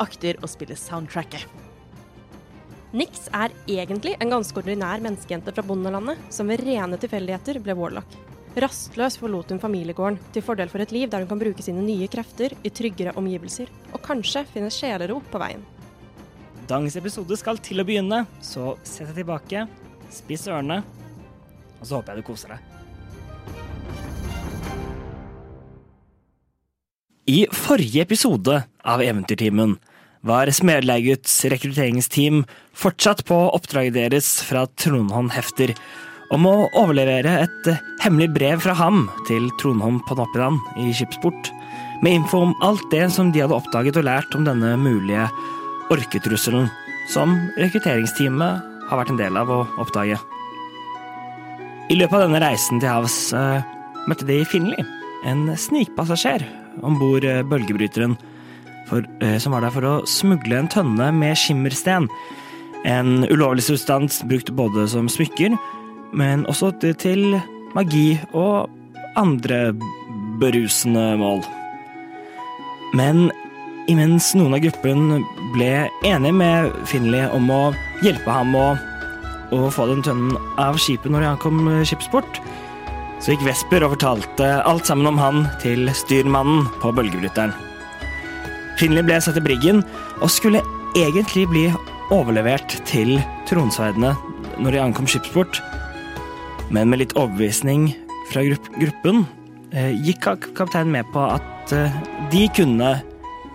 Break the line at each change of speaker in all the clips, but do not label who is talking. akter å spille soundtracket.
Nix er egentlig en ganske ordinær menneskejente fra bondelandet, som ved rene tilfeldigheter ble warlock. Rastløs forlot hun familiegården, til fordel for et liv der hun kan bruke sine nye krefter i tryggere omgivelser, og kanskje finne sjelero på veien.
Dagens episode skal til å begynne, så sett deg tilbake, spiss ørene, og så håper jeg du koser deg. I forrige episode av Eventyrtimen var Smedleiguts rekrutteringsteam fortsatt på oppdraget deres fra Trondheim Hefter om å overlevere et eh, hemmelig brev fra ham til Trondheim på Noppidan i skipsport, med info om alt det som de hadde oppdaget og lært om denne mulige orketrusselen som rekrutteringsteamet har vært en del av å oppdage. I løpet av denne reisen til havs eh, møtte de Finley, en snikpassasjer, om bord eh, bølgebryteren, for, eh, som var der for å smugle en tønne med skimmersten. En ulovlig substans brukt både som smykker, men også til- til magi og andre berusende mål. Men imens noen av gruppen ble enige med Finley om å hjelpe ham å og få den tønnen av skipet når de ankom eh, skipsport. Så gikk Vesper og fortalte alt sammen om han til styrmannen på bølgebryteren. Finley ble satt i briggen og skulle egentlig bli overlevert til tronsverdene når de ankom skipsport, men med litt overbevisning fra grupp gruppen eh, gikk kap- kapteinen med på at eh, de kunne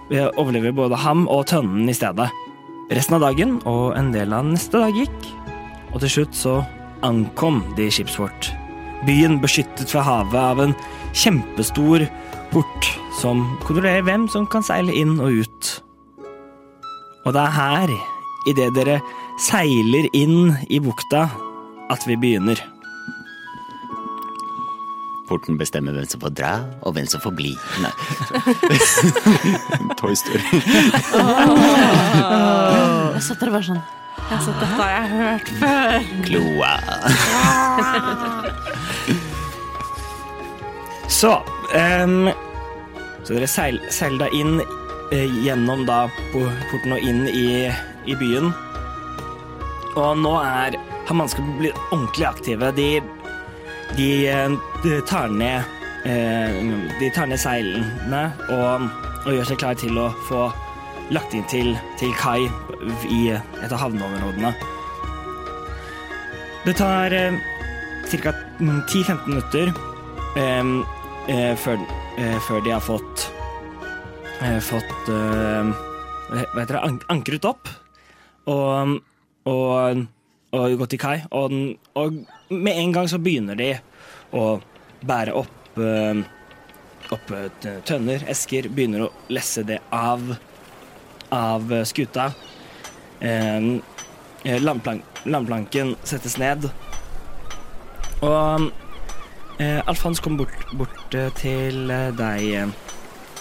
eh, overleve både ham og tønnen i stedet. Resten av dagen og en del av neste dag gikk, og til slutt så ankom de Skipsfort. Byen beskyttet fra havet av en kjempestor port som kontrollerer hvem som kan seile inn og ut. Og det er her, idet dere seiler inn i bukta, at vi begynner.
Porten bestemmer hvem som får dra, og hvem som får bli. Nei. Toy Story.
Jeg satt der og var sånn
Så dette har jeg hørt.
Kloa.
Så ehm, Så dere seil, seiler da inn eh, gjennom da po- porten og inn i, i byen. Og nå er har mannskapet blitt ordentlig aktive. De, de, eh, de tar ned eh, De tar ned seilene og, og gjør seg klare til å få lagt inn til, til kai i et av havneområdene. Det tar eh, ca. 10-15 minutter Ehm, eh, før, eh, før de har fått eh, Fått eh, Hva heter det? An ankret opp. Og, og, og gått i kai. Og, den- og med en gang så begynner de å bære opp eh, Opp eh, t- tønner, esker. Begynner å lesse det av Av eh, skuta. Ehm, eh, landplank landplanken settes ned. Og Eh, Alfons kom bort, bort eh, til eh, deg,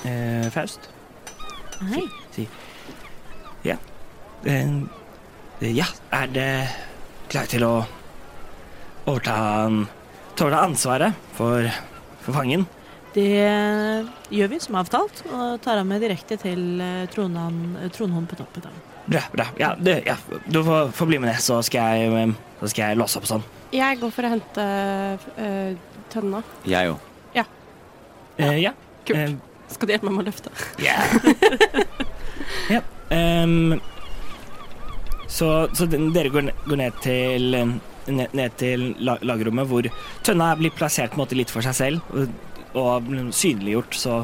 eh, Faust.
Hei.
Eh, eh, ja, er det klar til å overta, overta ansvaret for, for fangen?
Det gjør vi som avtalt, og tar av meg direkte til eh, Trondheim Trondheim på toppen.
Bra, bra. Ja, det, ja du får, får bli med ned, så skal jeg, eh, så skal jeg låse opp og sånn.
Jeg går for å hente eh, tønna.
Jeg òg.
Eh, ja.
Kult.
Eh,
Skal du hjelpe meg med å løfte?
ja. ja. Ehm, så så den- dere går, ne- går ned til em, ned, ned til la- lagerrommet, hvor tønna blir plassert på en måte litt for seg selv. Og, og blir synliggjort, så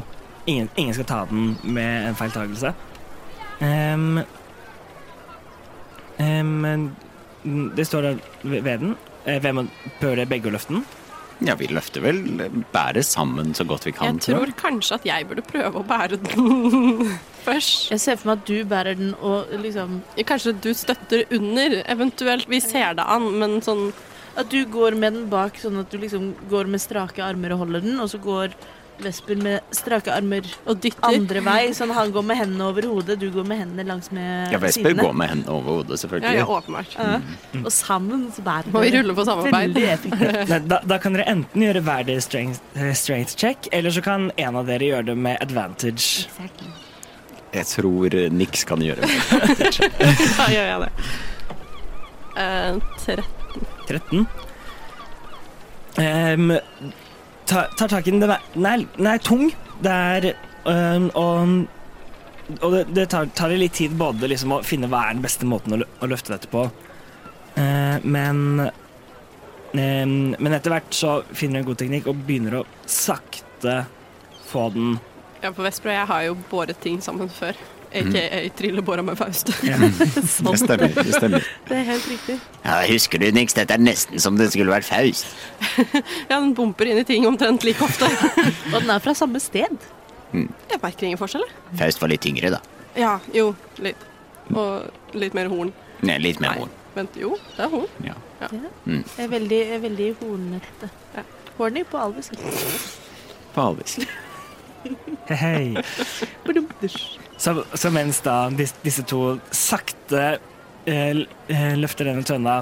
ingen, ingen skal ta den med en feiltagelse. Ehm, ehm, det står der ved ved den. Eh, Hvem bør det begge å løfte den?
Ja, vi løfter vel bæret sammen så godt vi kan.
Jeg tror kanskje at jeg burde prøve å bære den først.
Jeg ser for meg at du bærer den og liksom
Kanskje du støtter under, eventuelt. Vi ser det an, men sånn
At du går med den bak, sånn at du liksom går med strake armer og holder den, og så går Vesper med strake armer
Og dytter.
andre vei, sånn han går med hendene over hodet, du går med hendene langs med
Ja, Vesper
sidene.
går med hendene over hodet,
Ja,
selvfølgelig.
ja, åpenbart.
Ja. Og sammen så bærer
Må vi
dere.
rulle på samarbeid?
Veldig effektivt.
Nei, da, da kan dere enten gjøre hver deres strength, eh, strength check, eller så kan en av dere gjøre det med advantage.
Jeg tror eh, niks kan gjøre det.
Da gjør jeg det. Eh, tre-
13. Ehm, ta, tar tak i den. Den er, den er, den er tung. Det er ehm, Og, og det, det tar, tar det litt tid både liksom å finne hva er den beste måten å, lø- å løfte dette på. Eh, men ehm, Men etter hvert så finner du en god teknikk og begynner å sakte få den
ja, på Vestbro, jeg har jo båret ting sammen før. AKA trillebåra med Faust. Sånn.
Det stemmer. det stemmer.
Det er helt riktig.
Ja, Husker du, Nix, dette er nesten som det skulle vært Faust.
Ja, den bumper inn i ting omtrent like ofte.
Og den er fra samme sted.
Jeg merker ingen forskjell, jeg.
Faust var litt tyngre, da.
Ja, jo, litt. Og litt mer horn.
Nei, litt mer horn.
Vent, jo, det er horn.
Ja.
Jeg er veldig, jeg er veldig hornete. Horny på alvis.
På alvis.
Hei, hei. Så, så mens da dis- disse to sakte eh, l- eh, løfter denne tønna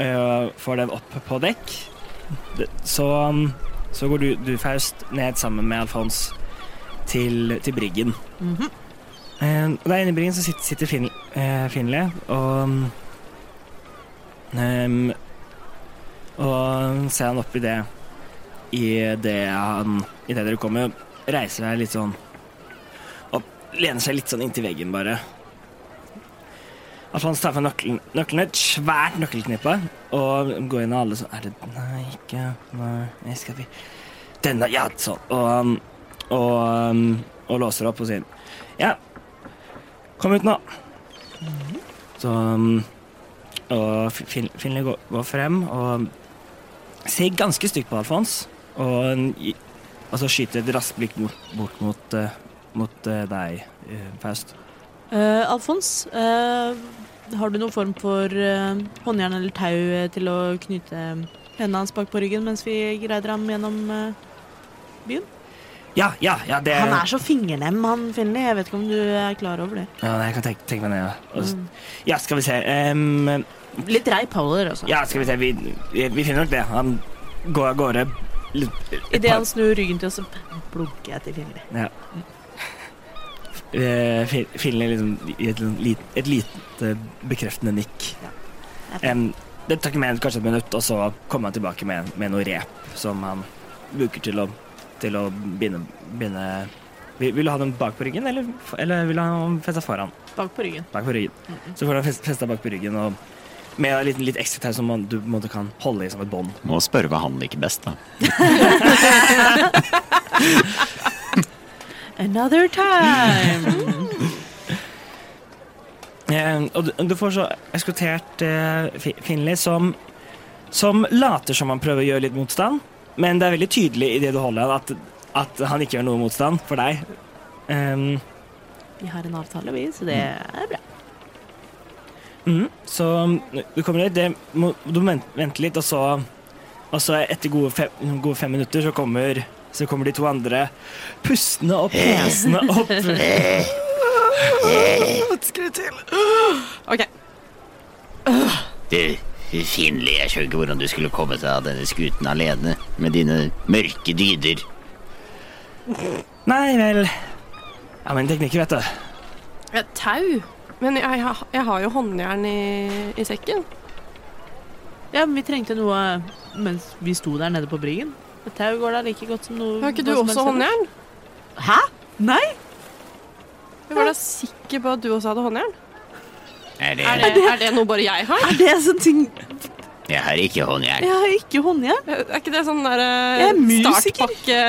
eh, og får den opp på dekk, det- så, um, så går du, du, Faust, ned sammen med Alfons til, til briggen.
Mhm.
Eh, og der inne i briggen så sitter, sitter fin, eh, Finlay og um, em, Og ser han opp i det i det han I det dere kommer, reiser seg litt sånn lener seg litt sånn inntil veggen, bare. Alfons tar fra nøkkelen, nøkkelen et svært nøkkelknippe og går inn, og alle sånn Er det Nei, ikke Nei, jeg skal vi Denne, ja, sånn. Og, og, um, og, låser opp og sier Ja, kom ut nå. Så um, Og Fin- Fin- Finley går, går frem og ser ganske stygt på Alfons, og, og så skyter et raskt blikk mot, bort mot eh, mot eh, deg, eh, Faust.
Eh, Alfons, eh, har du noen form for eh, håndjern eller tau eh, til å knyte eh, hendene hans bak på ryggen mens vi greider ham gjennom eh,
Ja, ja, ja, det
Han er så fingernem, han Finley. Jeg vet ikke om du er klar over det.
Ja, nei, jeg kan tenke, tenke meg ned. ja. Og, s-
Mm.
ja, skal vi se. em,
Litt rei power, altså.
ja, skal vi se. Vi, vi- vi finner nok det. Han går av gårde. litt- et
Idet
par-
han snur ryggen til oss, så blunker jeg til Finley.
eh, fin- Finner liksom i et, lit, et lite bekreftende nikk.
Ja.
Em, det tar ikke mer enn kanskje et minutt, og så kommer han tilbake med, med noe rep som han bruker til å, til å binde, binde Vil vil du ha den bak på ryggen, eller, eller vil du ha den festa foran?
Bak på ryggen.
bak på ryggen. Så får du fest- festa bak på ryggen og med en liten, litt ekstra tau som man, du på en måte kan holde i som et bånd.
Må spørre hva han liker best, da.
Another time!
Eh, og du, du får så eskortert eh, Fi- Finley som, som later som han prøver å gjøre litt motstand, men det er veldig tydelig i det du holder han at, at han ikke gjør noe motstand for deg. Ehm, Em,
Vi har en avtale, vi, så det er bra.
mhm, så du kommer dit, det, må- du må vent- vente litt, og så, og så etter gode fem, gode fem minutter så kommer, så kommer de to andre pustende og pesende opp.
OK.
Du, Finlig, jeg skjønner ikke hvordan du skulle komme deg av denne skuten alene med dine mørke dyder.
Nei vel Ja, men teknikker, vet du.
Ja, tau. Men jeg, jeg, har- jeg har jo håndjern i, i sekken.
Ja, men vi trengte noe eh, mens vi sto der nede på bryggen. Et tau går da like godt som noe
Har ikke du
hva som
også
helst ellers.
håndjern?
Hæ? Nei?
Jeg var da sikker på at du også hadde håndjern.
Er det,
Er det, er det noe bare jeg har?
Er det sånn ting
Jeg har ikke håndjern.
Jeg har ikke håndjern.
Er ikke det sånn der
Jeg er
eh,
musiker.
startpakke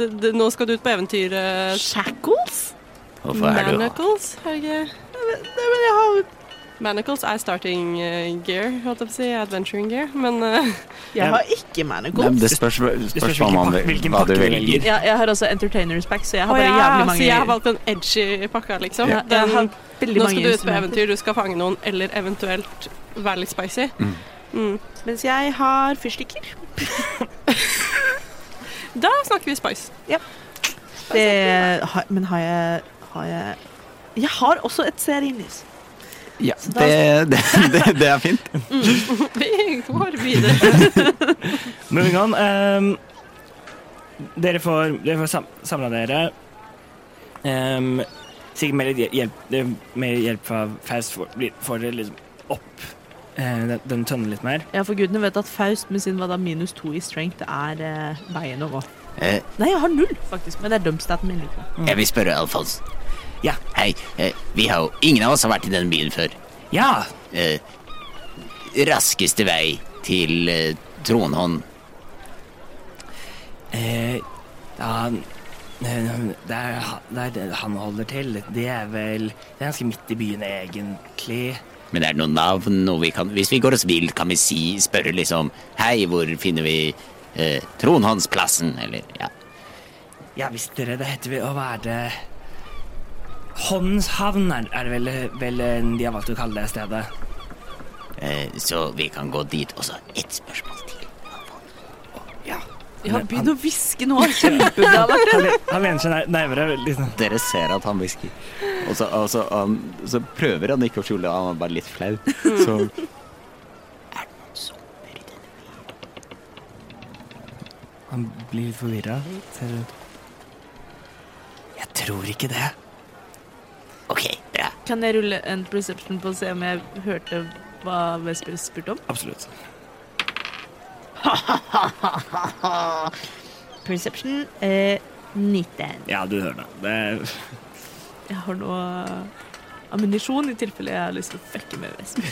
d- d- Nå skal du ut på eventyr eh,
Shackles?
Hvorfor er du
Manacles, er det ikke?
Nei, men jeg har
Manacles er starting eh, gear, holdt jeg på å si. Adventuring gear. Men eh,
Ja.
Jeg har
Nei,
ikke
men
manacles.
det spørs, spørs hva,
hvilken
man,
pak- hvilken
hva du
pakke du
velger.
velger.
Ja, jeg har også Entertainers Pack, så jeg har
å
bare
ja,
jævlig mange
Så jeg har valgt den edgy pakka, liksom.
Ja, jeg
Den,
har veldig
nå
mange
skal du ut på
instrumenter.
eventyr, du skal fange noen, eller eventuelt være litt spicy. Mm.
Mens jeg har fyrstikker.
Da snakker vi spice.
Det har, men har jeg, har jeg Jeg har også et stearinlys.
Ja, det, det, det, det er fint.
Vi går videre.
Moving on. ehm, dere får, dere får sam samla dere. Ehm, sikkert med litt hjelp, med hjelp fra Faust får, blir- får dere liksom opp eh, den, den tønnen litt mer.
Ja, for gudene vet at Faust med sin hva da, minus to i strength er eh, veien å gå.
Eh,
Nei, jeg har null, faktisk, men det er dumpstaten min liksom. likevel.
Jeg vil spørre Alfons.
Ja.
Hei, eh, vi har jo Ingen av oss har vært i denne byen før.
Ja,
Eh, Raskeste vei til eh, Tronhånd.
Eh, ja, n- n- der, ha- der det- han holder til, det er vel Det er ganske midt i byen, egentlig.
Men er det noen navn? Noe vi kan, hvis vi går oss vill, kan vi si, spørre liksom Hei, hvor finner vi eh, Tronhåndsplassen? Eller ja.
Ja visst, dere, det heter vel å være Håndens havn er, er det vel, vel eh, de har valgt å kalle det stedet.
Eh, så vi kan gå dit. Og så ett spørsmål til.
Ja, begynn å hviske nå. Kjempebra. da.
Han, le- han lener seg nær- nærmere. Liksom.
Dere ser at han hvisker. Og så, og så, han, så prøver han ikke å skjule det, han er bare litt flau. Så
Han blir litt forvirra. Ser rundt. Jeg tror ikke det.
OK, bra.
Kan jeg rulle en perception på å se om jeg hørte hva Vesper spurte om?
Absolutt.
Perception eh, 19.
Ja, du hører det. det.
Jeg har noe ammunisjon i tilfelle jeg har lyst til å fucke med Vesper.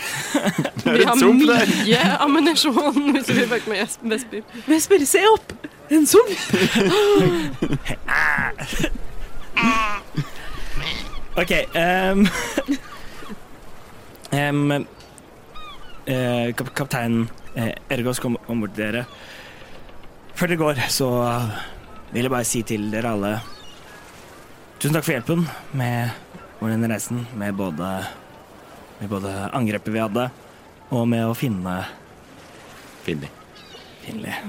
Vi har mye ammunisjon hvis vi fucker med Jes- Vesper.
Vesper, se opp! En zombie!
Ok ehm Ehm, eh, kap Kaptein eh, Ergos kom, kom bort til dere Før det går så vil jeg bare si til dere alle Tusen takk for hjelpen med med denne reisen Med både, med både angrepet vi hadde Og med å finne
Finner.
Finley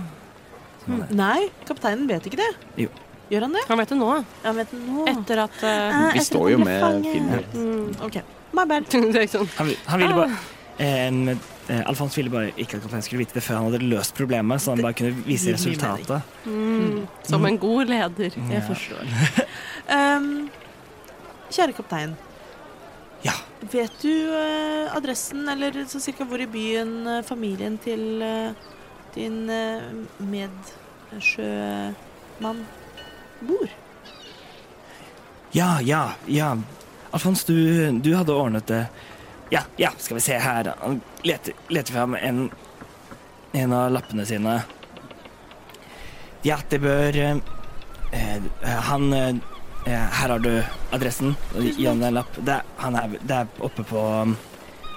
Sånn
Nei, kapteinen vet ikke det.
Jo.
Gjør han det?
Han vet det nå,
Ja, vet han nå.
etter at eh,
Eh,
Vi
jeg
står
tror
jo
han ble
med
fanget.
Finner.
mm,
OK. My bad.
Det er ikke sånn
Han, vil- han ville bare em, eh, Alfons ville bare ikke at kapteinen skulle vite det Før han hadde løst problemet Så han bare kunne vise
Det gir mye mening.
resultatet
mm, Som en god leder.
Ja.
Jeg forstår. Um, kjære kaptein.
Ja.
Vet du eh, adressen, eller så cirka hvor i byen eh, familien til eh, din eh, medsjømann bor?
Ja, ja, ja. Alfons, du, du hadde ordnet det. Ja, ja, skal vi se her. Han leter, leter fram en, en av lappene sine. Ja, det bør eh, eh, Han eh, Her har du adressen. Gi han en lapp. Det, er- han er, det er oppe på um,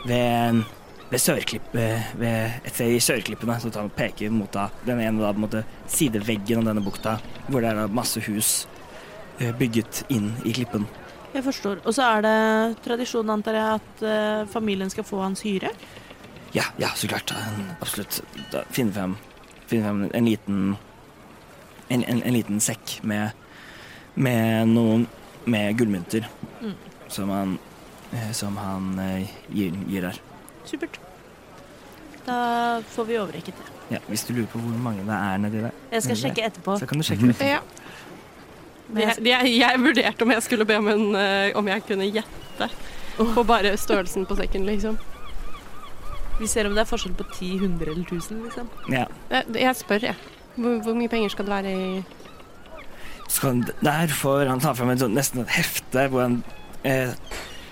Ved, ved Sørklipp... eh, Ved et sted i Sørklippene. Så tar han og peker mot da, den ene da, på en måte, sideveggen av denne bukta, hvor det er da masse hus eh, bygget inn i klippen.
Jeg forstår. Og så er det tradisjon, antar jeg, at eh, familien skal få hans hyre?
Ja, ja, så klart. En, absolutt. Da, finne frem, finne frem en liten en, en, en liten sekk med med noen med gullmynter
Mm.
som han eh, som han eh, gir, gir her.
Supert. Da får vi overrekket det.
Ja, hvis du lurer på hvor mange det er nedi der,
Jeg skal
Nydelig.
sjekke etterpå.
så kan du sjekke det.
Ja.
Men jeg
Jeg, jeg, jeg vurderte om jeg skulle be om, en, eh, om jeg kunne gjette på bare størrelsen på sekken, liksom.
Vi ser om det er forskjell på 10, 100 eller 1000, liksom.
Ja.
Jeg, jeg spør, jeg. Hvor, hvor mye penger skal det være i
Så kan, der får han ta frem en sånn, nesten et hefte hvor han eh,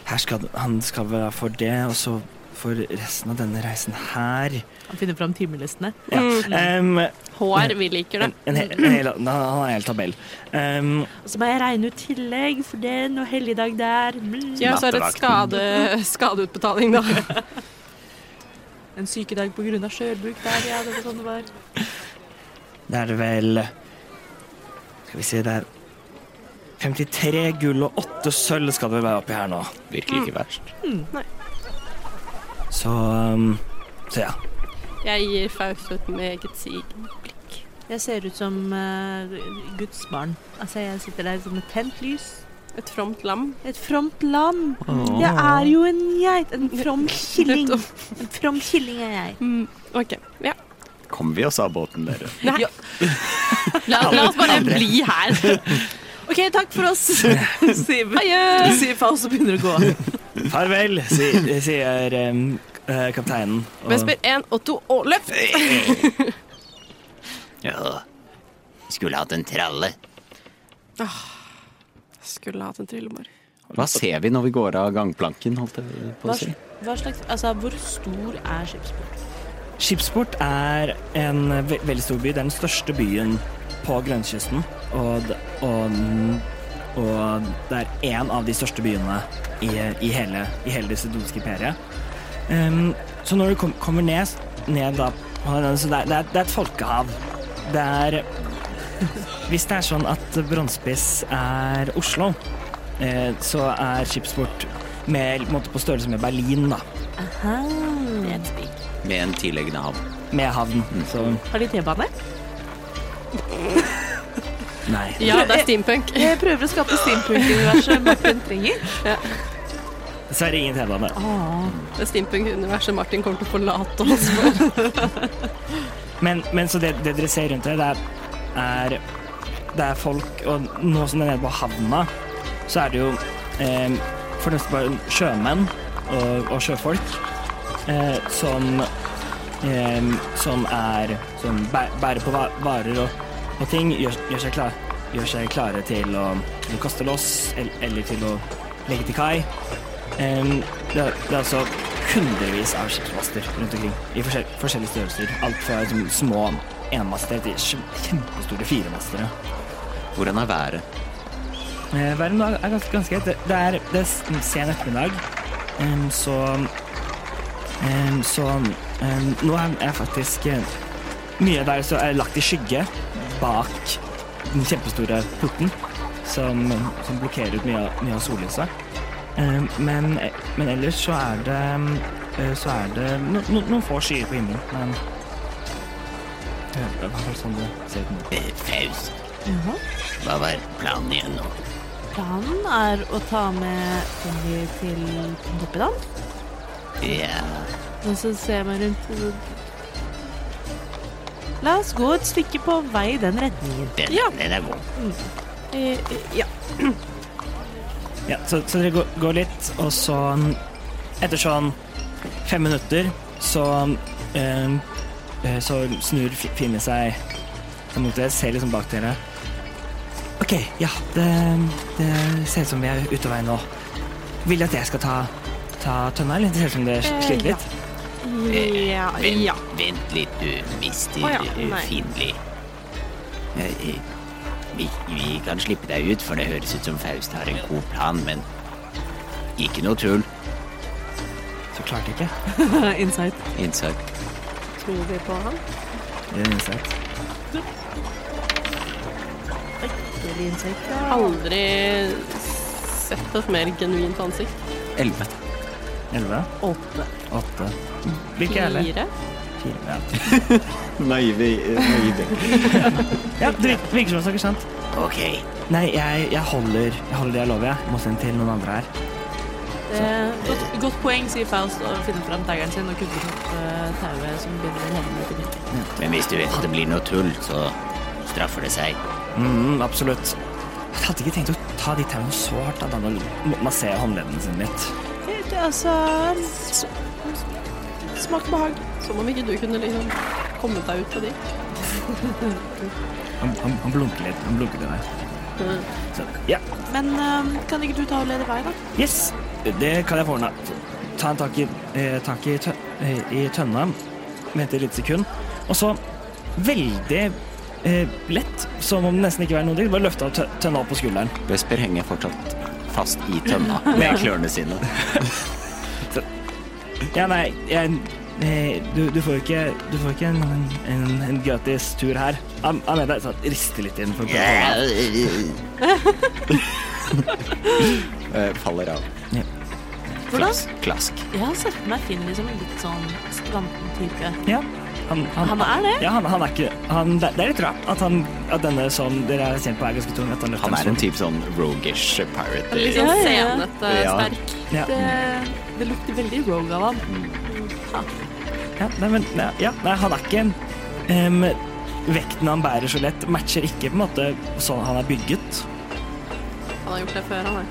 her skal han skal være for det, og så for resten av denne reisen her.
Han finner fram timelistene.
Ja.
Mm.
Em,
Hår, vi liker det.
en, en, hel, en hel, han har en hel tabell. Ehm, Em,
Og så må jeg regne ut tillegg for den og helligdag der. Mm.
Ja, så er det et skade, skadeutbetaling, da.
En sykedag på grunn av skjørbuk der, ja. Det var sånn det var.
det er vel Skal vi si det er 53 gull og 8 sølv skal det vel være oppi her nå.
Virker ikke verst.
Mm.
Så, ehm, em, så ja.
Jeg gir Faust et meget sigende blikk.
Jeg ser ut som eh, Guds barn. Altså, jeg sitter der som et tent lys.
Et fromt lam.
Et fromt lam. Jeg er jo en geit. En from killing.
Nettopp.
En from killing er jeg.
Mm, OK. Ja.
Kom vi oss av båten, dere?
La, la oss bare bli her.
OK, takk for oss, sier
Adjø!
sier Faust og begynner å gå.
Farvel, si, sier em, eh, kapteinen. og-
Vesper 1 og 2 og løft.
Ja. Skulle hatt en tralle.
Skulle hatt en trillebår.
Hva ser vi når vi går av gangplanken, holdt jeg på å
Hva,
si?
hva slags, altså, hvor stor er skipsbåten?
Skipsport er en ve veldig stor by. Det er den største byen på grønnkysten. Og, d- og, og det er én av de største byene i, i hele, i hele det sydonske imperiet. Ehm, så når du kom, kommer ned, ned da, så det, er, det, er, det er et folkehav. Det er Hvis det er sånn at Bronsepiss er Oslo, eh, så er skipsport med, på en måte på størrelse med Berlin, da.
Med en tilleggende havn.
Med havn. Så
Har de T-bane?
nei.
Ja, det er steampunk.
Jeg prøver å skape steampunk-universet Martin trenger.
Dessverre ingen T-bane.
Det er steampunk-universet Martin kommer til å forlate oss for.
Men, men så det, det dere ser rundt dere, det er, er, det er folk Og nå som det er nede på havna, så er det jo eh, for det meste bare sjømenn og, og sjøfolk eh, som eh, Som er Som bæ- bærer på va- varer og, og ting. Gjør, gjør, seg klar, gjør seg klare til å, til å kaste loss eller, eller til å legge til kai. Eh, det, er- det er altså hundrevis av skipsmaster rundt omkring i forskjell, forskjellige størrelser. Alt fra liksom, små enmaster til kjem- kjempestore firemastere.
Hvordan er været?
Eh, hver dag er ganske, ganske greit. Det, det er det er s- sen ettermiddag, Em, så em, Så em, nå er jeg faktisk eh, Mye der så er lagt i skygge bak den kjempestore porten som, som blokkerer ut mye, av- mye av sollyset. Em, men, men ellers så er det em, eh, Så er det no, no, noen få skyer på himmelen, men ja, det er i hvert fall sånn det ser ut nå.
Eh, Faust. Hva var planen igjen nå?
Planen er å ta med Tommy til Pompidal.
Ja,
Og så ser jeg meg rundt og så- La oss gå et stykke på vei i den retningen.
den,
Ja.
den er god.
Eh, eh, Ja.
Ja, så, så dere går, går litt, og så mm, Etter sånn fem minutter så eh, eh, Så snur Fi- Finn seg mot dere, ser liksom bak dere. OK, ja, det, det ser ut som vi er ute av veien nå. Vil du at jeg skal ta, ta tønna, eller? Det ser ut som det sl-
Eh,
sliter
ja.
litt.
Ja,
Vent,
ja.
vent litt, du mister
Å ja,
eh,
nei.
Finli. Eh, eh, Vi, vi kan slippe deg ut, for det høres ut som Faust har en god plan, men ikke noe tull.
Så klarte jeg ikke.
Insight.
Insight.
Tror vi på han?
Det er innsett.
Veldig insight. Ja.
Aldri sett et mer genuint ansikt.
Elleve.
Elleve?
Åtte.
Åtte? Hvilke er det?
Fire.
Fire. Ja.
Naive, naive.
ja, det virker- virker som dere snakker sant.
Ok,
Nei, jeg, jeg, holder, jeg holder det jeg lover, jeg. Må sende til noen andre her.
Eh, godt, godt poeng, sier Faust og finner fram daggeren sin og kutter opp eh, tauet som begynner å henge ned til midten.
men hvis du vet at det blir noe tull, så straffer det seg.
Mm, absolutt. Jeg hadde ikke tenkt å ta de tauene så hardt. Da må man se håndleddene sine litt.
Eh, det er Altså s- Smak behag.
Som om ikke du kunne liksom kommet deg ut på de.
Han, han, han blunker litt. Han blunker til deg. Så, ja.
Men eh, kan ikke du ta og lede vei, da?
Yes, det kan jeg få ordna. Ta en tak i, eh, tak i, tø eh, i tønna, vente et lite sekund, og så veldig eh, lett, som om det nesten ikke var noe dritt, bare løfte av tø tønna opp på skulderen.
Vesper henger fortsatt fast i tønna med klørne sine.
Ja, nei, jeg eh, du, du får jo ikke, du får ikke en, en, en, en gratis tur her. Han han er der, så rister litt inn. For å prøve å holde han.
Eh, Faller av.
Ja.
Klask. klask.
Jeg har sett for meg Finn liksom en litt sånn skranten type.
Ja, han, han,
Han er det?
ja, han, han er ikke han, Det det er litt rart at, han, at denne som dere er kjent på, er ganske tung. At han, løfter
Han
den
er en
sånn.
type sånn rogish pirate.
Litt sånn
Ja, ja, ja.
senete
Ja.
sterk.
Ja.
Det, det lukter veldig rogue av han.
Ja, nei, men, nei, ja, nei, han er ikke en em, Vekten han bærer så lett, matcher ikke på en måte sånn han er bygget.
Han har gjort det før, han har.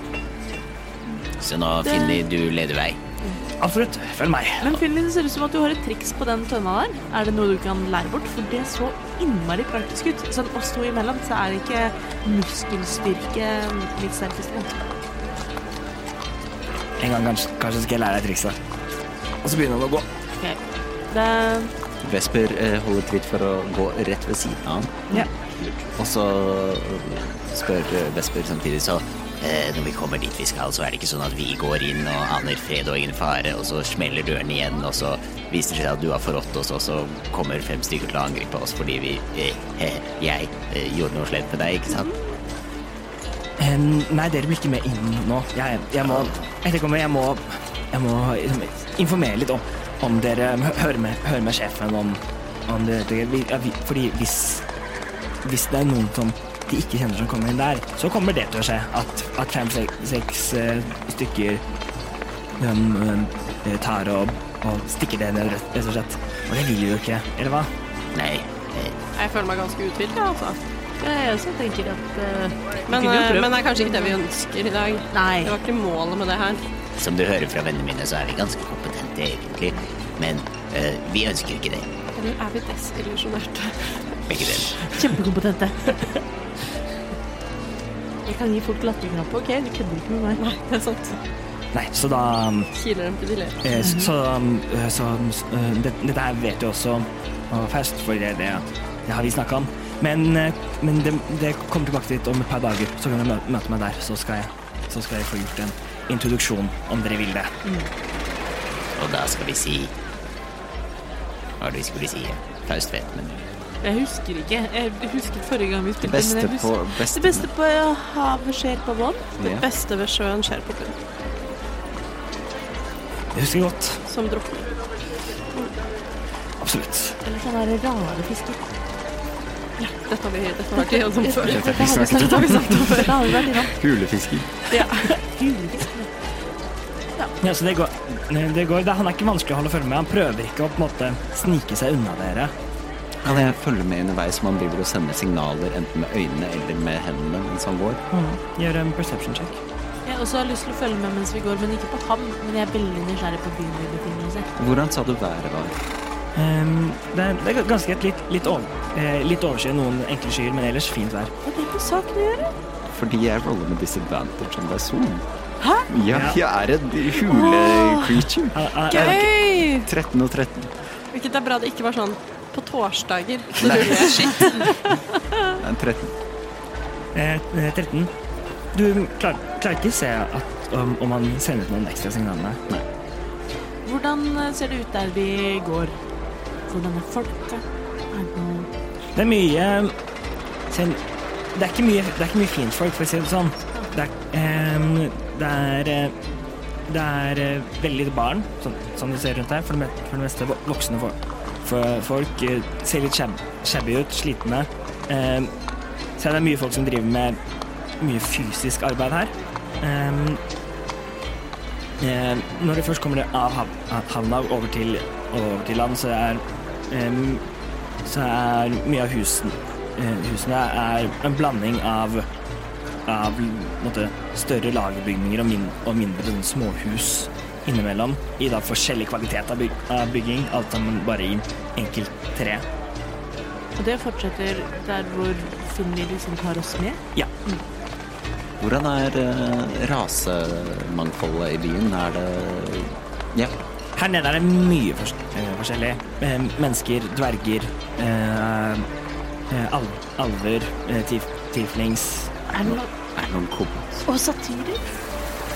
Så nå finner du leder vei.
Absolutt. Følg meg.
Men Finn, det ser ut som at du har et triks på den tønna der. Er det noe du kan lære bort? For det så innmari praktisk ut. Sånn oss to imellom, så er det ikke muskelstyrke mm, mitt sterkeste punkt.
En gang kanskje, kanskje skal jeg lære deg trikset. Og så begynner han å gå.
Ok. Det
Vesper eh, holder tritt for å gå rett ved siden av han.
Ja.
Og så øh, spør eh, Vesper samtidig så eh, Når vi kommer dit vi skal, så er det ikke sånn at vi går inn og aner fred og ingen fare, og så smeller døren igjen, og så viser det seg at du har forrådt oss, og så kommer fem stykker til å angripe oss fordi vi eh, eh, Jeg eh, gjorde noe slemt med deg, ikke sant?
Em, nei, dere blir ikke med inn nå. Jeg, jeg må etterkomme, jeg må, jeg må liksom, informere litt om, om dere Høre med, høre med sjefen om, om det. det- vi- ja, vi- Fordi hvis, hvis det er noen som de ikke kjenner som kommer inn der, så kommer det til å skje at, at fem-seks eh, stykker um, um, tar og, og stikker det ned, rett rett og slett. Og det vil vi jo ikke, eller hva?
Nei. øh,
Jeg føler meg ganske uthvilt, jeg, altså.
Jeg også tenker at eh,
Men,
kunne jo
eh,
prøvd.
men det er kanskje ikke det vi ønsker i dag.
Nei.
Det var ikke målet med det her.
Som du hører fra vennene mine, så er vi ganske kompetente egentlig, men eh, vi ønsker ikke det.
Eller er vi desillusjonerte?
Begge deler.
Kjempekompetente. Jeg kan gi folk latterkrampe, OK? Du kødder ikke med meg.
Nei, det er sant.
Nei, så da um,
Kiler dem til de ler.
Eh, Så, så, um, eh, så um, s- eh, det, dette her vet du også om fest, for det, det, det har vi snakka om. Men, eh, men det, det kommer tilbake dit om et par dager, så kan du mø- møte meg der. Så skal, jeg, så skal jeg få gjort en introduksjon, om dere vil det.
Og da skal vi si Hva var det vi skulle si? Faust vet, men
Jeg husker ikke. Jeg husket forrige gang vi spilte.
beste
men jeg husker-
på- beste-
det beste på havet skjer på vann.
Det beste ved sjøen skjer på bunnen,
Jeg husker godt.
som drukner.
Absolutt.
Eller sånn der rare fisker.
Dette har vi dette har vært igjennom før.
Dette har vi snakket om før. Det har vi vært innom.
Hulefisker.
Ja, så det går, det går. Det, han er ikke vanskelig å holde følge med. Han prøver ikke å på en måte snike seg unna dere.
Kan jeg følge med underveis om han driver og sender signaler enten med øynene eller med hendene mens han går?
Gjør en perception check.
Jeg også har lyst til å følge med mens vi går, men ikke på ham. Men jeg er veldig nysgjerrig på byen vi befinner oss i.
Hvordan sa du været var?
Ehm, det, er- det er ganske litt, litt, over, eh, litt overskyet, noen enkle skyer, men ellers fint vær.
Hva er det med saken å gjøre?
Fordi jeg roller med disadvantage om det er sol.
Hæ?
Ja, jeg er en hule-creature.
Han- han-
Gøy!
13 og 13.
Hvilket er bra det ikke var sånn på torsdager. Så
Nei.
ruller jeg skitt.
Nei, 13.
Eh, eh, 13. Du klarer, klarer ikke se at, om, om han sender ut noen ekstra signaler. Nei.
Hvordan eh, ser det ut der vi går? Hvordan er folket? Er det noe
Det er mye se, det, er ikke mye det er ikke mye fint folk, for å si det sånn. Det er, eh, det er, eh, det er eh, veldig lite barn, som, som du ser rundt her. For det, me- for det meste vo- voksne folk. For folk eh, ser litt sjab- shabby ut, slitne. Eh, så det er mye folk som driver med mye fysisk arbeid her. Ehm, eh, når det først kommer av hav- havna og over til, over til land, så er ehm, så er mye av husen, eh, husene er en blanding av, av på en måte, større lagerbygninger og, min, og mindre sånn småhus innimellom, i da forskjellig kvalitet av, byg, av bygging, alt sammen bare i enkelt tre.
Og det fortsetter der hvor Finni liksom tar oss med.
Ja.
Hvordan er eh, rasemangfoldet i byen? Er det Ja.
Her nede er det mye fors eh, forskjellig. Eh, Mennesker, dverger, eh, eh, al alver, eh, tif tieflings.
Er det noe
Er det noen kobolt?
Og satirer?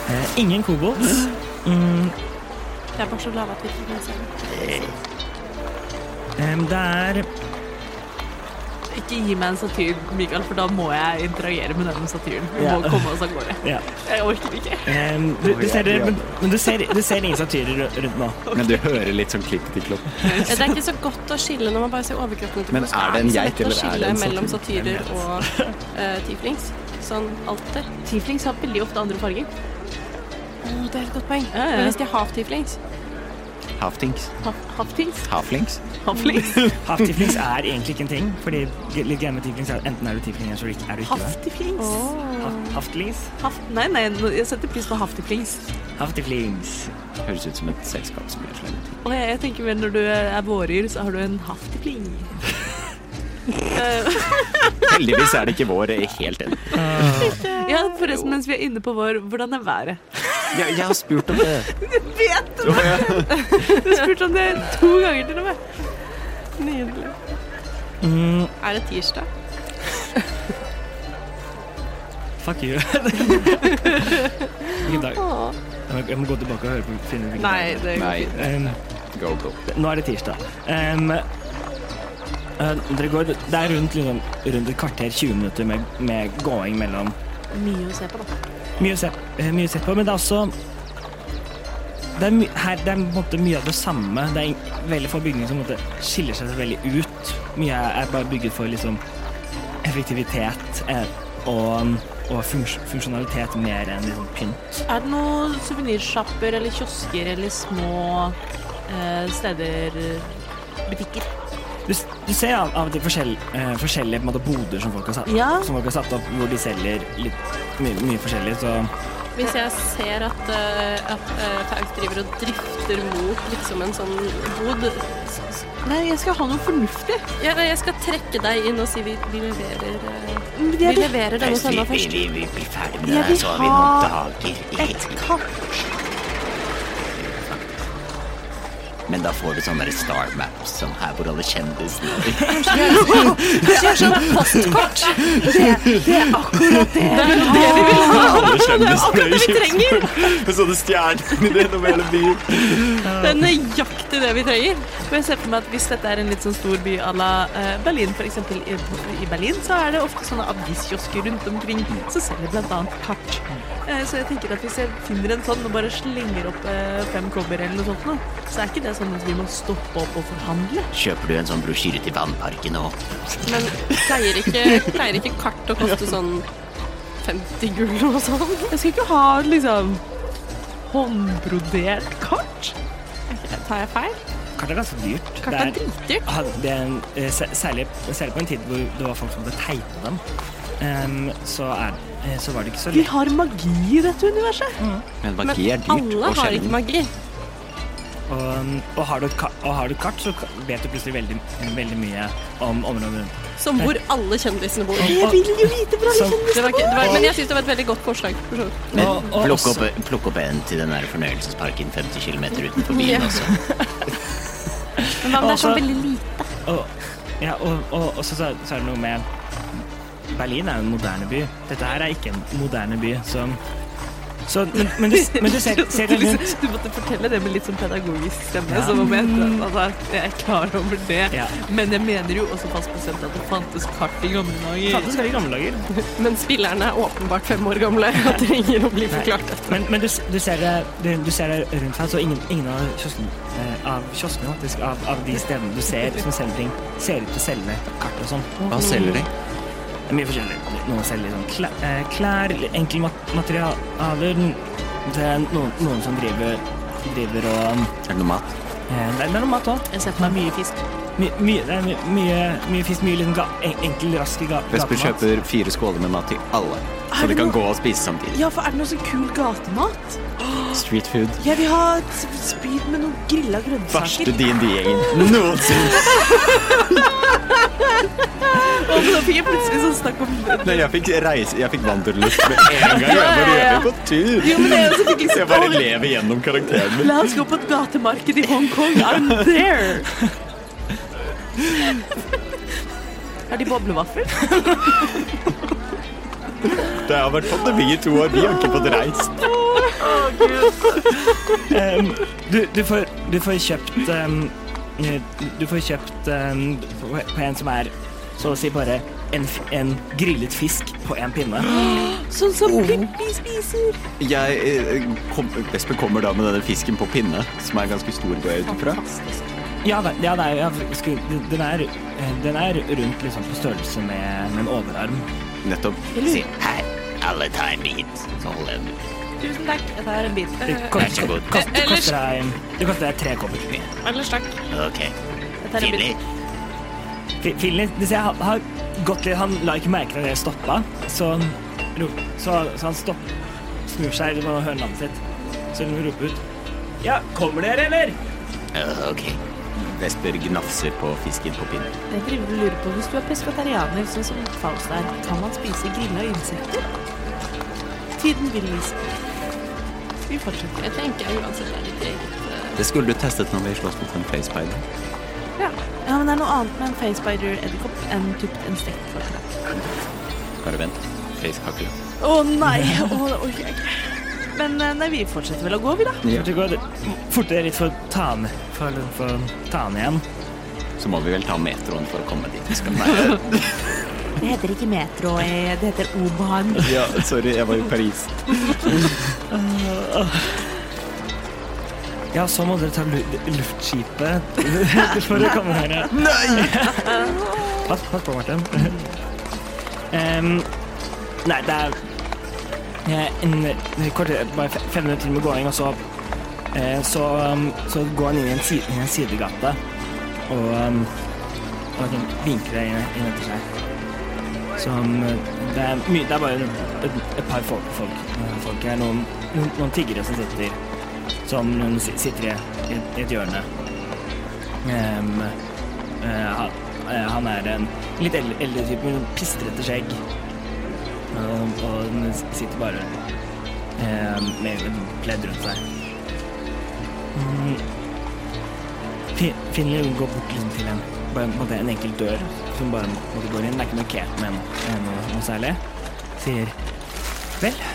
Eh, ingen kobolts. Mm,
Jeg er bare så glad at vi ikke kan se det.
em, Eh, det er
Ikke gi meg en satyr, Mikael, for da må jeg interagere med denne satyren. Vi
Ja.
må komme oss av gårde.
Ja.
Jeg orker ikke.
em, du, du ser, det- Ehm, men, men du ser, du ser ingen satyrer ru- rundt nå.
Men du hører litt sånn klipp til klopp.
Det er ikke så godt å skille når man bare ser overkroppene til
Men
folk.
er det en
så
geit,
lett å
eller er det en
skille mellom
satyr?
satyrer og uh, tieflings. Sånn alltid.
Tieflings har veldig ofte andre farger.
Å, det er et godt poeng.
Ja, ja.
Men hvis de er half-tieflings
Halftings?
Haftings?
Halflings?
Haflings?
Half-tieflings er egentlig ikke en ting, fordi g- litt greier med tieflings er enten er du tiefling eller så er du ikke- er du ikke det.
Haftiflings?
Haft- Haftlings?
Haft... Nei, nei, nå- jeg setter pris på haftiflings.
Haftiflings.
Høres ut som et selskap som gjør slemme ting.
Og jeg, jeg tenker vel når du er våryr, så har du en haftifling. Eh,
Heldigvis er det ikke vår eh, helt ennå.
ja, forresten, mens vi er inne på vår, hvordan er været?
Jeg, jeg har spurt om det.
Vet du det? Du spurte om det to ganger til og med.
Nydelig.
Mm,
Er det tirsdag?
fuck you. Hvilken dag? Jeg må- Jeg må gå tilbake og høre på finne ut hvilken dag.
Nei, det
Nei,
Em,
go, go.
Nå er det tirsdag. Em, eh, dere går, det er rundt, liksom, rundt et kvarter, 20 minutter med, med gåing mellom
er mye å se på, da.
Mye å se, eh, mye å se på, men det er også det er, my, her, det er på en måte mye av det samme. Det er ing- veldig få bygninger som på en måte skiller seg så veldig ut. Mye er er bare bygget for liksom, effektivitet eh, og, og funks, funksjonalitet mer enn liksom, pynt.
Er det noen suvenirsjapper eller kiosker eller små eh, steder eh, Butikker.
Du, s- du ser av, av og til forskjell, eh, forskjellige på en måte, boder som folk, har satt,
Ja.
som folk har satt opp, hvor de selger litt, mye, mye forskjellig. Så
Hvis jeg ser at, uh, at eh, Faust driver og drifter mot liksom en sånn bod s- s-
Nei, jeg skal ha noe fornuftig.
ja, nei, Jeg skal trekke deg inn og si vi, vi leverer eh,
Men
Vi
jeg vil,
leverer denne
Vi,
søndag
vi,
først.
vi, vi blir ferdig med det
jeg
her,
vil
så har vi noen
ha
dager i
et kart.
Men da får du sånn der star map som her hvor alle kjendisene
Sånn
Alle kjendisene i Kjøpsund. Med sånne stjerner gjennom hele byen.
Det er nøyaktig det vi trenger.
For jeg ser for meg at Hvis dette er en litt sånn stor by à la eh, Berlin, f.eks. I, I Berlin så er det ofte sånne aviskiosker rundt omkring som selger bl.a. kart. Eh, så jeg tenker at hvis jeg finner en sånn og bare slenger opp eh, fem kobber eller noe sånt, nå, så er ikke det sånn at vi må stoppe opp og forhandle.
Kjøper du en sånn brosjyre til vannparken og
Men pleier ikke, pleier ikke kart å koste sånn 50 gull og sånn?
Jeg skal ikke ha liksom håndbrodert kart.
Tar jeg feil?
kart er ganske dyrt.
Kart er dritdyrt.
Ja, det er en, eh, sær- særlig, særlig på en tid hvor det var folk som ble tegnet dem, em, så, er, eh, så var det ikke så
Vi
lett.
har magi i dette universet.
Men
Men
magi er dyrt.
alle
og
har
sjelden.
ikke magi.
Og, og, har du et, ka- og har du et kart, så ka- vet du plutselig veldig, veldig mye om området rundt.
Som hvor alle kjendisene bor.
Og-
Jeg vil jo vite hvor alle
Som-
kjendiser
Det var ikke, det var, men jeg syns det var et veldig godt forslag. for så vidt.
Men
Og- og
plukk
også-
opp, plukk opp en til den der fornøyelsesparken 50 km utenfor
Ja.
byen altså. også.
Men hva om det er
Altså-
sånn veldig lite?
Og, ja, og, og, og så, så er- så er det noe med Berlin er jo en moderne by. Dette her er ikke en moderne by, så, så men, men, du, men du ser, ser deg rundt.
du måtte fortelle det med litt sånn pedagogisk stemme. Som om jeg, altså, jeg er klar over det.
Ja.
Men jeg mener jo også fast bestemt at det fantes kart i gamle
Det
dager.
fantes veldig gamle dager.
Men spillerne er åpenbart fem år gamle og trenger å bli forklart dette.
Men, men du, s- du, ser det, du, du ser det rundt her, så ingen, ingen av kioskene, eh, av, kioskene faktisk, av, av de stedene du ser som selger ting, ser ut til å selge kart og sånn.
Hva selger de?
Det er mye forskjellig. Noen selger sånn klær, eh, klær enkle mat materialer. Det er noen, noen som driver, driver og
Er det noe mat?
eh, Det er det er noe mat òg.
Jeg ser på meg mye fisk.
My, mye, det er my, mye, mye fisk, mye liksom ga, en, enkel, rask ga-
Vesper
gatemat.
kjøper fire skåler med mat til alle, så
Er
de
det
kan
noe-
gå og spise samtidig.
Ja, for er det noe sånn kul gatemat?
Street food.
Jeg vil ha et spyd med noen grilla
Verste
grønnsaker.
DND-gjengen noensinne.
Og så fikk jeg plutselig sånn snakk om
Nei, jeg fikk reise Jeg fikk vandrelyst med en gang. Jeg bare
Ja, ja, ja.
gjør på
Jo,
tur.
men det er jo så fikk jeg
Så jeg bare lever gjennom karakteren min.
La oss gå på et gatemarked i Hongkong. I'm there! Er de boblevafler?
Det har vært pandemi i to år. Vi har ikke fått reist.
Em, du, du, får, du får kjøpt em, eh, Du får kjøpt em, på på en som er så å si bare en, f- en grillet fisk på en pinne.
Sånn som Pippi spiser.
Jeg, eh, kom, Vesper kommer da med denne fisken på pinne, som er ganske stor, går jeg ut ifra.
Ja, det, ja, det er, ja, skulle, den, er, eh, den er rundt liksom på størrelse med, med en overarm.
Nettopp.
Se, her. Alle tar en bit. Så hold den.
Sånn,
Tusen takk. Jeg tar en bit.
Det
Eh,
Vær så
koster,
god.
kost- det
Ellers-
koster deg Det koster deg tre kobber.
Ellers takk.
Ok,
Jeg tar en bit.
tydelig.
Fi- Finley, du ser, han har gått litt Han la ikke merke til at dere stoppa, så, han ro- så, så han stopp, snur seg og hører navnet sitt. Så hun roper ut Ja, kommer dere, eller?
Å, Ok.
Eh, Vesper gnafser på fisken på pinne.
Jeg driver og lurer på, Hvis du er peskatarianer, sånn som Faust er, kan man spise grilla insekter? Tiden vil vise. Vi fortsetter.
Jeg tenker uansett det er ditt eget eh,
Det skulle du testet når vi slåss mot en facepider.
Ja. ja, men Det er noe annet med en facebider-edderkopp enn typ en stekt forklart.
Bare vent. Facekake.
Å nei! Å, det orker jeg ikke. Men eh, nei, vi fortsetter vel å gå, vi, da.
Så det går fortere litt for å ta han for, for å ta han igjen.
Så må vi vel ta metroen for å komme dit vi skal være.
Det heter ikke metro, eh, det heter O-banen.
Ja, sorry, jeg var i Paris.
Ja, så må dere ta lu luftskipet for å komme dere Nei! pass, pass på, Martin. Em, nei, det er eh, en en kort, bare fe- fem minutter til med gåing, og så, eh, så, um, så går han inn i en, si- i en sidegate og, um, og den vinker deg inn, inn etter seg. Så um, det, er mye- det er bare et, et par folk, folk, eh, folk her. Noen, noen, noen tiggere som sitter som hun si- sitter i, i, i et hjørne. Ehm, eh, han, eh, han er en litt eldre, eldre type med sånn pistrete skjegg. Ehm, og han s- sitter bare ehm, med med pledd rundt seg. Mm. Fi- Finley går bort liksom til en, bare, en- på en måte en enkel dør som bare på en måte går inn. Det er ikke noe ket med noe, noe, noe særlig. Sier Vel,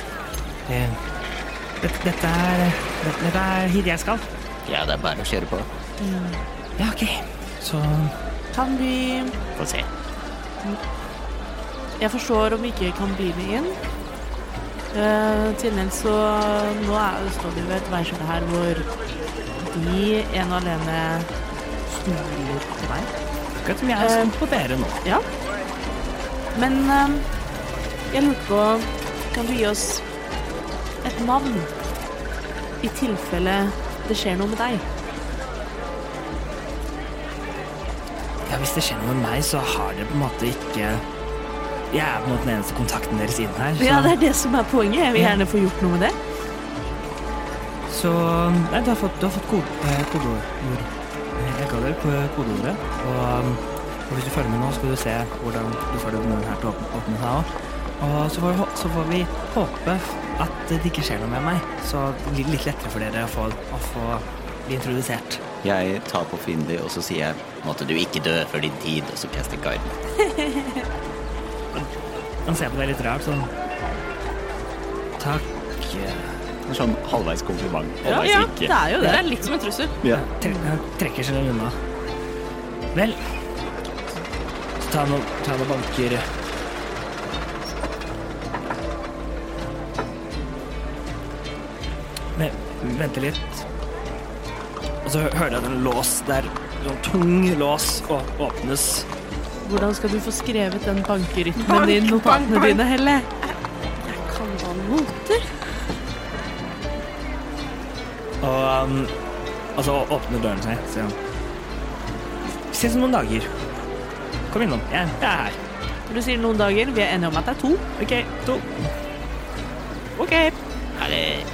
eh, det, dette, dette er eh, dette, dette er hit jeg skal.
Ja, det er bare å kjøre på.
Ja, ok. Så
Kan vi
Få se.
Jeg forstår om vi ikke kan bli med inn. Uh, til dels så Nå er, står vi ved et veiskille her hvor de ene og alene stoler på deg.
akkurat som jeg skal på dere nå.
Ja. Men eh, jeg lurte på Kan du gi oss et navn? I tilfelle det skjer noe med deg.
Ja, Hvis det skjer noe med meg, så har dere på en måte ikke Jeg er på en måte den eneste kontakten deres inn her. Så,
Ja, det er det som er poenget. Jeg vil gjerne få gjort noe med det.
så Nei, du har fått, du har fått kode, eh, kodeord. Eh, Jeg ga dere ko- kodeordet. Og, um, og hvis du følger med nå, skal du se hvordan du får den muren her til å åpne, åpne seg òg. Og så får, vi hå- så får vi håpe at det ikke skjer noe med meg. Så det blir litt lettere for dere å få, å få bli introdusert.
Jeg tar på Finley, og så sier jeg
Måtte du ikke dø før din tid, og så kaste guard.
Han ser på deg litt rart sånn. Takk. eh,
en sånn halvveis kompliment.
Ja,
Halvveis
ja, det
ikke.
er jo
Det
det.
er litt som en trussel.
Ja.
tre- Han trekker seg unna. Vel. Så tar han og, tar han og banker Men, Venter litt. Og så hø- hører jeg at en lås der. En tung lås å- åpnes.
Hvordan skal du få skrevet den bankerytmen i notatene dine, Helle?
Kan da noter?
altså, Og, um, og så åpner døren seg. Så. Si det noen dager. Kom innom. Jeg, jeg er her.
Du sier noen dager. Vi er enige om at det er to.
OK, to.
OK.
Er det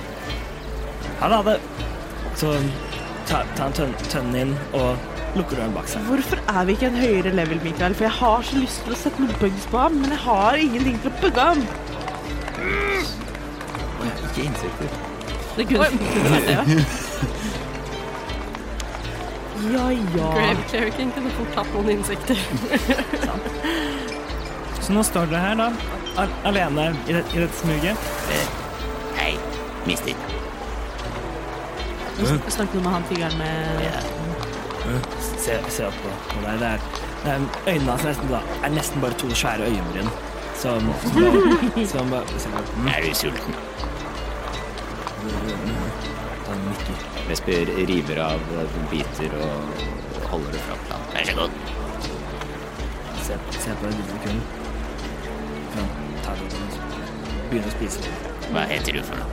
Ha det, ha det. Så ta, ta en tønn, tønne inn og lukker døren bak seg.
Hvorfor er vi ikke en høyere level, Mikael? For jeg har så lyst til å sette noen bugs på ham, men jeg har ingenting til å bugge ham.
Ikke insekter.
Det kunne vært det, ja. Ja, ja.
Grave Clericin kunne fort hatt noen insekter.
Så nå står dere her, da. al- Alene i, det, i dette smuget.
Hei, mister.
Snakket du med han figuren med
Ja.
Se, se opp på på deg. Det er, det er øynene hans er nesten, da, er nesten bare to svære øyenbryn. Som, som, bare- som bare som bare- mm,
Er du sulten?
han nikker.
Vesper river av biter og holder det fra planen. Vær så god.
mm, Se, se på den lille sekunden. Så han tar det og begynner å spise.
Hva heter du for noe?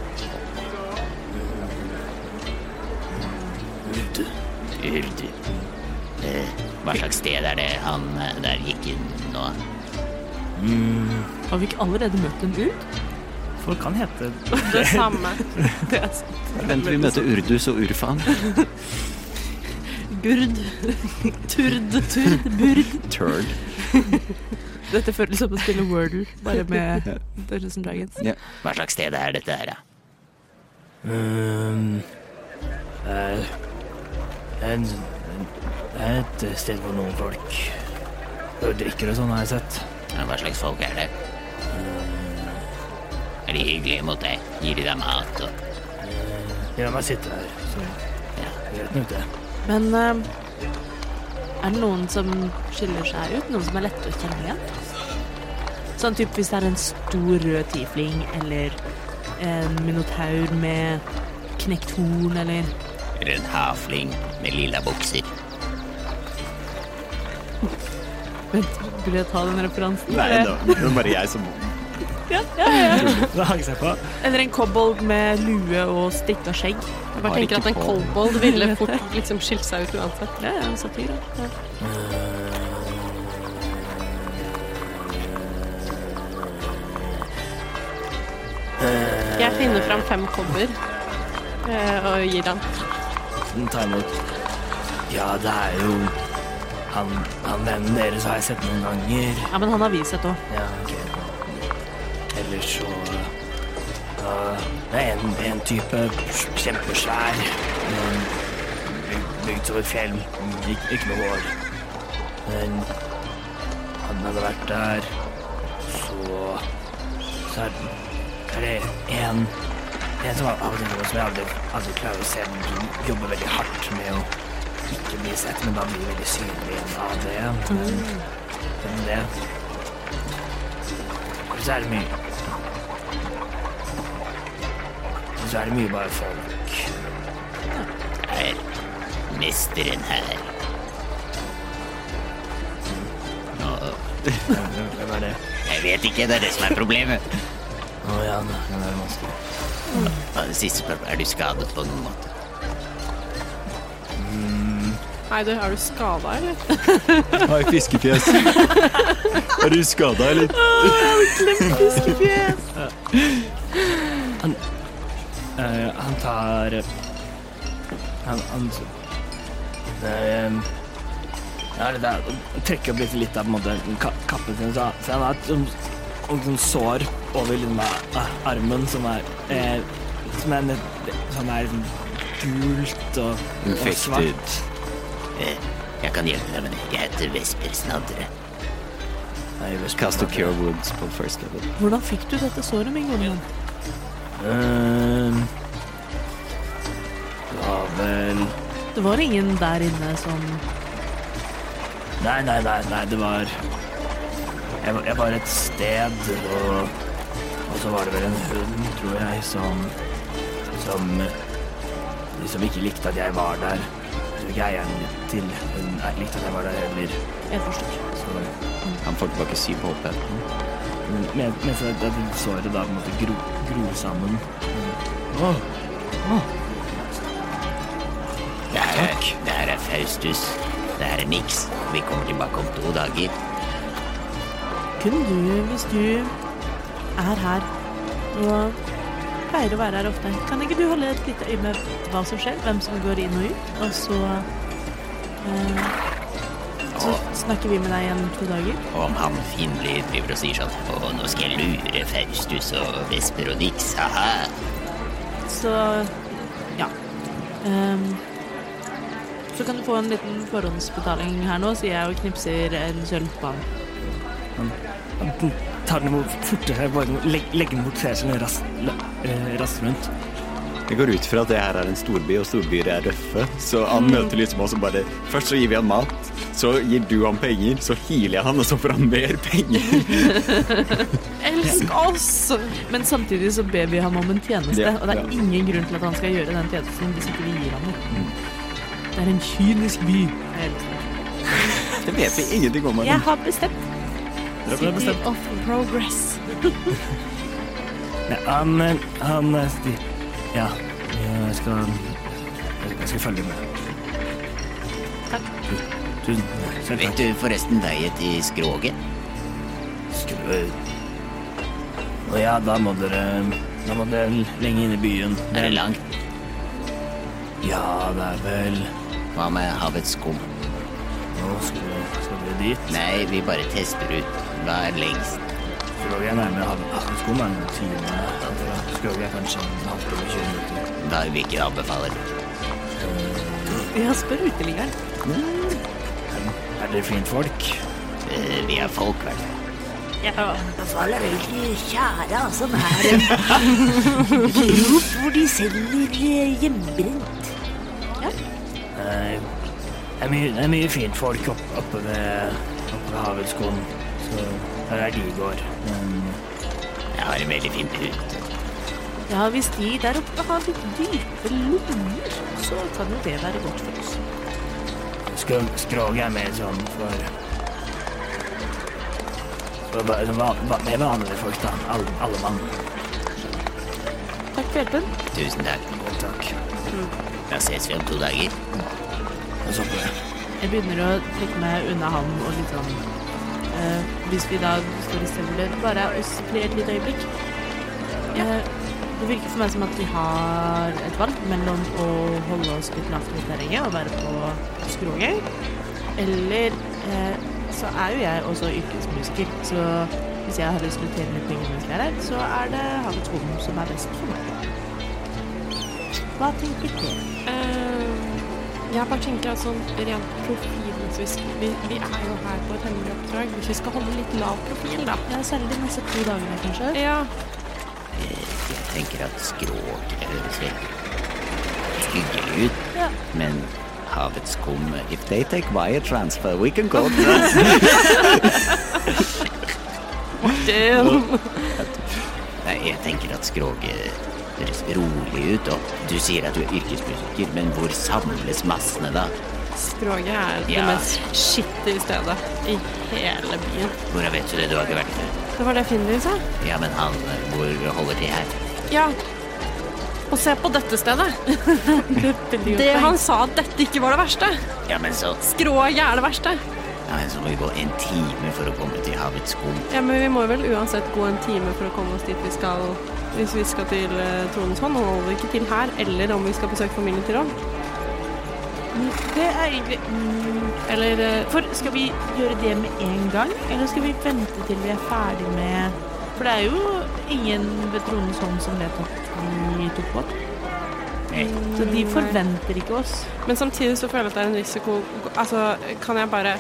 Urdu. Urdu. Eh, hva slags sted er det han eh, der gikk inn nå?
Har vi ikke allerede møtt en ut?
Folk kan hete
Det samme.
Vent til vi møter urdus og urfan.
Gurd. Turd. Turd. Burd.
Turd.
Dette føles som å spille Wordle, bare med Dungeons and Dragons.
Hva slags sted er dette her, da?
Ehm, eh, en- en- Det er et sted hvor noen folk drikker og sånn, har jeg sett.
Ja, Hva slags folk er det? Er de hyggelige mot deg? Gir de deg mat og
La meg sitte her, så ja, vet nå det.
Men eh, er det noen som skiller seg ut? Noen som er lette å kjenne igjen? Sånn typ hvis det er en stor rød tiefling eller en minotaur med knekt horn eller
Eller en havfling med lilla bukser?
Vent, burde jeg ta den referansen? Eller-
det er bare jeg som
Da hanger seg på.
Eller en kobold med lue og strikka skjegg?
Jeg bare tenker at en kobold ville fort liksom skilt seg ut uansett.
Ja, ja, satir. Ja.
Jeg finner fram fem kobber eh, og gir han.
Den tar imot. Ja, det er jo han, han vennen deres har jeg sett noen ganger.
ja, men han har vist seg òg.
Ja, ok. Ellers så da- Det er en, en type kjempesvær. eh, byg- Bygd som et fjell. Ikke, ikke noe hår. Men han hadde vært der. Så Så er det- er det en En som av og til noe som jeg aldri, aldri klarer å se, men som jobber veldig hardt med å ikke bli sett, men da blir veldig synlig av det. Men, men det så er det mye Så er det mye bare folk.
Er mesteren her? Nå,
Hvem er det?
jeg vet ikke, det er det som er problemet.
Å ja, nå er det vanskelig.
Ja, det Siste spørsmål, er du skadet på noen måte?
Nei, du, er du skada, eller?
Hei, fiskefjes. Er du skada, eller?
Eh, han tar eh, Han, han Eh, ja, det der, trekker opp litt, litt av på en måte, ka, kappen sin, så, så han har et sånn- sånn- sånn sår over liksom, eh, armen som er eh, Som er, nett- som er liksom, gult og, og
Infektet.
svart.
Eh, Jeg kan hjelpe deg med det. Jeg heter Vesper Snadre.
Nei, jeg vet ikke.
Cast of cure wounds på first level.
Hvordan fikk du dette såret, min gode venn?
Ehm, Ja vel
Det var ingen der inne som
Nei, nei, nei, nei det var jeg, var- jeg var et sted, og, og så var det vel en hund, tror jeg, som Som liksom ikke likte at jeg var der. Jeg tror ikke eieren til hunden er- likte at jeg var der heller.
Jeg forstår.
Så,
Han får tilbake syv HP.
men, men men så det, det såret da på en måte gro, gror sammen. Åh,
Det her er, det her er Faustus. Det her er niks. Vi kommer tilbake om to dager.
Kun du, hvis du er her og pleier å være her ofte, kan ikke du holde et lite øye med hva som skjer, hvem som går inn og ut, og så eh, Så snakker vi med deg igjen om to dager.
Og om han Finn blir driver og sier sånn Å, nå skal jeg lure Faustus og Vesper og Nix, haha.
Så ja. Ehm, så kan du få en liten forhåndsbetaling her nå, sier jeg og knipser en sølvball.
Tar den imot fortere, bare leg, legger den bort fesjen raskt sånn eh, raskt rundt.
Jeg går ut fra at det her er en storby, og storbyer er røffe. Så han møter liksom oss og bare Først så gir vi han mat, så gir du han penger, så healer jeg han, og så får han mer penger.
Elsk oss! altså. Men samtidig så ber vi ham om en tjeneste,
Ja,
og det er
ja. Mm.
ingen grunn til at han skal gjøre den tjenesten hvis ikke vi gir ham noe. Det er en kynisk by.
Det vet vi ingenting om.
Jeg har bestemt.
City
of Progress.
Nei, han eh, Han eh, sti- Ja, jeg skal Jeg skal følge med. Takk. Tusen selv
Vet
takk.
du forresten veien til skroget?
Skru. Å ja, da må dere Da må dere lenge inn i byen.
Er det langt?
Ja, det er vel
Hva med havets skum?
Nå skal vi, skal vi dit.
Nei, vi bare tester ut. Hva er lengst?
Skroget er nærmere hav- havskolen. er en time. Skroget er kanskje en halvtime, 20 minutter.
Da hvilken anbefaler du?
Ja, spør uteliggeren.
Er dere finfolk?
Eh, vi er folk, vel?
anbefaler egentlig tjære, som er en grop hvor de selger eh, hjemmebrent.
Nei. Eh, Det er mye, det er mye finfolk opp, oppe ved, oppe ved havskolen. Så der er de i går. Men
Jeg har en veldig fin pute.
Ja, hvis de der oppe har litt dype lommer, så kan jo det være godt for oss.
skro- skroget er mer sånn for for ba- va- va- Mer vanlige folk, da. Alle, alle mann.
Takk for hjelpen.
Tusen takk.
Godt takk.
Da ses vi om to dager.
Og så på det.
Jeg begynner å trekke meg unna han og litt sånn eh, Hvis vi da står i stedet, bare oss tre et lite øyeblikk. Eh, det virker for meg som at vi har et valg mellom å holde oss litt lavt mot terrenget og være på skroget, eller eh, så er jo jeg også yrkesmusiker, så hvis jeg har lyst til å tjene litt penger mens jeg er her, så er det Havets Rom som er best for meg. Hva tenker dere?
Eh, jeg bare tenker at sånn rent profilmessig vi, vi er jo her på et hemmelig oppdrag. Hvis vi skal holde litt lav profil, da.
Ja, særlig de neste to dagene, kanskje?
Ja.
Jeg tenker at skråk eh, ser hyggelig ut, men havets skum
If they take wire transfer, we can go to that.
Nei, jeg tenker at skroget høres rolig ut. Og du sier at du er yrkesmusiker, men hvor samles massene da?
Skroget er det
Ja.
mest skittige stedet i hele byen.
Hvordan vet du det? Du har ikke vært der.
Det var det Findus sa.
Ja, men han, eh, hvor holder de her?
Ja. Og se på dette stedet. det han sa at dette ikke var det verste.
Ja, men så
Skroget er det verste.
Ja, men så må vi gå en time for å komme til havets skum.
Ja, men vi må vel uansett gå en time for å komme oss dit vi skal. Hvis vi skal til eh, Tronens hånd, og holder vi ikke til her, eller om vi skal besøke familien til Ron.
Det er egentlig mm, Eller eh, For skal vi gjøre det med en gang, eller skal vi vente til vi er ferdig med For det er jo ingen ved Tronens hånd som vet at vi tok båt. Så de forventer ikke oss.
Men samtidig så føler jeg at det er en risiko Altså, kan jeg bare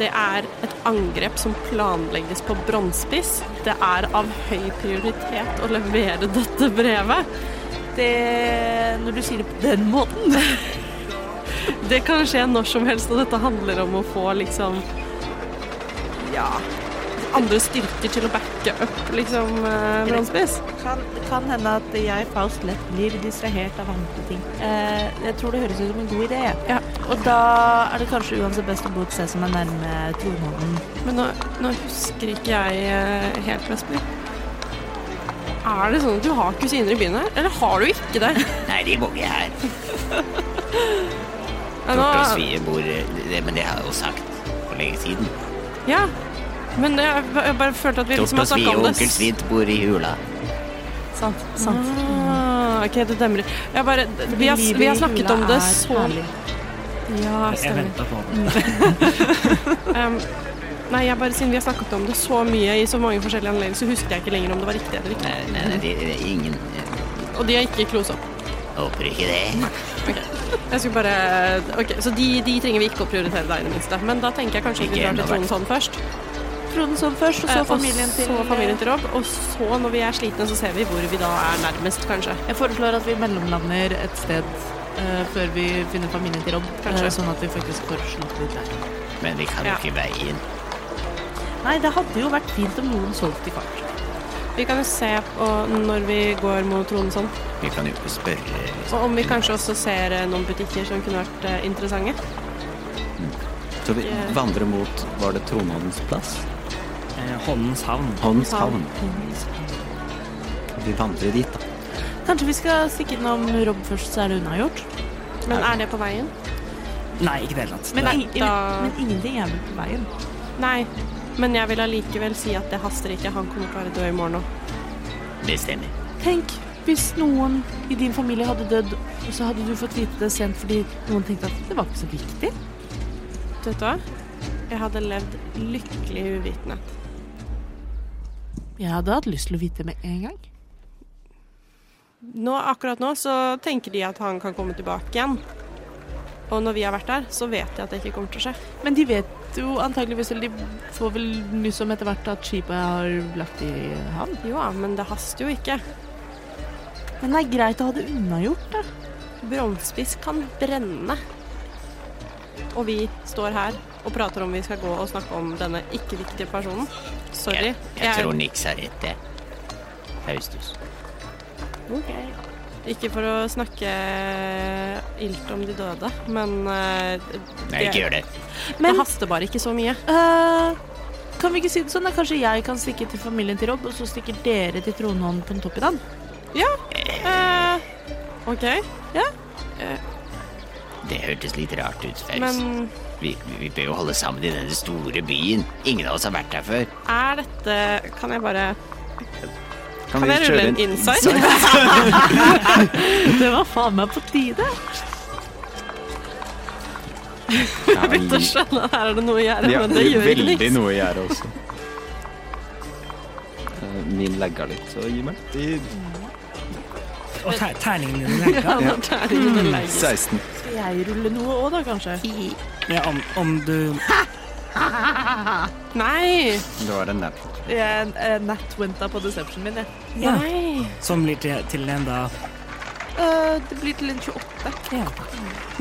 Det er et angrep som planlegges på Bronsebiss. Det er av høy prioritet å levere dette brevet.
Det Når du sier det på den måten
Det kan skje når som helst, og dette handler om å få liksom Ja Andre styrker til å backe opp liksom eh, Bronsebiss.
kan, kan hende at jeg falskt lett blir distrahert av andre ting. Eh, jeg tror det høres ut som en god idé. jeg.
Ja.
Og da er det kanskje uansett best å bo et sted som er nærme tronhånden.
Men nå, nå husker ikke jeg eh, helt Vesper. Er det sånn at du har kusiner i byen her? Eller har du ikke det?
Nei, de bor ikke her.
Ja,
Torte
nå-
og svie bor eh, det, Men det har jeg jo sagt for lenge siden.
Ja. Men det, jeg ba- jeg bare følte at vi liksom
Torte og
har
svie
snakka om
og
det.
onkel Svidd bor i hula.
Sant. sant.
Ah, ok, det demrer. Jeg bare, vi, har, vi har snakket om det så Ja,
Jeg
stemmer.
venta på den.
Um, nei, jeg bare, siden vi har snakket om det så mye i så mange forskjellige anledninger, så husker jeg ikke lenger om det var riktig eller ikke.
Nei, nei, nei, det, det, ingen eh,
Og de er ikke i Close Up.
håper ikke det.
Jeg skulle bare Ok, så de, de trenger vi ikke å prioritere deg i det minste. Men da tenker jeg kanskje vi
Ikke
drar til
ennå, i hvert
Trondheim først.
Trondheim først, og
eh,
så
og
familien til
så familien til eh, Rob. Og så, når vi er slitne, så ser vi hvor vi da er nærmest, kanskje.
Jeg foreslår at vi mellomlander et sted eh, før vi finner familien til Rob.
Kanskje.
eh, sånn at vi faktisk får slått litt der.
Men vi kan jo
Ja.
ikke veie inn.
Nei, det hadde jo vært fint om noen solgte kart.
Vi kan jo se på når vi går mot Trondheim,
Vi kan jo ikke spørre. liksom.
og om vi kanskje også ser eh, noen butikker som kunne vært eh, interessante.
Så vi
Ja.
vandrer mot Var det Trondheimens plass?
Eh, Håndens havn.
Håndens havn. Vi vandrer dit, da.
Kanskje vi skal stikke innom Rob først, så er det unnagjort.
Men er det på veien?
Nei, ikke i det hele tatt.
Men,
Nei,
ing-
da-
men ingenting er vel på veien.
Nei. Men jeg vil allikevel si at det haster ikke. Han kommer til å være død i morgen òg.
Det stemmer.
Tenk hvis noen i din familie hadde dødd, og så hadde du fått vite det sent fordi noen tenkte at det var ikke så viktig.
Vet du hva? Jeg hadde levd lykkelig i uvitenhet.
Jeg hadde hatt lyst til å vite med en gang.
Nå, akkurat nå så tenker de at han kan komme tilbake igjen. Og når vi har vært der, så vet jeg at det ikke kommer til å skje.
Men de vet jo antageligvis, eller de får vel nyss om etter hvert at skipet har lagt i havn.
Jo, men det haster jo ikke.
Men det er greit å ha det unnagjort, da.
Bromspiss kan brenne. Og vi står her og prater om vi skal gå og snakke om denne ikke-viktige personen. Sorry.
Jeg, jeg tror Nix har rett, jeg. Faustus.
Ikke for å snakke eh, ilt om de døde, men eh,
Nei, ikke gjør det.
det
Men
haster bare ikke så mye.
eh, kan vi ikke si det sånn? da? Kanskje jeg kan stikke til familien til Rob, og så stikker dere til Trondheim på en topp i dag?
Eh, OK,
Det hørtes litt rart ut, Faust.
men
Vi, vi bør jo holde sammen i denne store byen. Ingen av oss har vært her før.
er dette Kan jeg bare Kan
Kan, vi
jeg
kjøre
rulle en insight?
Det var faen meg på tide.
Ja,
Begynte å skjønne at her er det noe å gjøre,
Ja,
men det gjør ikke
veldig
niks.
noe å gjøre også. Eh, Min lagga litt, så gi meg. I
Og ter terningen din legger av.
Ja, det er ikke noe lei.
16.
Skal jeg rulle noe òg, da, kanskje?
Ja, om, om du
Nei!
Det var en nap.
Jeg nat-wenta på deceptionen min, jeg.
Ja.
Nei!
Som blir til, til en da
Eh, det blir til en 28.
ja.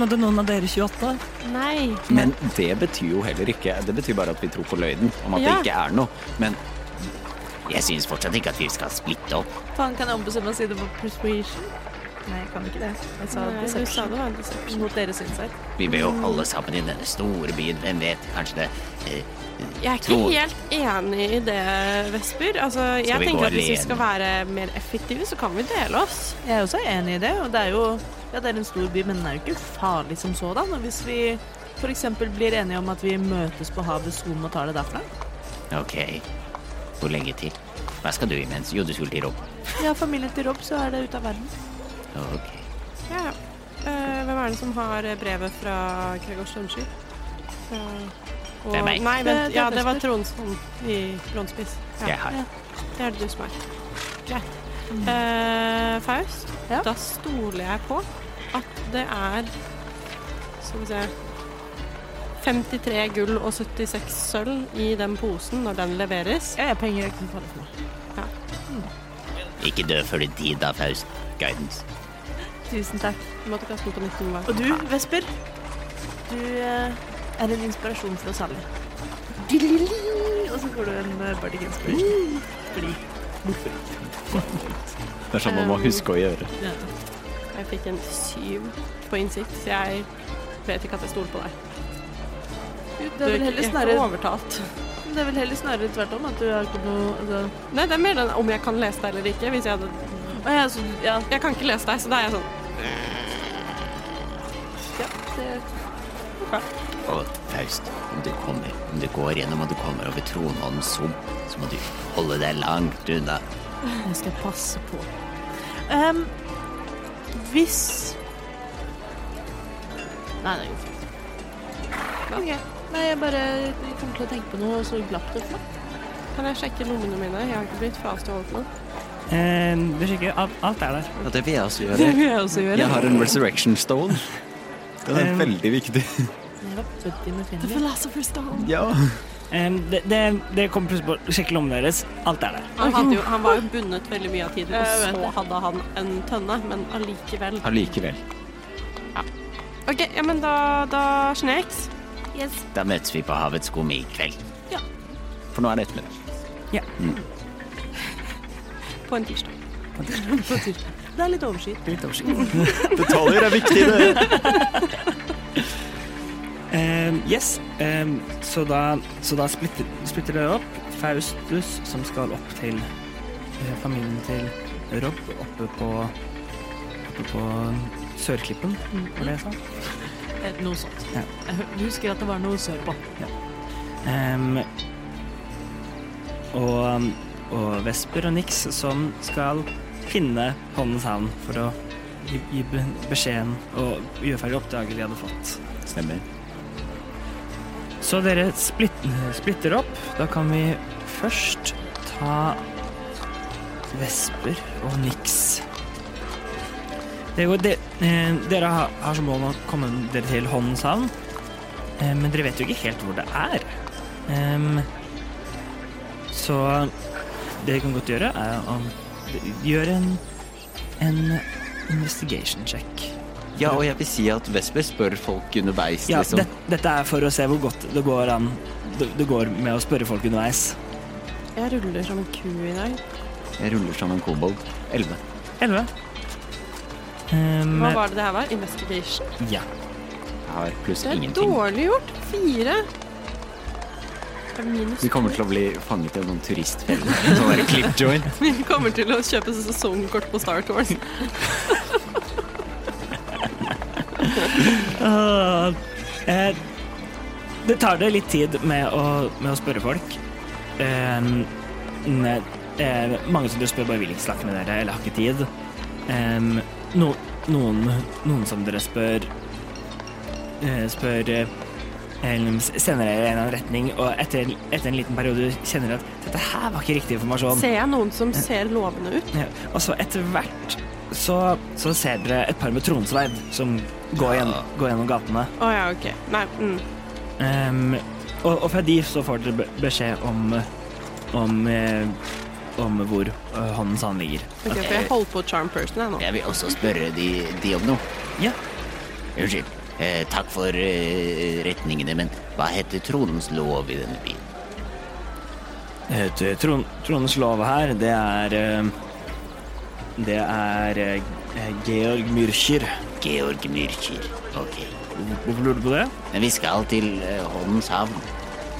Nådde noen av dere 28?
Nei!
Men det betyr jo heller ikke Det betyr bare at vi tror på løgnen om at
Ja.
det ikke er noe. Men
Jeg syns fortsatt ikke at vi skal splitte opp.
Faen, kan jeg ombestemme meg og si det på persuasion? Nei, jeg kan ikke det. Jeg sa
Nei, Du sa
deception.
det var en deception.
Mot deres insight.
Vi bør jo
Mm.
holde sammen i denne store byen. Hvem vet? Kanskje det eh,
Jeg er ikke
Tror-
helt enig i det, Vesper. Altså,
Skal
jeg
vi gå
tenker at hvis vi
alene?
skal være mer effektive, så kan vi dele oss.
Jeg er også enig i det, og det er jo ja, det er en stor by, men den er jo ikke farlig som sådan. Og hvis vi f.eks. blir enige om at vi møtes på havet Zoom og tar det derfra
Ok. Hvor lenge til? Hva skal du imens? Jo, du skulle til Rob.
Ja, familien til Rob, så er det ute av verden.
Ok.
Ja. Eh, hvem er det som har eh, brevet fra Gregor Strømsky? Fra- og-
Det er meg.
Nei,
Det-
vent.
det er
Ja, det var
Vesper.
Tronsson i Blondspiss. Ja,
Jeg har
det er det du som er. Greit. Eh, Faust,
Mm. Ja.
da stoler jeg på at det er Skal vi se 53 gull og 76 sølv i den posen når den leveres.
Ja, jeg har penger jeg kan få det for meg.
Ikke dø før din tid, da, Faust. Guidance.
Tusen takk.
Du måtte kaste den på 19 hver.
Og du, Vesper, du eh, er en inspirasjon for oss alle. Og så får du en eh, Bardic Inspiration. Fordi
det er sånn man må huske å gjøre.
Jeg fikk en syv på innsikt, så jeg vet ikke at jeg stoler på deg.
det er vel
jeg
heller
ikke
snarere,
overtalt.
det er vel heller snarere tvert om at du har ikke noe altså,
Nei, det er mer den om jeg kan lese deg eller ikke. Hvis jeg hadde
Å, ja, så, ja,
Jeg kan ikke lese deg, så da er jeg sånn
ja, det
Og Faust, om du kommer, om du går gjennom og du kommer over Tronholms sump, så må du holde deg langt unna.
Jeg skal passe på. Ehm, hvis Nei, det går fint.
Ok. Nei, jeg bare kom til å tenke på noe, og så glapp det for meg.
Kan jeg sjekke lommene mine? Jeg har ikke blitt frastjålet noe.
Eh, du sjekker, alt, alt er der.
Og det vil jeg også gjøre.
vil jeg også gjøre.
Jeg har en resurrection stone. Um.
Den er
Eh,
veldig viktig.
Jeg var født i med
The
Finley.
Philosopher's Stone.
ja.
Eh, det, det, det kommer plutselig på å sjekke lommene deres. Alt er der.
Han, hadde jo, han var jo bundet veldig mye av tiden,
Jeg vet
og så hadde han en tønne, men allikevel.
Allikevel.
OK, ja, men da, da Snakes.
Da møtes vi på Havets skum i kveld.
Ja.
For nå er det ettermiddag.
På en tirsdag.
Det er litt overskyet.
Detaljer er viktig, det.
Eh, yes, eh, så da, så da splitter, splitter dere opp. Faustus som skal opp til eh, familien til Rob oppe på, oppe på Sørklippen, var det jeg sa?
Eh, Noe sånt.
Ja.
Jeg hø- husker at det var noe sørpå.
Ehm, og, og Vesper og Nix som skal finne Håndens havn for å gi, gi be- beskjeden og gjøre ferdig oppdraget de hadde fått.
Stemmer.
Så dere splitt, splitter opp. Da kan vi først ta Vesper og Nix. Det går, det, eh, dere har, har som mål å komme dere til Håndens havn, eh, men dere vet jo ikke helt hvor det er. Em, så det dere kan godt gjøre, er å gjøre en, en investigation check.
Ja, og jeg vil si at Vesper spør folk underveis,
Ja,
liksom.
det, dette er for å se hvor godt det går an det, det går med å spørre folk underveis.
Jeg ruller som en ku i dag.
Jeg ruller som en kobold. Elleve.
11. Um,
Hva var det det her var? Investigation?
ja.
Jeg har pluss
Det er
ingenting.
dårlig gjort. Fire. Det er minus
Vi kommer til å bli fanget i noen turistfelle. Sånn der clip joint.
Vi kommer til å kjøpe sesongkort på Star Tours.
Ah, eh, det tar det litt tid med å, med å spørre folk. Um, ne, eh, mange som dere spør, bare vil ikke snakke med dere eller har ikke tid. Um, no, noen, noen som dere spør eh, spør eh, eller sender dere i en eller annen retning, og etter, etter en liten periode kjenner dere at dette her var ikke riktig
Sånn.
informasjon.
Ser jeg noen som ser lovende ut?
Ja, og så etter hvert så, så ser dere et par med tronsverd som går, igjen, går gjennom gatene.
Å ja, OK. Nei. Mm.
Ehm, og, og fra de så får dere be- beskjed om om, eh, om hvor eh, håndens hand ligger.
Ok, for jeg holder på charm person jeg nå.
Jeg vil også spørre de, de om noe.
Ja,
Unnskyld. Eh, takk for eh, retningene, men hva heter tronens lov i denne byen?
eh, t- tron, Tronens lov her, det er eh, Det er eh, Georg Myrkjer.
Georg Myrkjer. Ok.
Hvorfor lurer du på det?
Men vi skal til eh, Håndens havn.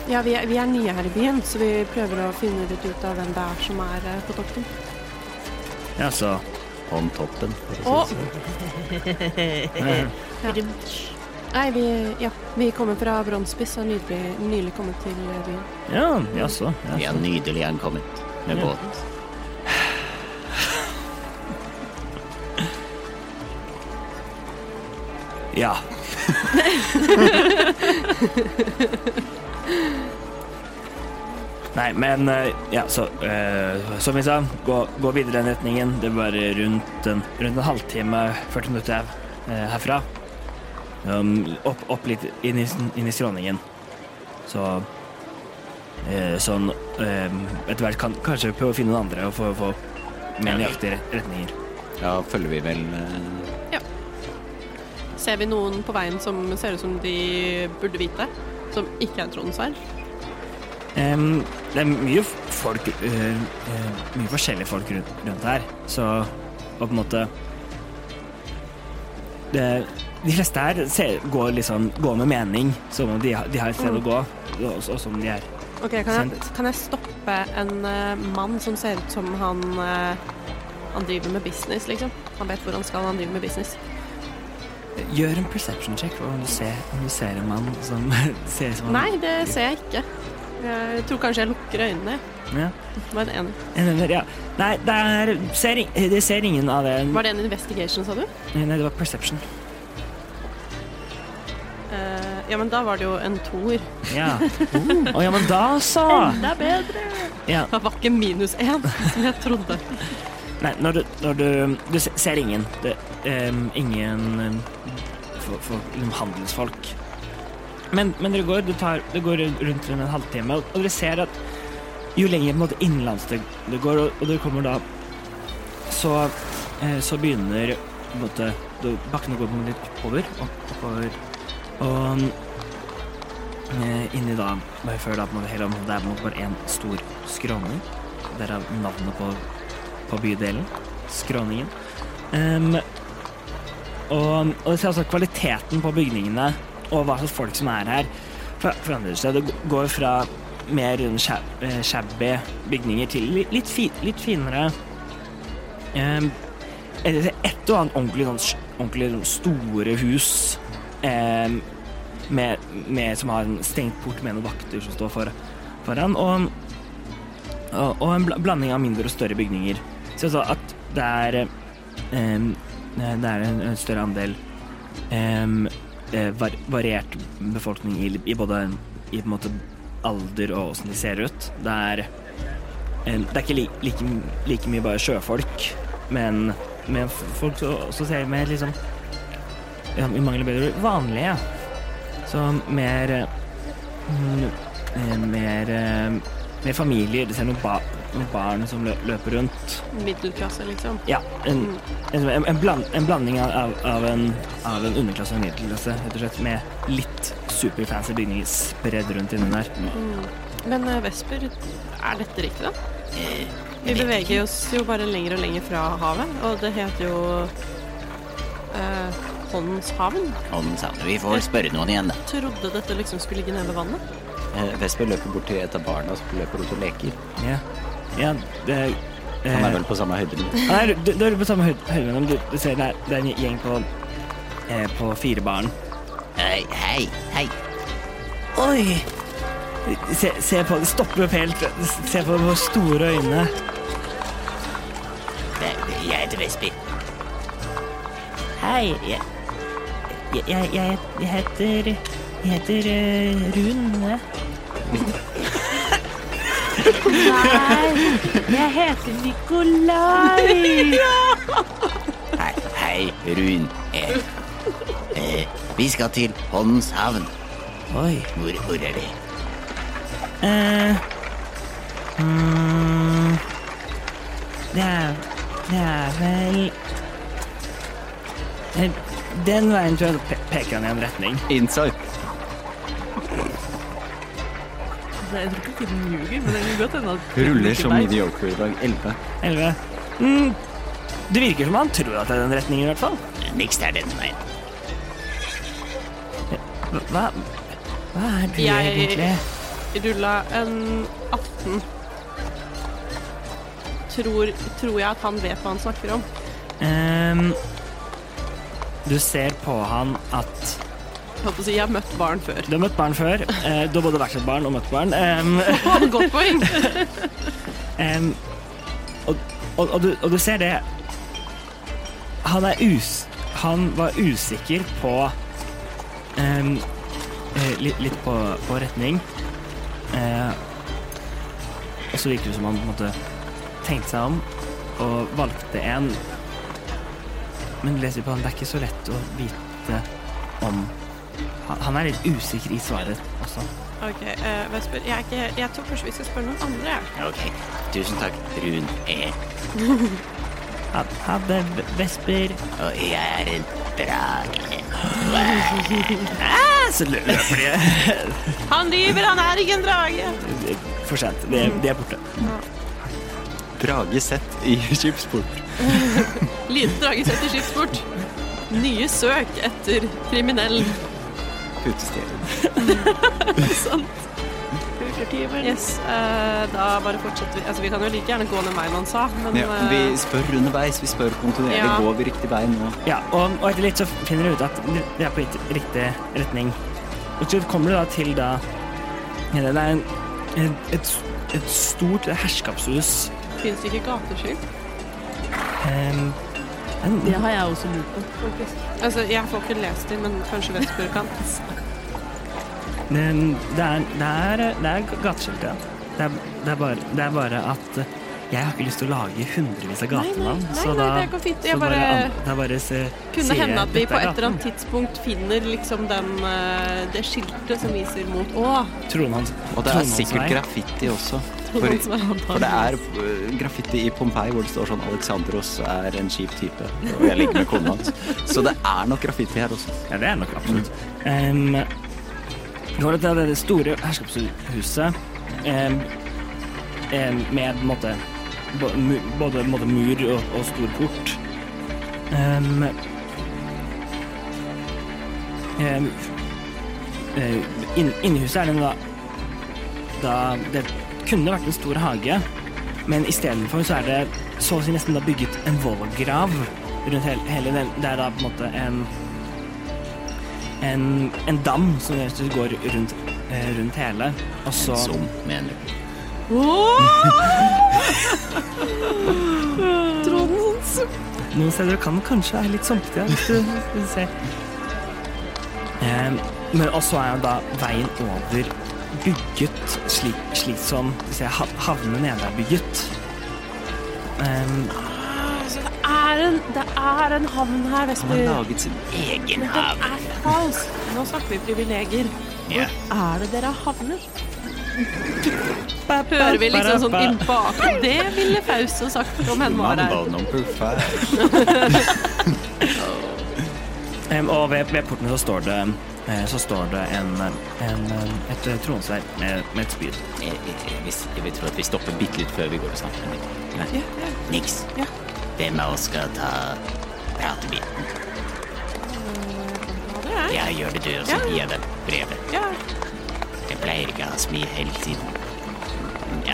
Ja, vi er, vi er nye her i byen, så vi prøver å finne litt ut av hvem det er som er eh, på toppen.
Ja, så
Hånd toppen.
Og Nei, vi, ja, vi kommer fra Bronsebiss og har nylig, nylig kommet til eh, byen.
Ja, jaså. Ja.
Vi er nydelig ankommet med båt.
ja. Nei, men eh, ja, så eh, Som vi sa, gå, gå videre i den retningen. Det er bare rundt en, rundt en halvtime, 40 minutter her, eh, herfra. Um, opp, opp litt inn i, inn i skråningen. Så eh, Sånn eh, etter hvert kan kanskje prøve å finne noen andre og få, få mer nøyaktige retninger.
Da følger vi vel eh,
Ser vi noen på veien som ser ut som de burde vite? Som ikke er Tronsverd?
Em, det er mye f- folk eh, eh, Mye forskjellige folk rundt, rundt her. Så og på en måte det, De fleste her ser, går, liksom, går med mening, som om de, har- de har et sted å gå, og, og som de er.
Ok, kan jeg,
Kjent.
kan jeg stoppe en eh, mann som ser ut som han eh, Han driver med business, liksom? Han vet hvor han skal, han driver med business.
Gjør en perception check for om du ser, om du ser en mann som ser ut som han-
Nei, det ser jeg ikke. Jeg tror kanskje jeg lukker øynene.
Ja.
Det var en ener.
En eller- ja. Nei, det, er, ser, ing- det ser ingen av det.
Var det en investigation, sa du?
Nei, det var perception.
Eh, ja, men da var det jo en toer.
Ja. Å ja, men da så!
Det er bedre.
Ja.
Det var ikke minus én, som jeg trodde.
Nei, når du, når du, du se- ser ingen. Det, ehm, ingen ehm, for, for, liksom handelsfolk. Men, men dere går, det tar, det går rundt en halvtime, og, og dere ser at jo lenger på en måte, innenlands det, det går, og, og dere kommer da, så, eh, så begynner på en måte, da- bakkene går på en måte litt oppover, opp- oppover, og eh, inni da, bare før da, på en måte, hele området er på en måte bare en stor skråning, derav navnet på på bydelen. Skråningen. Ehm, og, og det ser altså kvaliteten på bygningene og hva slags folk som er her, for- forandrer seg. Det går fra mer sha- eh, shabby bygninger til li- litt, fi, litt finere Ehm, eller det er Et og annet ordentlig, sånn, s- ordentlig sånn store hus ehm, med, med, som har en stengt port med noen vakter som står for, foran. Og og og en bla- blanding av mindre og større bygninger. Så altså at det er eh, Det er en en større andel eh, eh, var, variert befolkning i, i både i på en måte alder og åssen de ser ut. Det er eh, Det er ikke li, like, like mye bare sjøfolk, men, men f- folk som også ser mer liksom ja, Vi mangler bedre ord vanlige. Så mer eh, mm, eh, Mer eh, med familier. Du ser noen, ba noen barn som lø løper rundt.
Middelklasse, liksom.
Ja, en, en, en, en, bland en blanding av, av, av, en, av en underklasse og en middelklasse, rett og slett, med litt superfancy bygninger spredd rundt inni der.
Men eh, Vesper, er dette riktig, da? Vi beveger oss jo bare lenger og lenger fra havet, og det heter jo eh, Håndshavn.
Om savnet. Vi får spørre noen igjen, da.
Trodde dette liksom skulle ligge nede ved vannet.
Eh, Vesper løper bort til et av barna som løper rundt og leker.
Ja, ja det
Han
eh,
er vel på samme høyde med
Nei, du, du er på samme høyde høyde med dem. Du, du ser det er, det er en gjeng på, eh, på fire barn.
Hei, hei, hei.
Oi! Se, se på det. Stopper opp helt. Se på de store øynene.
Det- det- Jeg heter Vesper.
Hei, jeg, jeg, jeg, jeg, jeg heter Jeg heter eh, Rune.
Jeg heter Nikolai.
Hei, hei, Run. Eh, eh, vi skal til Håndens havn.
Oi.
Hvor, hvor er det?
Eh, mm, det er Det er vel Eh, Den veien tror jeg pe peker han i en retning.
Insight.
Nei, Altså, Jeg tror ikke tiden ljuger, men det kan godt hende at
Ruller som
Nei.
mediocre i dag. 11.
Elleve. Mm, det virker som han tror at det er den retningen, i hvert fall.
Niks det er denne veien.
Hva, hva er du
Jeg-
egentlig?
Rulla en 18. Tror, tror jeg at han vet hva han snakker om.
Ehm, du ser på han at
Jeg holdt på å si, jeg har møtt barn før.
Du har møtt barn før. Eh, du har både vært et barn og møtt barn. Ehm, Em,
Godt poeng!
em, og, og, og, du, og du ser det Han er us... Han var usikker på em, eh, litt, litt på, på retning. Eh, og så virker det som han på en måte tenkte seg om og valgte en. Men leser på han, det er ikke så lett å vite om Han, han er litt usikker i svaret også.
Ok, eh, Vesper, jeg, er ikke, jeg tror kanskje vi skal spørre noen andre. jeg.
Ok, tusen takk, Run. Eh,
Ha, ha det, v- vesper.
og jeg er en drage.
Ah, Så løper de.
Han lyver, han er ikke en drage!
For sent. De, de er borte.
Drage sett i skipsport.
Liten drage setter skipsport. Nye søk etter kriminell.
Utestedet.
Sant. Vespertimen. Yes, eh, da bare fortsetter vi. Altså, vi kan jo like gjerne gå ned veien han sa, men
Ja,
eh,
vi spør underveis, vi spør kontinuerlig.
Ja.
Går vi riktig vei nå?
Ja, og, og etter litt så finner du ut at det er på litt riktig retning. Og så kommer du da til da ja, Det er en, en, et, et stort herskapshus.
finnes det ikke gateskilt?
Em, en,
Det har jeg også lurt på.
Altså, jeg får ikke lest dem, men kanskje Vesper kan.
Men det er, det er, det er gateskilt, ja. Det er, det, er bare, det er bare at eh, jeg har ikke lyst til å lage hundrevis av gatenavn.
nei,
så
nei,
da,
det går fint. Jeg
så bare,
bare-
an- da bare se,
Kunne
sier jeg,
hende at vi
dette er
på et eller
gaten.
annet tidspunkt finner liksom den, eh, det skiltet som viser mot Å!
Trondheims-
Og det er
Trondheimsvei.
sikkert graffiti også. For, for det er øh, graffiti i Pompeii hvor det står sånn Alexandros er en kjip type, og jeg ligger med kona hans. Så det er nok graffiti her også.
Ja, det er nok absolutt.
Mm.
Um, nå er det det det store herskapshuset em, em, med på en måte, bo- mu- både på en måte, mur og, og stor port. Em, em, eh, inn- Inni huset er det da, da Det kunne vært en stor hage, men istedenfor så er det så å si nesten da bygget en vollgrav rundt hele, hele den. Det er da på en måte en en, en dam som rett og slett går rundt, eh, rundt hele. Og så
Som, mener du.
Noen steder kan det kanskje være litt sumpete, ja, hvis du, hvis du ser. Em, men også er jo da veien over bygget slik, slik som skal vi se, ha- havnen nede er bygget. Ehm, Em,
Er en, det er en havn her,
Han har
Vesper.
laget sin
Egen
Den
havn.
er falsk. Nå snakker vi privilegier.
Ja.
Er det dere har havnet?
Hører vi liksom sånn inn bak Det ville Fausto sagt om henne var her.
Mambo number five.
em, ehm, og ved, ved porten så står det eh, så står det en, en, eh, et eh, tronsverd med, med et spyd.
Jeg, jeg, jeg, vil- jeg vil tro at eh, vi stopper bitte litt før vi går og snakker med dem. Niks. Hvem av oss skal ta pratebiten? Ja, gjør det du, og så gir jeg deg brevet.
Ja.
Jeg pleier ikke å ha så mye hell siden. Ja,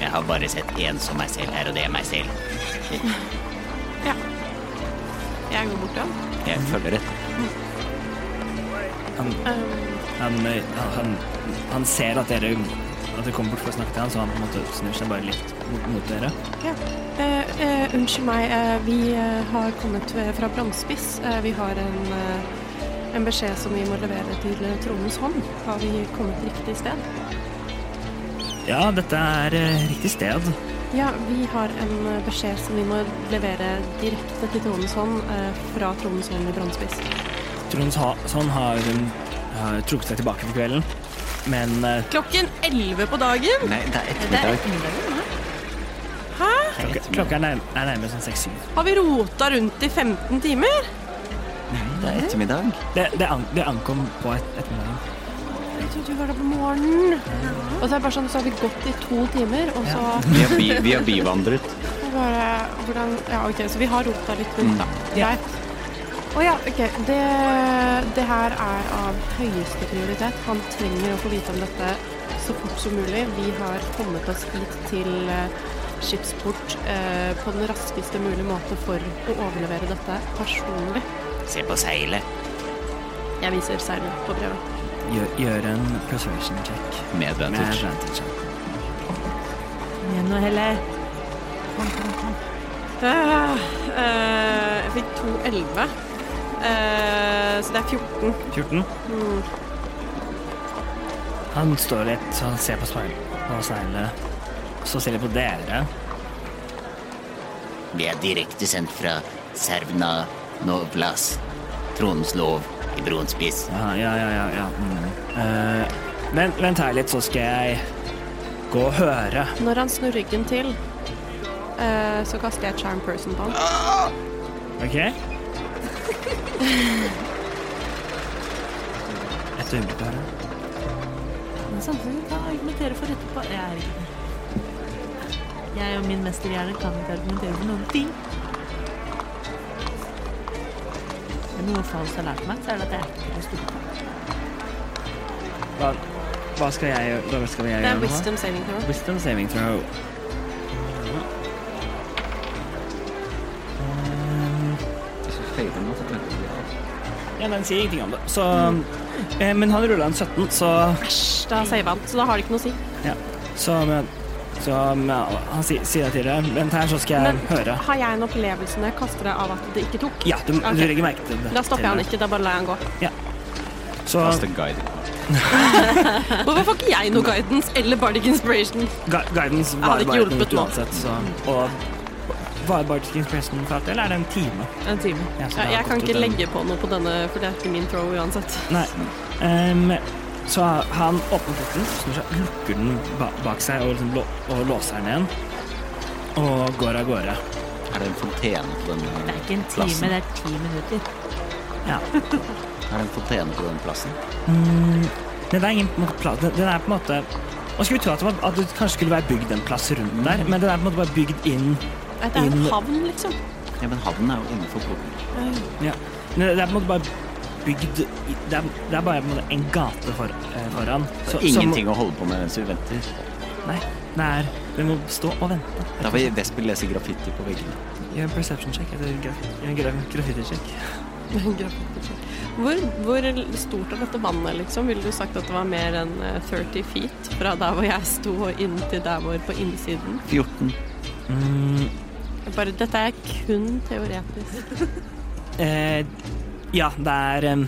jeg har bare sett én som meg selv her, og det er meg selv.
Jeg går bort til ham.
Jeg følger etter.
Han, eh, han, han ser at dere at dere kommer bort for å snakke til han, så han på en måte snur seg bare litt mot, mot dere.
Eh, eh, unnskyld meg, eh, vi eh, har kommet ved- fra Bronsespiss. Eh, vi har en, eh, en beskjed som vi må levere til eh, Tronens hånd. Har vi kommet riktig sted?
Ja, dette er eh, riktig sted.
Ja, vi har en eh, beskjed som vi må levere direkte til Tronens hånd eh, fra Tronens hånd i Bronsespiss.
Trond Sa- sånn har, um, har trukket seg tilbake for kvelden, men eh,
Klokken 11 på dagen?
Nei, det er ettermiddag.
klokka, klokka er, nærm er nærmere sånn seks-syv.
Har vi rota rundt i 15 timer?
Det er ettermiddag.
Det, det, an det ankom på et ettermiddag.
Jeg trodde vi var der på morgenen. Og så er det bare sånn, så har vi gått i to timer, og så
Vi har, bi, vi har bivandret.
bare hvordan Ja, OK, så vi har rota litt rundt, da.
Ja.
Greit. Å ja, OK. Det, det her er av høyeste prioritet. Han trenger å få vite om dette så fort som mulig. Vi har kommet oss hit til eh, skipsport eh, på den raskeste mulige måte for å overlevere dette personlig.
Se på seilet.
Jeg viser seilet på brevet.
Gjør, gjør en persuasion check.
Med
Med
advantage.
advantage. ja.
Kom igjen nå, Helle.
Eh, eh, jeg fikk 2,11. Eh, så det er 14.
14.
Mm.
Han står litt, så han ser på speil- på seilet. Så ser han på dere.
Vi er direkte sendt fra Servna Novlas, Tronens lov i broens spiss.
Ja, ja, ja, ja. ja. Mm. Eh, vent, vent her litt, så skal jeg gå og høre.
Når han snur ryggen til, eh, så kaster jeg charm person på han.
OK? Et øyeblikk her.
Men samtidig kan jeg argumentere for rette på Jeg er ikke Jeg og min mesterhjerne kan ikke argumentere for noen ting. Er det noe Faust har lært meg, så er det at jeg ikke er stor.
Hva, Hva skal jeg gjøre? Hva skal jeg
Det er
gjøre nå?
wisdom saving throw.
Wisdom saving throw. Ja, den sier ingenting om det. Så, eh, men han rulla en 17, så,
Æsj, da saver han, så da har det ikke noe å si.
så, men, så men, Han sier, sier det til deg. Vent her, så skal jeg
Men-
høre.
Har jeg en opplevelse når jeg kaster det av at det ikke tok?
Ja, du,
Ok.
du legger merke til det.
Da stopper jeg han ikke, da bare lar jeg han gå.
Så
Kast en guide.
Hvorfor får ikke jeg noe guidance eller bardic inspiration?
gu- guidance
Jeg hadde
var
ikke
bare
hjulpet Mm.
minutt
nå.
uansett, så Og var bare til Expressen for at Eller er det en time?
En time.
Ja, så
Ja,
det har
jeg kan
gått
ikke
ut en-
legge på noe på denne, for det er ikke min throw uansett.
Nei. Ehm, så han åpner porten, snur seg, lukker den ba bak seg og, liksom lå og låser den igjen. Og går av gårde.
Er det en fontene på den eh,
Det er ikke en time,
plassen?
det er ti minutter.
Er det en fontene på den plassen?
Men det er ingen på en måte, pla- den, den er på en måte Man skulle tro at det, var, at det kanskje skulle være bygd en plass rundt der, men den er på en måte bare bygd inn
Det er en
Inn-
havn, liksom.
Ja, men havnen er jo innenfor porten.
ja. Men Det er på en måte bare bygd i- Det er, det er bare på en, måte en gate for, eh, foran. Så-
Så,
som-
Ingenting å holde på med mens vi venter.
Nei. Det er Vi må stå og vente.
Da vil Vesper lese graffiti på veggene.
Gjør en perception check eller graf- gjør en graf- graffiti-sjekk.
Hvor, hvor stort er dette vannet, liksom? Ville du sagt at det var mer enn eh, 30 feet fra der hvor jeg sto og inn til der hvor på innsiden?
14.
Mm,
Bare, dette er kun teoretisk.
Eh, ja, det er em,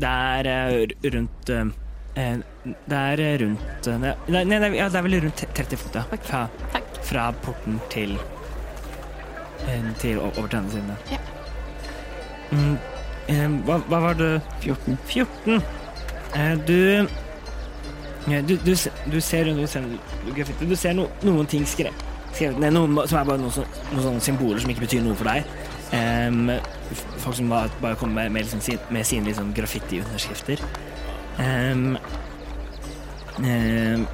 Det er eh, r- rundt em, eh, Det er eh, rundt eh, Nei, nei, nei ja, det er vel rundt 30 fot, ja. Fra,
Takk.
fra porten til em, Til o- over til andre siden.
Ja.
Mm, em, hva, hva var det
14.
14. Eh, du, eh, du, du, se- du ser du ser, graffiti. du ser no, noen ting skrevet skrevet ned, noen som er bare noen, sånn- noen sånne symboler som ikke betyr noe for deg. Em, f- folk som bare, bare kommer med, med, liksom, sin, med sine liksom, graffiti-underskrifter. Em, em, em,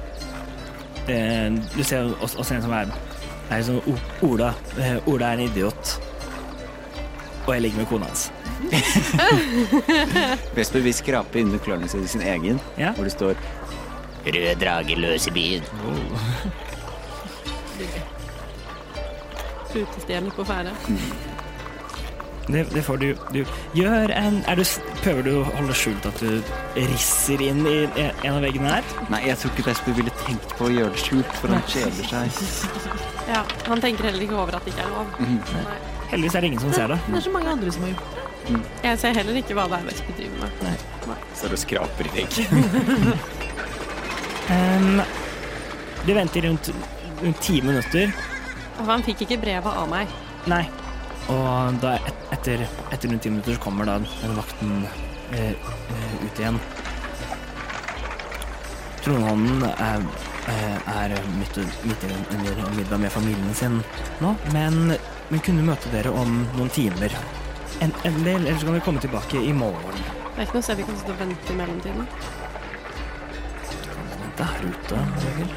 Eh, du ser også, også en som er, er sånn O- Ola. eh, Ola er en idiot. Og jeg ligger med kona hans.
Vesper vil skrape under klørne sine sin egen,
Ja.
hvor det står
Røde drager løs i byen.
Utestjerne på ferde.
Det, det får du, du Gjør en er du, s- Prøver du å holde skjult at du risser inn i e, en av veggene her?
Nei, jeg tror ikke Vesper ville tenkt på å gjøre det skjult, for han kjeder seg.
Ja, han tenker heller ikke over at det ikke er lov. Nei. Mm.
Heldigvis er det ingen som ser det.
Mhm. Det er så mange andre som har gjort
Jeg ser heller ikke hva det er Vesper driver med.
Så du skraper i veggen.
Em, du venter rundt, rundt ti minutter.
Og han fikk ikke brevet av meg.
Nei. Og da et, etter, etter rundt ti minutter så kommer da den vakten eh, eh, ut igjen. Trondhånden er, eh, er midt, midt i- under en middag med familien sin nå, men vi kunne møte dere om noen timer. En, en del, eller så kan vi komme tilbake i morgen.
Det er ikke noe sted vi kan sitte og vente i mellomtiden.
Vent der ute, Røgel.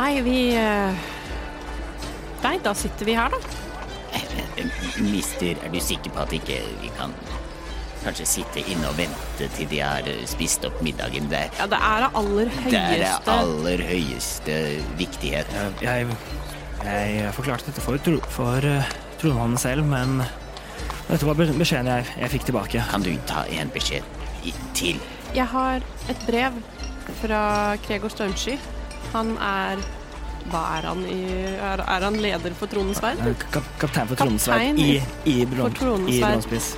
Nei, vi eh, Nei, da sitter vi her, da.
Mister, er du sikker på at ikke vi kan kanskje sitte inne og vente til de har eh, spist opp middagen? Det
Ja, det er det aller
det er det
høyeste
aller høyeste viktighet.
Jeg, jeg forklarte dette for, Tro- for eh, Trondhånden selv, men dette var be- beskjeden jeg, jeg fikk tilbake.
Kan du ta en beskjed i- til?
Jeg har et brev fra Gregor Stormsky. Han er Hva er han i Er, er han leder for Tronens Sverd?
Eh, Kap kaptein for Trondheimsverd
Kaptein
i, i,
for
Bron
Trondens
i
Sverd.
Bronspiss.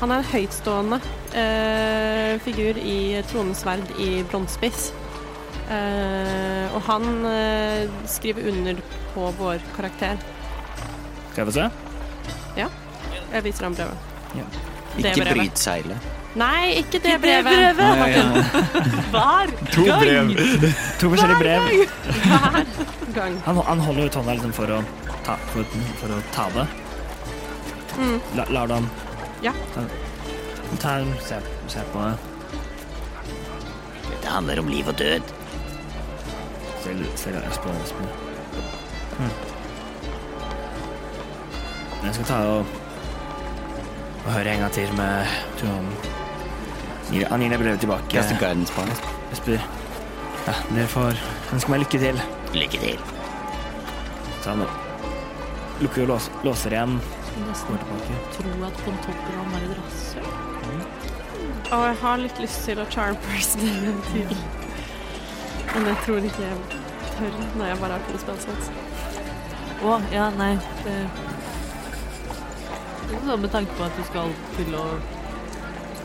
Han er en høytstående eh, figur i Tronens sverd i bronsespiss. Eh, og han eh, skriver under på vår karakter.
Skal jeg få se?
Jeg viser ham brevet. Det
Ikke
brevet.
bryt seilet.
Nei, ikke det brevet!
To brev.
To forskjellige brev.
Hver gang.
Han, han holder ut hånda liksom for å ta, for, for å ta det. La, lar du han
Ja.
ta, ta, se, se på det.
Dette handler om liv og død.
Ser du ser du på Espen? Mm. Jeg skal ta og, og høre en gang til med Trond. Gir- Han gir deg brevet tilbake.
Cast a guidance på henne.
Vesper. Ja, dere får ønske meg lykke til.
Lykke til.
Så han lukker og lås, låser igjen.
Skulle nesten
Kommer tilbake.
tro at von Toppen var et rasshøl.
Og jeg har litt lyst til å charm person en til. Men jeg tror ikke jeg tør når jeg bare har to spillsats.
Å, ja, nei. Det det er sånn med tanke på at du skal til å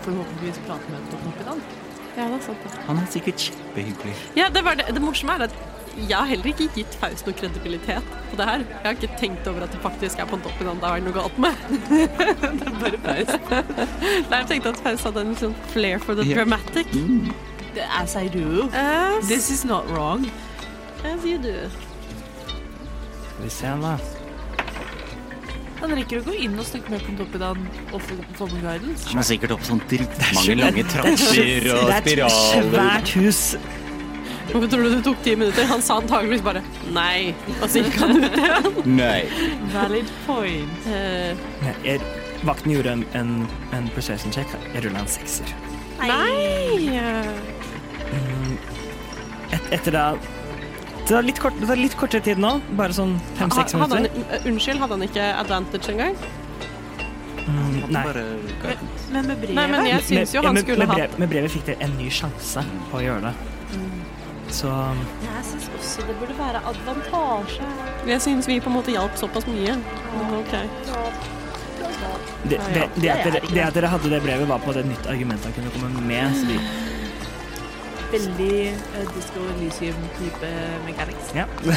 forhåpentligvis prate med Von Toppen. da.
Ja, det er sant. det.
Han er sikkert kjempehyggelig.
Ja, det, var det. det morsomme er at jeg har heller ikke gitt Faust noe kredibilitet på det her. Jeg har ikke tenkt over at det faktisk er på toppen av det er noe galt med. det er bare Faust. Nei, jeg tenkte at Faust hadde en sånn flair for the
Ja.
dramatic. eh,
Det- As I do.
As,
This is not wrong.
as you do.
Skal vi se, da.
Han rekker å gå inn og snakke med Von Toppen og få- få med guidance.
Han har sikkert opp sånn dritmange lange trapper og spiraler.
Svært hus.
Hvorfor tror du det tok ti minutter? Han sa antageligvis bare nei, og så gikk han ut igjen.
Nei.
Valid point.
Eh,
Jeg, vakten gjorde en, en, en persuasion check. Jeg rulla en sekser.
nei!
Et, etter det det tar, litt kort, det tar litt kortere tid nå. Bare sånn fem-seks
Ha- hadde han,
minutter.
eh, unnskyld, hadde han ikke advantage engang?
Mm, nei.
Bare guidance.
Men med brevet
Nei, men jeg syns jo
Med-
han
med,
skulle
med,
hatt
brev, med brevet fikk dere en ny sjanse på å gjøre det.
Mm.
Så um,
Jeg syns også det burde være advantasje.
Jeg syns vi på en måte hjalp såpass mye. Men ok.
det, det, det, at dere, det at dere hadde det brevet, var på en måte et nytt argument han kunne komme med. Så de,
Veldig uh, Disco Elysium-type
Mm.
mechanics.
ja.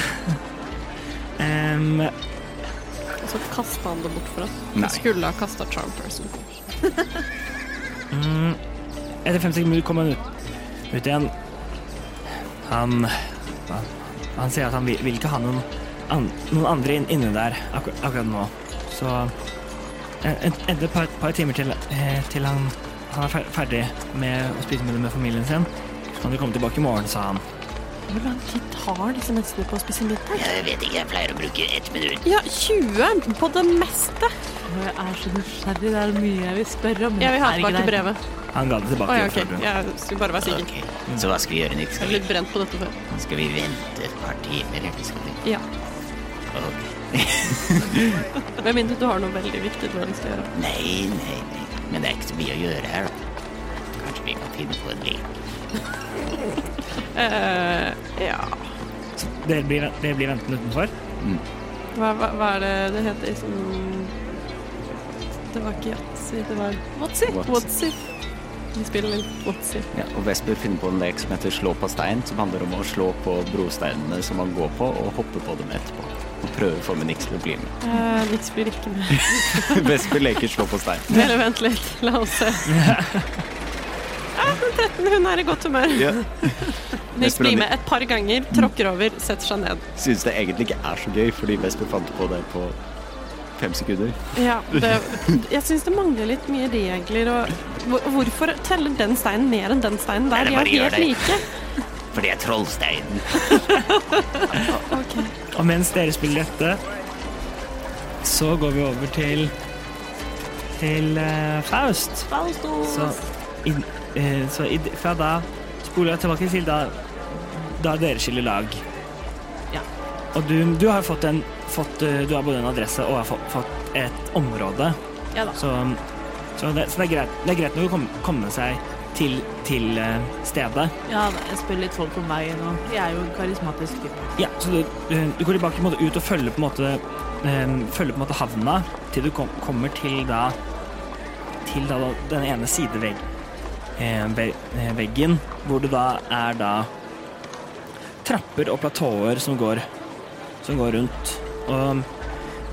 Em,
Og så kasta Altså, han det bort for oss.
Nei.
Jeg skulle ha kasta Charm Person.
Mm, etter fem sekunder kom han ut, ut igjen. Han, han Han sier at han vil, vil ikke ha noen, an, noen andre inn, inne der akkur, akkurat nå. Så eh, en- endte et par, par timer til, eh, til han, han er fer- ferdig med å spise middag med familien sin. Så kan du komme tilbake i morgen, sa han.
Hvor lang tid tar
liksom
disse menneskene på å spise middag?
Jeg vet ikke, jeg pleier å bruke ett minutt.
Ja, 20 på det meste.
Jeg er så nysgjerrig. Det er mye jeg vil spørre om.
Jeg vil ha
Er det
tilbake
greit?
brevet.
Han ga det
Å
tilbake.
ja,
før
OK.
du-
Jeg skulle bare være sikker.
Ok, Så hva skal vi gjøre, Nick?
Jeg
Skal
har
vi,
blitt brent på dette før.
skal vi vente et par timer? eller Skal vi?
Ja.
Ok.
Med mindre du har noe veldig viktig du har lyst til å gjøre.
Nei, nei, nei. Men det er ikke så mye å gjøre her, da. Kanskje vi kan finne på en lek.
Eh, ja
Dere blir, dere blir ventende utenfor.
hva, hva, hva er det det heter som Det var ikke Yatzy, det var What's it?
What's it?
What's it? Vi spiller litt What's it.
Ja, og Vesper finner på en lek som heter slå på stein, som handler om å slå på brosteinene som man går på, og hoppe på dem etterpå. Og prøve å få med Nix til å bli med.
Eh, Nix blir ikke med.
Vesper leker slå på stein.
Dere, vent litt. La oss se. Ja, den 13, hun er i godt humør.
Ja.
Nix blir med et par ganger, tråkker over, setter seg ned.
Synes det egentlig ikke er så gøy, fordi Vesper fant på det på fem sekunder.
Ja, det, jeg syns det mangler litt mye regler og hvor- Hvorfor teller den steinen mer enn den steinen der?
Nei,
De
bare
er
gjør
helt
det.
like.
For det er Trollsteinen.
Og mens dere spiller dette, så går vi over til til eh, Faust. Så,
Sånn,
i, eh, så i, fra da spoler jeg tilbake til da, da dere skiller lag.
Ja.
Og du, du har fått en fått, eh, Du har både en adresse og har fått, fått et område.
Ja da.
Så, så, det, så det er greit, det er greit nok å komme, komme seg til, til eh, stedet.
Ja, da, jeg spør litt folk om veien, og jeg er jo en karismatisk type.
Ja, så du, eh, du går tilbake på en måte ut og følger på en måte eh, følger på en måte havna til du kom, kommer til da til da den ene sidevegg eh, ve- eh, veggen hvor det da er da trapper og platåer som går som går rundt og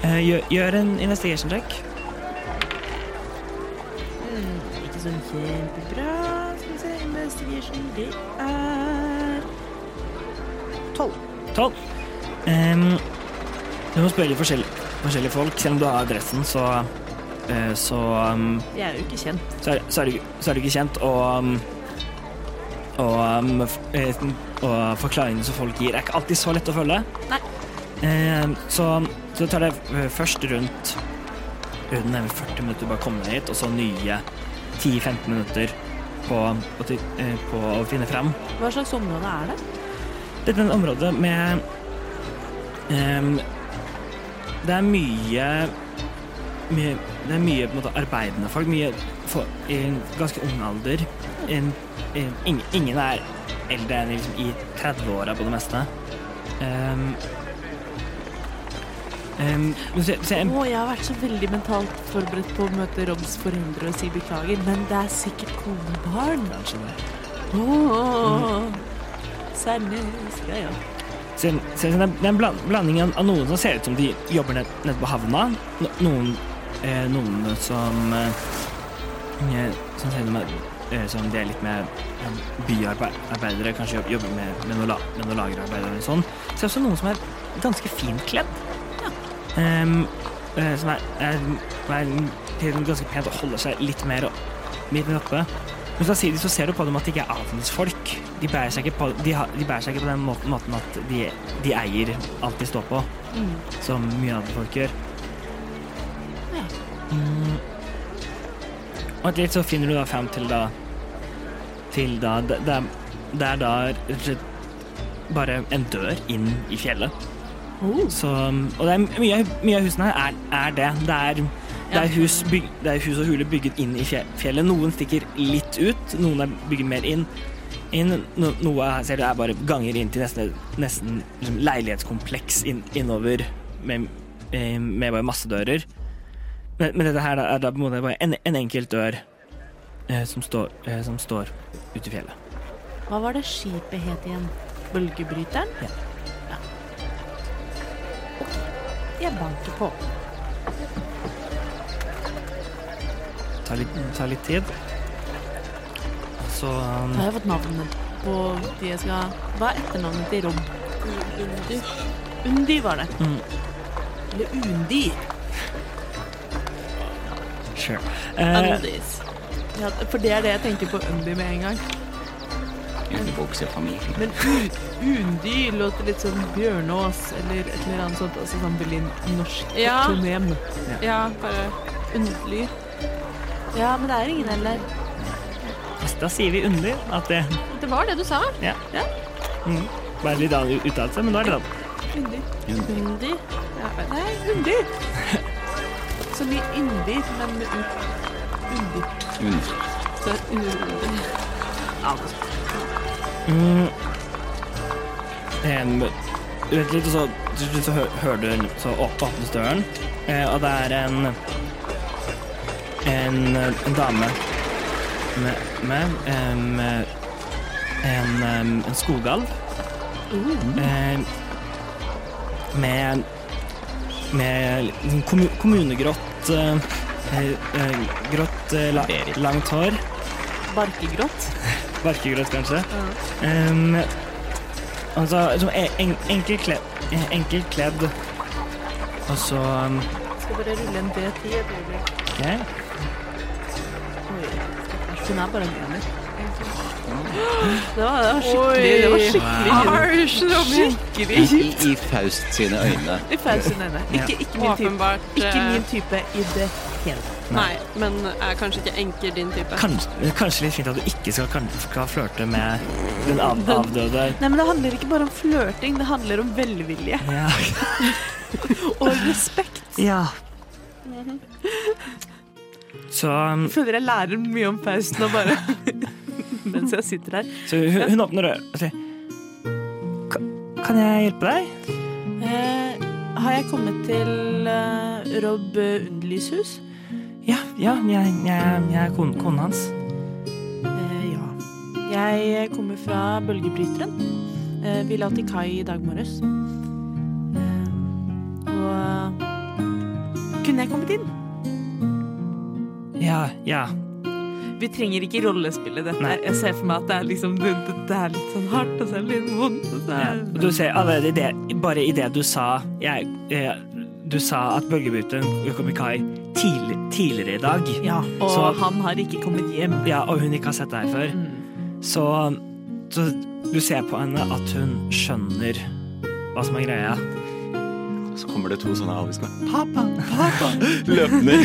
eh, gjør, gjør en investigation check
Ikke sånn kjempebra. Skal vi se, investigation, det er
12 Em, du må spørre forskjell, forskjellige folk selv om du har adressen så eh, så em,
Jeg er jo ikke kjent.
så er, så er, du, så er du ikke kjent, og um, og, um, f- eh, og forklaringene som folk gir, er ikke alltid så lett å følge.
Nei.
Eh, så, så tar det eh, først rundt eh, rundt nærmere 40 minutter å bare komme deg hit, og så nye 10-15 minutter på, å ty- eh, på å finne fram.
Hva slags område er det?
Dette er et område med ehm, Det er mye, mye Det er mye på en måte, arbeidende folk. Mye for, i en ganske ung alder. En, en, ing- ingen er eldre enn liksom, i 30-åra på det meste. Ehm, ehm, du ser, du ser en
Å, jeg har vært så veldig mentalt forberedt på å møte Robs foreldre og si beklager, men det er sikkert kone og barn. Åh, Særlig skal jeg
Ser- ser- Det er det er en bland- blanding av av noen som ser ut som de jobber ned- nede på havna. no- Noen, eh, noen som eh, eh, Som ser ut som, er- eh, som de er litt mer eh, byarbeidere, kanskje jobb- jobber med, med noen la- med noen lagerarbeidere eller sånn. Ser også noen som er ganske fint kledd. Em, eh, som er, er, er til og med ganske pent og holder seg litt mer, opp- litt mer oppe. Men samtidig så ser du på dem at de ikke er adelsfolk. De bærer seg ikke på, de har, de bærer seg ikke på den måten, måten at de, de eier alt de står på, som mye andre folk gjør. Mm. Og etter litt så finner du da frem til da Til da Det, det, er, det er da rett og slett bare en dør inn i fjellet. Så, um, og det er mye, mye av husene her er, er det. Det er det er, hus, byg, det er hus og huler bygget inn i fje- fjellet. Noen stikker litt ut, noen er bygget mer inn. inn no, noe her ser du er bare ganger inn til nesten, nesten liksom leilighetskompleks inn, innover med, eh, med bare masse dører. Men, men dette her da, er da på en måte bare en, en enkelt dør eh, som, står, eh, som står ute i fjellet.
Hva var det skipet het igjen? Bølgebryteren?
Ja.
Ja. Ok, Jeg banker på.
Tar litt, tar litt tid. Så um,
Da har jeg fått navnet på de jeg skal Hva er etternavnet til Rob? Undi var det.
Mm.
Eller Undi.
sure. Eh,
Undis.
Ja, for det er det jeg tenker på Undy med en gang.
Underbuksefamilie.
Men U- Undy låter litt sånn Bjørnås eller et eller annet sånt. Altså sånn veldig norsk
Ja.
tonem.
Ja, bare underlig.
Ja, men det er ingen heller.
Eh, da sier vi underlig at det
Det var det du sa.
mm, Bare litt annen uttalelse, men da er det da.
Undi. Ja, vel.
Nei, Undy. Som i Yndy, men med U. Undy.
Under.
Så undi.
Mm. Em, Vent litt, og så til slutt så hø- hører du så åp- åpnes døren, eh, og det er en en, en dame med, med em, en, em, en skogalv em, med med liksom kommu- kommunegrått eh, eh, eh, grått eh, la,
Berit.
langt hår
Barkegrått.
Barkegrøt, kanskje. Um, altså, som en, en, enkel kledd. Enkel kledd. Og så um,
Skal bare rulle en D10 et øyeblikk.
OK.
Hun er bare en ener. Det var, det var skikkelig, det var skikkelig,
Harsh, Robin.
skikkelig
I, i Faust sine øyne.
I pausen henne. Ikke, ikke min type.
Åpenbart.
Ikke
eh,
min type i det hele tatt.
Nei, men er kanskje ikke enker din type.
Kanskje, kanskje litt fint at du ikke skal, kan- skal flørte med den av, avdøde.
Nei, men det handler ikke bare om flørting, det handler om velvilje
Ja.
og respekt.
ja. Så, um,
Jeg føler jeg lærer mye om Faust nå bare mens jeg sitter her.
så hun, hun åpner døra og sier "Ka- Kan jeg hjelpe deg?
Eh, har jeg kommet til eh, Rob Undlis hus?
Ja, ja jeg, jeg, jeg er konen, konen hans.
Eh, ja. Jeg kommer fra Bølgebryteren. Eh, vi la til kai i dag morges. Eh, og eh, Kunne jeg kommet inn?
Ja, ja.
Vi trenger ikke rollespille dette.
Nei.
Jeg ser for meg at det er, liksom, det, det, det er litt sånn hardt, og så er det litt vondt. Og så
Ja,
er...
og du ser allerede i det, bare i det du sa jeg, eh, Du sa at bølgebryteren kom i kai tidlig, tidligere i dag,
Ja, og
Så-
han har ikke kommet hjem.
ja, og hun ikke har sett deg før,
Mm.
så, så du ser på henne at hun skjønner hva som er greia.
Så kommer det to sånne alviser. Pappa, pappa! Løpende.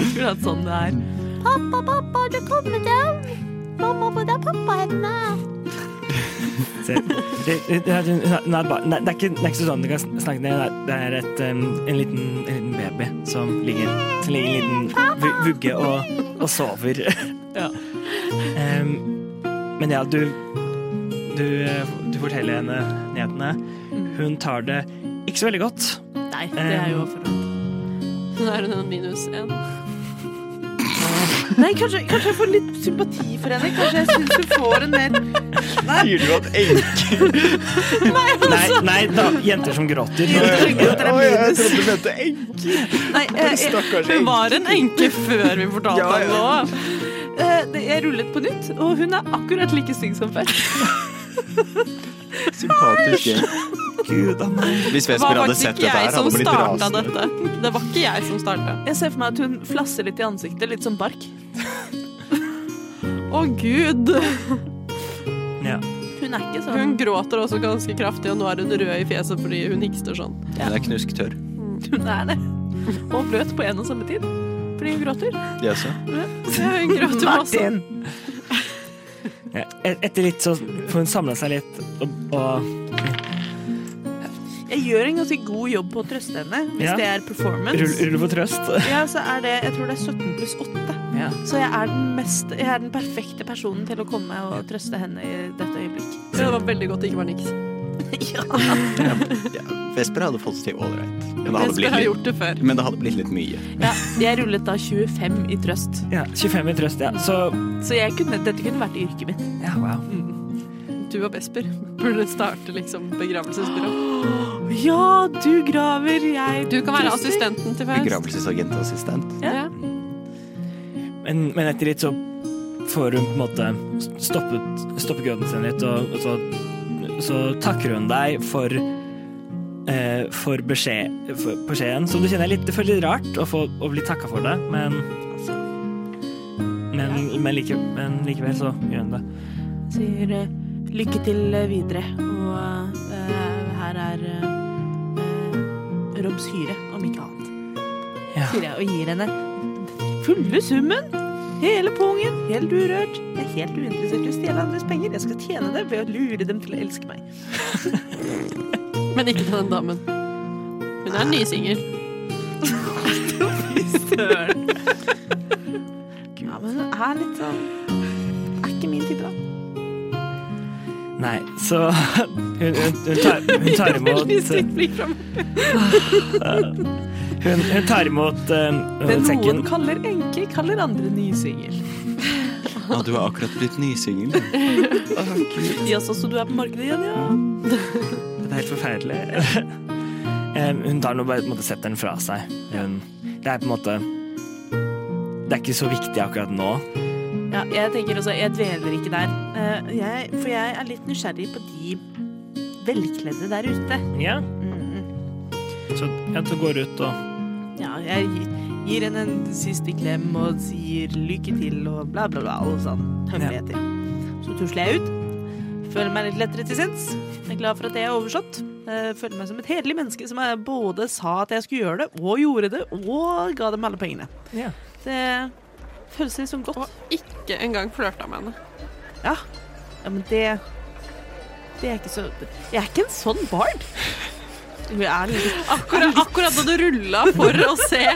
Akkurat sånn det er.
Pappa, pappa, du kommer down. Mamma, hvor er pappa henne?
Se. Det, det, det, er- hun er- hun er bare- nei, det er ikke, det er ikke sånn du kan sn- snakke ned. Det er- Det er et, um, en, liten, en liten baby som ligger, som ligger i en liten vu- vugge og, og sover. Um, men ja, du, du eh, Du forteller henne nyhetene. Hun tar det ikke så veldig godt.
Nei, det er jo for
Ehm.
Nå er hun en minus én.
Nei, kanskje, kanskje jeg får litt sympati for henne. Kanskje jeg syns hun får en mer
Sier du at enker
Nei, altså. nei da, jenter som gråter.
Oi, jeg trodde du mente enker.
altså. Nei, eh, eh,
Stakkars
Hun
enker.
var en enke før vi fortalte
Ja,
ja,
ja.
henne det.
eh, det- jeg rullet på nytt, og hun er akkurat like stygg som før.
Sympatisk enk.
Gud, han er-
Hvis
Det var
Vesper hadde
faktisk
sett
ikke
dette
jeg
her,
som
hadde hun blitt
starta
rasende.
dette. Det var ikke jeg som starta.
Jeg ser for meg at hun flasser litt i ansiktet, litt som bark.
Å gud!
ja.
Hun er ikke sånn
Hun gråter også ganske kraftig, og nå er hun rød i fjeset fordi hun hikster sånn.
Hun er knusktørr.
Hun er det. Og bløt på en og samme tid. Fordi hun gråter.
De også.
Ja, hun gråter masse.
Ja, et- Etter litt så får hun samla seg litt og, og
Jeg gjør en ganske god jobb på å trøste henne, hvis
Ja.
det er performance.
rulle rulle for trøst.
Ja, så er det Jeg tror det er 17 pluss 8.
Ja.
Så jeg er, den mest, jeg er den perfekte personen til å komme og trøste henne i dette øyeblikk.
Ja, det var veldig godt det ikke var niks.
Vesper hadde fått det til ålreit. Men, det hadde
Jesper
blitt
har
litt-
gjort det før.
men det hadde blitt litt mye.
Ja, jeg rullet da 25 i trøst,
Ja, 25 i trøst, ja. Så
så jeg kunne, dette kunne vært yrket mitt.
ja, wow.
Du og Vesper burde starte liksom begravelsesbyrå.
Ja, du graver, jeg
Du kan være
trøster.
assistenten til Faust.
Begravelsesagentassistent.
Ja.
Men, men etter litt så får hun på en måte stoppet, stoppet gråten sin litt, og, og så, så takker hun deg for eh, for, beskjed, for beskjeden, som du kjenner er litt, det føles litt rart å, få, å bli takka for det, men men, men, like, men likevel så gjør hun det.
sier eh, lykke til eh, videre. Og eh, her er eh, eh, Robs hyre, om ikke annet.
Ja.
Sier jeg og gir henne fulle summen. Hele pungen, helt urørt. Jeg er helt uinteressert i å stjele andres penger. Jeg skal tjene det ved å lure dem til å elske meg.
Men ikke til den damen. Hun er nysingel.
Ja, men hun er litt
eh,
sånn Er ikke min type, da.
Nei, så hun, hun, hun, tar, hun tar imot Hun, hun tar imot eh,
Det
sekken
noen kaller enke, kaller andre nysingel.
Ja, du har akkurat blitt nysingel.
Jaså, så du er på markedet igjen, ja?
Det er helt forferdelig. Em, hun tar nå bare på en måte setter den fra seg. Hun, det er på en måte Det er ikke så viktig akkurat nå.
Ja, jeg tenker også, jeg dveler ikke der. Eh, jeg, for jeg er litt nysgjerrig på de velkledde der ute.
Ja,
Mm.
så ja, du går ut og
Ja, jeg gi- gir henne en siste klem og sier lykke til og bla, bla, bla, og sånn hemmeligheter. Så tusler jeg ut. Føler meg litt lettere til sinns. Jeg er glad for at jeg er oversått. Eh, føler meg som et hederlig menneske som jeg både sa at jeg skulle gjøre det, og gjorde det, og ga dem alle pengene.
Ja.
Det føles litt som godt.
Og ikke engang flørta med henne.
Ja. ja, men det Det er ikke så Jeg er ikke en sånn bard. Jeg er litt
Akkurat, akkurat da du rulla for å se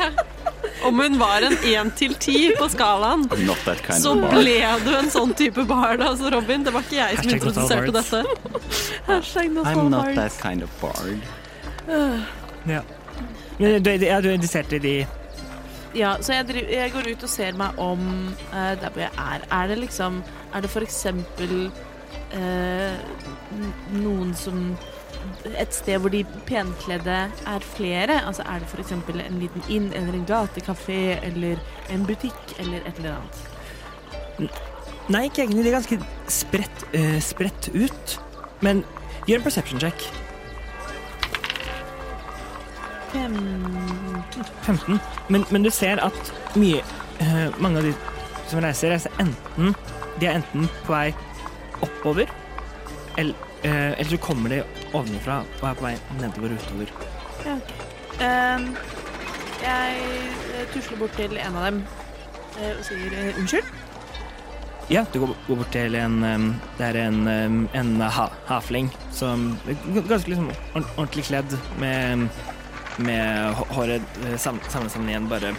om hun var en én til ti på skalaen,
Not that kind
så
of bar.
ble du en sånn type bard, altså, Robin. Det var ikke jeg som
Hashtag not all
introduserte
bards.
dette.
Hashtag not
I'm
all
not
bards.
that kind of bard.
Ja, Men eh, du, er- ja, du er interessert i de
Ja, så jeg, driv, jeg går ut og ser meg om eh, der hvor jeg er. Er det liksom Er det for eksempel eh, n- noen som Et sted hvor de penkledde er flere? Altså er det for eksempel en liten inn eller en gatekafé eller en butikk eller et eller annet?
Nei, ikke egentlig. De er ganske spredt, eh, spredt ut. Men gjør en perception check. 15. Men, men du ser at mye eh, Mange av de som reiser, reiser enten De er enten på vei oppover, eller, eller så kommer de ovenfra og er på vei nedover og utover.
eh, Ja, ok. Ehm, jeg eh, tusler bort til en av dem eh, og sier eh, unnskyld.
Ja, du går, går bort til en um, Det er en, um, en ha, hafling som er g- ganske liksom ord- ordentlig kledd med, med hå- håret eh, sam- samlet sammen igjen, bare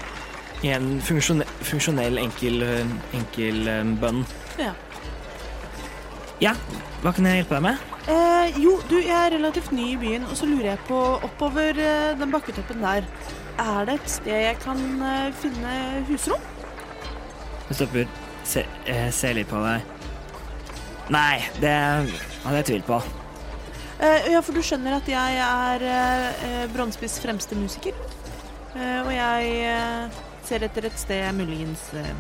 i en funksjone, funksjonell, enkel, eh, enkel eh, bønn.
Ja.
Ja, hva kan jeg hjelpe deg med?
Eh, jo, du, jeg er relativt ny i byen, og så lurer jeg på oppover eh, den bakketoppen der. Er det et sted jeg kan eh, finne husrom?
Hun stopper, se, eh, ser litt på deg. Nei, det hadde jeg tvil på.
Eh, ja, for du skjønner at jeg er eh, eh, Brønnspiss fremste musiker. Eh, og jeg eh, ser etter et sted jeg muligens eh,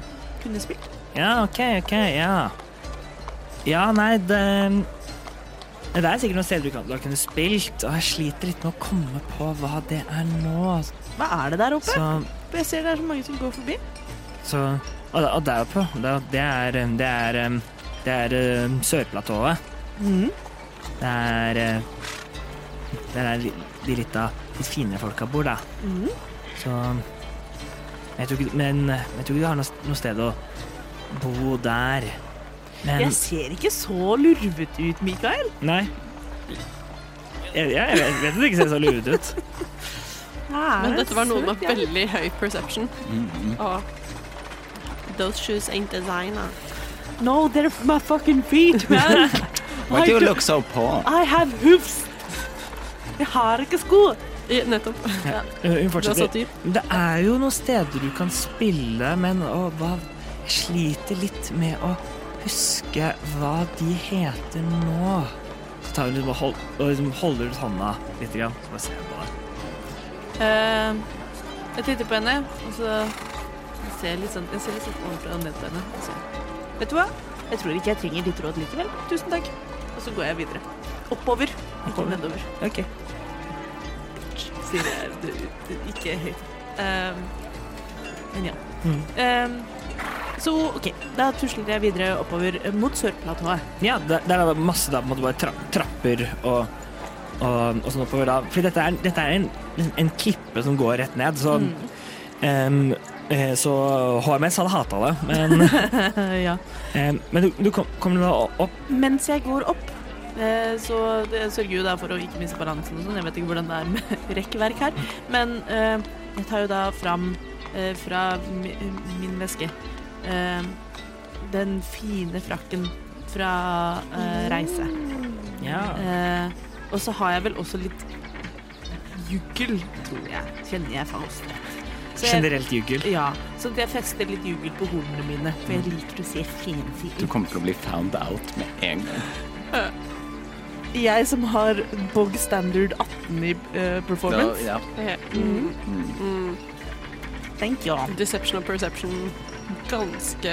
kunne spilt.
Ja, ok, ok, ja. Ja, nei, det Det er sikkert noen steder du kan, du har kunnet spilt, og jeg sliter litt med å komme på hva det er nå.
Hva er det der oppe?
Så,
Jeg ser det er så mange som går forbi.
så Og, og der oppe, det det er Det er, um, det er um, Sørplatået. Det er eh, Det er der li- de litt, av, litt finere folka bor, da. Så men jeg tror ikke, Men uh, jeg tror ikke du har noe, noe sted å bo der. Men
Jeg ser ikke så lurvet ut, Mikael.
Nei. Jeg, jeg, jeg vet at det ikke ser så lurt ut.
Men dette var noen med veldig høy perception. Og those shoes ain't designer.
No, they're my fucking feet, man.
Why do you look so poor?
I have hoofs. Jeg har ikke sko.
I, nettopp.
Eh, Hun
Du har satt
fortsetter.
dyp.
Det er jo noen steder du kan spille, men å, hva Jeg sliter litt med å huske hva de heter nå. Så tar hun liksom og hold, og liksom holder ut hånda litt, grann, så bare ser hun på deg.
Eh, jeg titter på henne, og så ser jeg litt sånn, jeg ser litt sånn ovenfra og ned på henne. og så- Vet du hva? Jeg tror ikke jeg trenger ditt råd likevel. Tusen takk. Og så går jeg videre. Oppover, ikke
Oppover.
nedover.
OK.
sier jeg du, du, ikke høyt. Ehm, men ja.
Mm.
Ehm, så OK, da tusler jeg videre oppover eh, mot Sørplatået.
Ja, der, der er det masse da, på en måte bare tra trapper og, og, og sånn oppover. da. For dette er, dette er en, en klippe som går rett ned, så
Mm.
em, eh, Så HMS hadde hata det, men,
Eh,
ja.
em, men du, du kom- kommer da opp.
Mens jeg går opp, eh, så det sørger jo da for å ikke miste balansen og sånn. Jeg vet ikke hvordan det er med rekkverk her. Men eh, jeg tar jo da fram eh, fra mi- min veske eh, den fine frakken fra eh, reise.
Ja.
Eh, og så har jeg vel også litt juggel, tror jeg. Kjenner jeg Faust rett. Så jeg-
Generelt juggel.
Ja, så jeg fester litt juggel på hornene mine, for jeg liker å se fancy ut.
Du kommer til å bli found out med en gang.
Jeg som har bog standard 18 i eh, performance.
ja.
Ja.
Mm. Thank you.
mm, Deception og perception ganske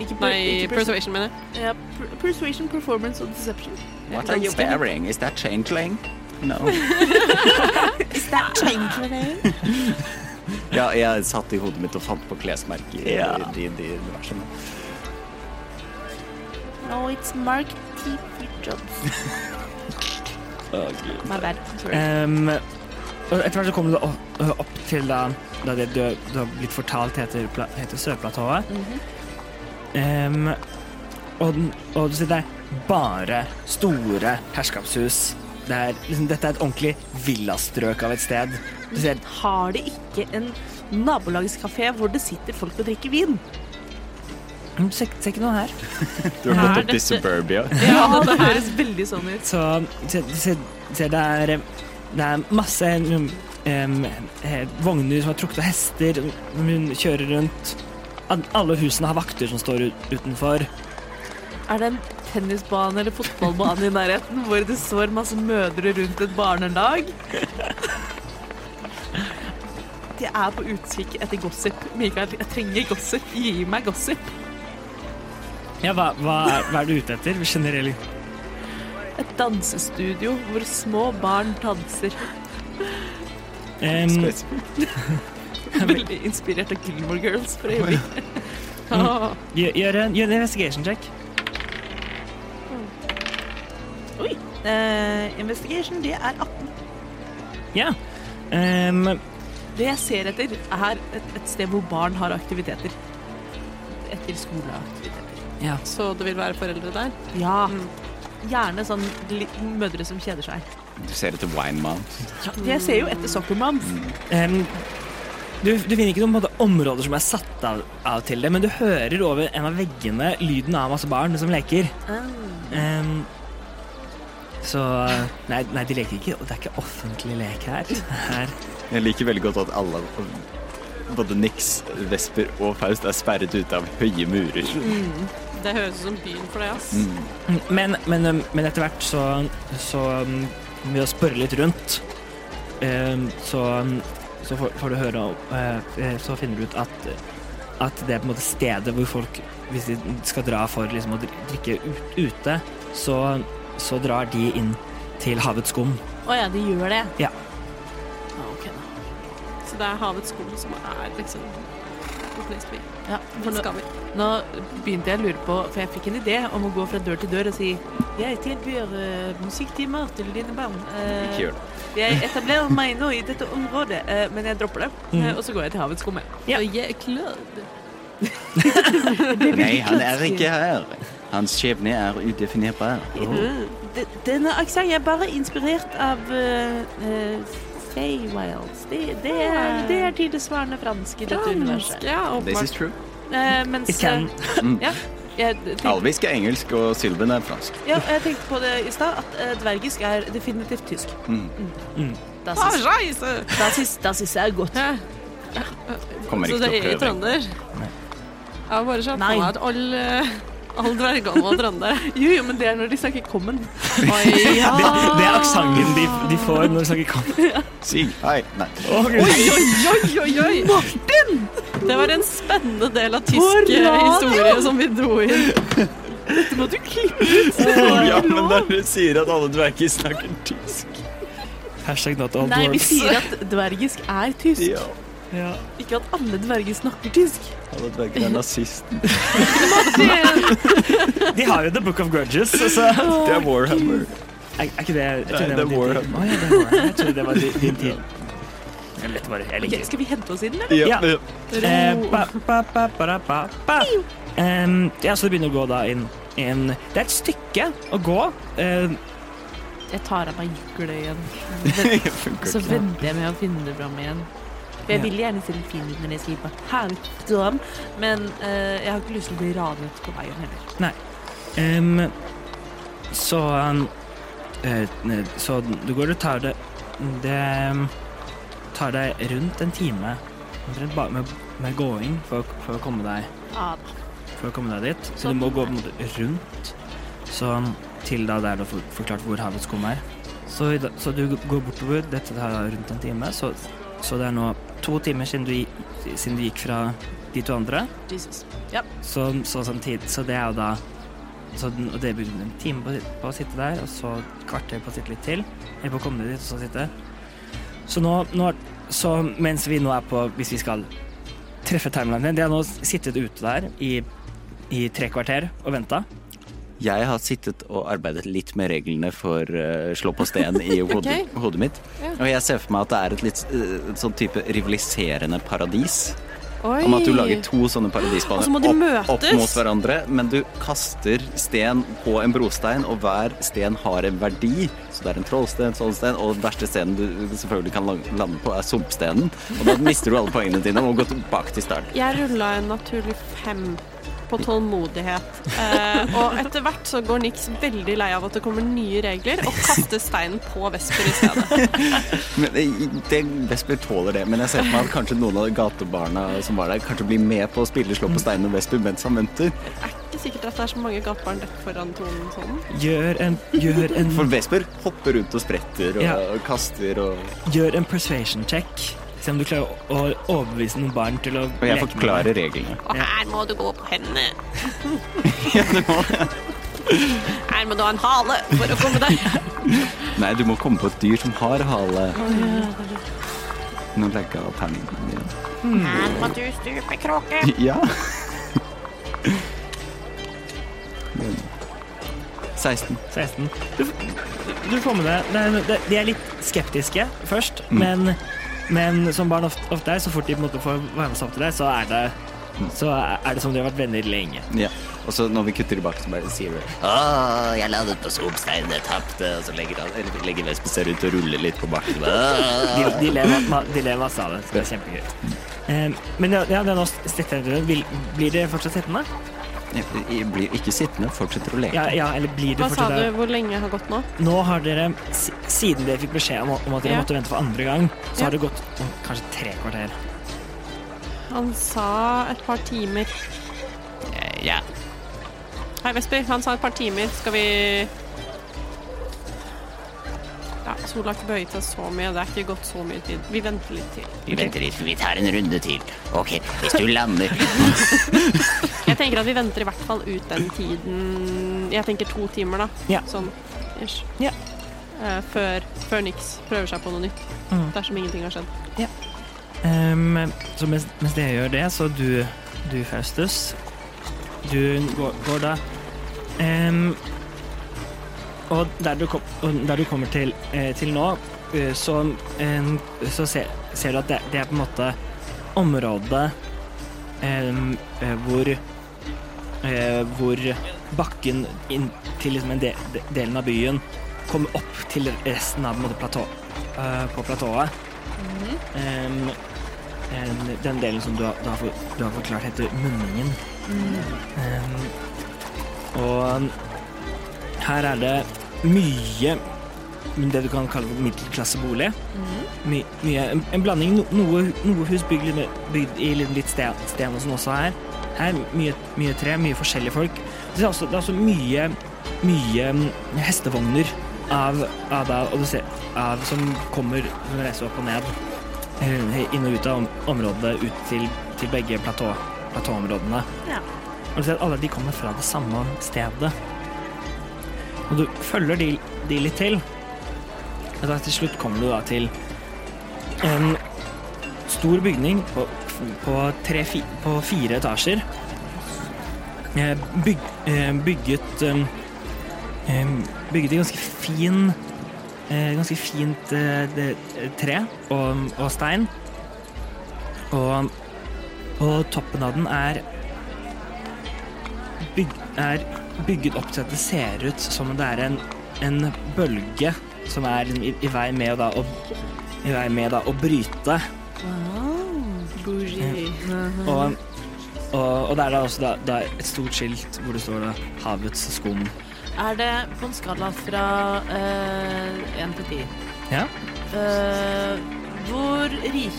Ikke per-
Nei,
ikke perso-
persuasion, mener jeg.
ja, per- persuasion, performance og deception.
What are you wearing? Is that changeling? No. ja, jeg satt i hodet mitt og fant på klesmerker. i-
Ja.
i- i de universene.
No, it's Mark T. Jobs. My bad. Sorry.
Em, Ehm, og etter hvert så kommer du da opp, opp til da, da det du, du har blitt fortalt heter, pla- heter Sørplatået. Em, og, den- og du sier det er bare store herskapshus. Det er, liksom, dette er et ordentlig villastrøk av et sted. Du ser,
Har de ikke en nabolagskafé hvor det sitter folk og drikker vin?
du ser, ser "Mm, ikke noe her.
Du har
Er
gått opp til
dette-
suburbia.
Ja, det høres veldig sånn ut.
Så se, se, se det er Det er masse um, um, eh, vogner som har trukket av hester som hun kjører rundt. Al- Alle husene har vakter som står ut, utenfor.
Er det en tennisbane eller fotballbane i nærheten hvor det står masse mødre rundt et barnelag? De er på utkikk etter gossip. Mikael, jeg trenger gossip. Gi meg gossip.
Ja, hva, hva, er, hva er du ute etter generelt?
Et dansestudio hvor små barn danser.
Um,
Veldig inspirert av Gilmore Girls for øyeblikk. Mm.
gjør, gjør en gjør en investigation check.
Oi. Eh, investigation, det er 18.
Ja. Um,
Det jeg ser etter, er et, et sted hvor barn har aktiviteter. etter skoleaktiviteter.
Så det vil være foreldre der?
Ja.
Mm.
Gjerne sånn li- mødre som kjeder seg.
Du ser etter Wine Mount.
Jeg ser jo etter Soccer Moms.
Mm.
Em, du, du finner ikke noen på en måte områder som er satt av, av til det, men du hører over en av veggene lyden av masse barn som leker. Em, så nei, nei, de leker ikke. Det er ikke offentlig lek her. her.
Jeg liker veldig godt at alle både Nix, Vesper og Faust er sperret ute av høye murer.
Mm. Det høres ut som byen for det, ass.
Mm.
Men, men, um, men etter hvert så, så um, Ved å spørre litt rundt, um, så, um, så får, får du høre om, eh, eh, Så finner du ut at, at det er på en måte stedet hvor folk, hvis de skal dra for liksom, å dri- drikke ut, ute, så, så drar de inn til havets skum.
Å ja, de gjør det.
Ja.
Ah, ok da.
Så det er havets sko som er liksom Nordnes by.
Ja, for nå,
Dit skal vi.
nå begynte jeg å lure på, for jeg fikk en idé om å gå fra dør til dør og si Jeg tilbyr eh, musikktimer til dine barn. Eh,
Ikke gjør det.
jeg etablerer meg nå i dette området, eh, men jeg dropper det.
Mm.
Eh, og så går jeg til havets skumme.
Og jeg er klødd.
Nei, han er ikke her. Hans skjebne er udefinerbar.
Mhm.
Mhm.
Mm. D- Denne aksenten er bare inspirert av uh, Wilds. Det, det er, det er tidesvarende fransk i dette universet.
Ja,
This is
åpenbart.
true.
Eh, mens
It can.
eh, ja, jeg tenkte,
Alvisk er engelsk, og Sylven er fransk.
ja, jeg tenkte på det i stad, at eh, dvergisk er definitivt tysk.
Mm.
Das
Ah,
ist,
reise!
das ist, das ist sehr godt.
Ja,
Kommer
så
ikke
det
til å
er jo
prøve.
trønder. Jeg har bare sett
Nei.
på meg at alle all dvergene var trøndere.
Jo, jo, men det er når de snakker kommen.
Oi, ja.
Det, det er aksenten de, de får når de snakker kamp.
Si hei. Nei.
Oi, oi, oi, oi! Martin! Det var en spennende del av tysk eh,
På radio!
historie som vi dro inn.
Det må du klippe.
Ja, men dere sier at alle dverger snakker tysk.
Hashtag not all
Nei, vi
dwarves.
sier at dvergisk er tysk.
Ja.
Ja.
Ikke at alle dverger snakker tysk.
Alle dverger er nazister.
De har jo The Book of Grudges, så er,
Det er Warhammer.
er ikke det jeg tror
Nei,
det var din
det er
tid.
Warhammer.
Å, ja, det er Warhammer. Jeg trodde det var din, din tid. Jeg vet bare, jeg liker
Ok, skal vi hente oss inn, eller?
Ja.
ja.
Eh, ba, ba, ba, ba, ba, ba. Em, ja, så det begynner å gå da inn, inn. Det er et stykke å gå. Eh,
Jeg tar av meg juklet igjen.
Det funker
Så
ikke.
venter jeg med å finne det fram igjen.
For jeg vil gjerne se den fin ut når jeg skriver på Haugdom, men eh, jeg har ikke lyst til å bli ranet på veien heller.
em, så em, eh, ne- Så du går og tar det Det em, tar deg rundt en time omtrent bare med, med gåing for, å- for å komme deg
Ja,
For å komme deg dit. Så du må gå på en måte rundt så, til da der du har for- forklart hvor havets skum er. Så, i da- så du går bortover. Dette tar rundt en time. Så, så det er nå to timer siden du, gi- siden du gikk fra de to andre.
Jesus.
Så, så, samtidig, så det er jo da så, den- Og det begynner en time på, å sit- på å sitte der, og så et kvarter på å sitte litt til. Eller på å komme dit, og så sitte. Så nå, nå er- Så mens vi nå er på Hvis vi skal treffe timelinen din De har nå sittet ute der i, i tre kvarter og venta.
Jeg har sittet og arbeidet litt med reglene for eh, slå på sten i hodet, hodet mitt. Og jeg ser for meg at det er et litt eh, sånn type rivaliserende paradis.
Oi.
Om at du lager to sånne paradisbaner
Og så må de møtes.
opp mot hverandre, men du kaster sten på en brostein, og hver sten har en verdi. Så det er en trollsten, trollsten, og den verste stenen du selvfølgelig kan lang- lande på, er sumpstenen. Og da mister du alle poengene dine og må gå tilbake til start.
Jeg rulla en naturlig fem på tålmodighet. Eh, og etter hvert så går Nix veldig lei av at det kommer nye regler, og kaster steinen på Vesper i stedet.
Men det- det, Vesper tåler det, men jeg ser for meg at kanskje noen av gatebarna som var der, kanskje blir med på å spille slå på steinen og Vesper mens han venter.
Det er ikke sikkert at det er så mange gatebarn rett foran tonen sånn.
Gjør en, gjør en,
For Vesper hopper rundt og spretter og,
Ja.
og kaster og
gjør en persuasion check. Se om du klarer å å overbevise noen barn til å
Og jeg
leke med
forklarer
deg.
reglene.
Og her må du gå på hendene. Her må du ha en hale for å komme deg.
Nei, du må komme på et dyr som har hale. Nå legger jeg av terningene dine.
Her må du stupe kråke.
Ja. 16.
16. Du, du får med deg nei, det- De er litt skeptiske først, men, men som barn ofte, ofte er, så fort de på en måte får varme seg opp til deg, så er det så er det som om de har vært venner lenge.
Ja. Og så når vi kutter tilbake, så bare sier du
Å, jeg landet på sopsteinen, jeg tapte. Og så legger, han, eller legger Vespen seg rundt og ruller litt på bakken. Åh.
De, de, ler, ma- de ler masse av det, så det er kjempegøy. Eh, Men ja, ja, det er nå stette rundt. Vil- Blir det fortsatt sittende?
Jeg- jeg Blir ikke sittende, fortsetter å leke.
Ja, ja, eller blir det
Hva sa
fortsatt
du? Hvor lenge har gått nå?
Nå har dere, s- siden dere fikk beskjed om, om at dere
Ja.
måtte vente for andre gang, så
Ja.
har det gått å, kanskje tre kvarter.
Han sa et par timer.
Ja.
Hei, Vesper. Han sa et par timer. Skal vi Ja, sola har ikke bøyet seg så mye. Det er ikke gått så mye tid. Vi venter litt til.
Vi venter litt, vi tar en runde til. Ok, hvis du lander
Jeg tenker at vi venter i hvert fall ut den tiden Jeg tenker to timer, da.
Ja.
Sånn ish.
Ja.
Eh, før, før Nix prøver seg på noe nytt.
Mm.
Dersom ingenting har skjedd.
Ehm, så mens, mens dere gjør det, så du, du Faustus, du går, går da Ehm, Og der du, kom, og der du kommer til, eh, til nå, eh, så, em, så ser, ser du at det, det er på en måte området em, eh, hvor eh, Hvor bakken inn til liksom en del, de- delen av byen kommer opp til resten av på en måte, platå, eh, på Ehm, platået. Em, em, den delen som du har, du har, for, du har forklart heter munningen. Ehm, Em, og her er det mye det du kan kalle middelklassebolig. My, mye, en, en blanding. No, noe, noe hus bygd, litt med- bygd i litt, litt sten, sten og sånn også her. Her mye, mye tre, mye forskjellige folk. Det er også, det er også mye, mye mm, hestevogner av, av, da- og du ser, av, som kommer som reiser opp og ned eh, inn og ut av om- området ut til, til begge platå, platåområdene. Og du ser at alle de kommer fra det samme stedet. Og du følger de, de litt til. Og da til slutt kommer du da til en stor bygning på, på, tre, fi, på fire etasjer. Eh, Byg, eh, bygget em, em, Bygget i ganske fin eh, Ganske fint eh, det- eh, tre og, og stein. Og, og toppen av den er byg, er bygget opp til at det ser ut som om det er en, en bølge som er liksom i, i vei med å da, å, i vei med da, å bryte. Og, og, og det er da også da, da et stort skilt hvor det står da 'Havets skum'.
Er det på en skala fra eh, 1 til 10?
Ja.
Eh, hvor rike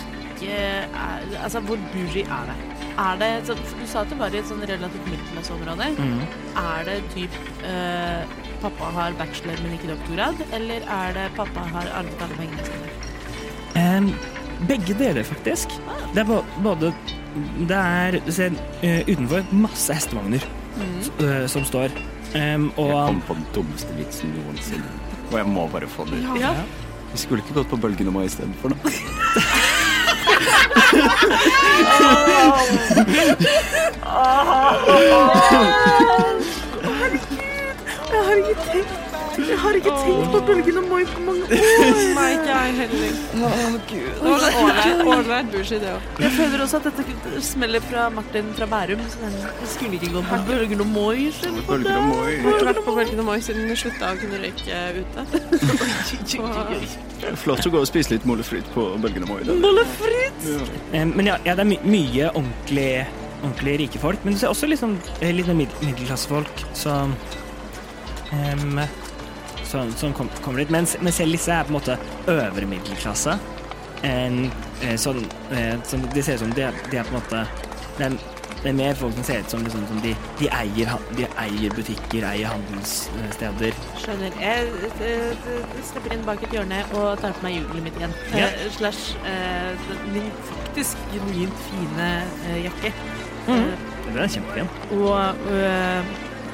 er Altså, hvor bougie er det? Er det så, for Du sa at det var i et sånn relativt middelklasseområde.
Mhm.
Er det typ eh, pappa har bachelor, men ikke doktorgrad? Eller er det pappa har arvet alle pengene sine?
Em, begge deler, faktisk. Det er bå- både Det er du ser, eh, utenfor masse hestevogner s- eh, som står. Em, og
Mm. Jeg kom
um,
på den dummeste vitsen noensinne. Og jeg må bare få den ut.
Ja.
Vi skulle ikke gått på bølgen om istedenfor, da.
Nei, ikke jeg heller. Det var sånn ålreit- ålreit bullshit, det òg.
Jeg føler også at dette smeller fra Martin fra Bærum. Så den skulle ikke gå på Bølgen og Moi. skjønner du?
Bølgen om
Jeg
oi.
har vært på Bølgen og Moi siden vi slutta å kunne røyke ute.
Flott å gå og spise litt mollefritt på bølgen om oi. da.
Eh, Men ja, ja det er my mye ordentlig, ordentlig rike folk. Men du ser også litt sånn, eh, litt mer mid middelklassefolk som em, som, som kom, kommer dit. Mens, mens selv disse er på en måte øvre middelklasse. En, eh, sånn, eh, som de ser ut som de, er- de er på en måte det er, det er mer folk som ser ut som, liksom, som de, de, eier, han- de eier butikker, eier handelssteder.
Skjønner. Jeg eh, eh, stepper inn bak et hjørne og tar på meg hjulet mitt igjen.
Ja.
Eh, slash eh, min faktisk genuint fine eh, jakke. Eh,
Det er kjempefint.
Og eh,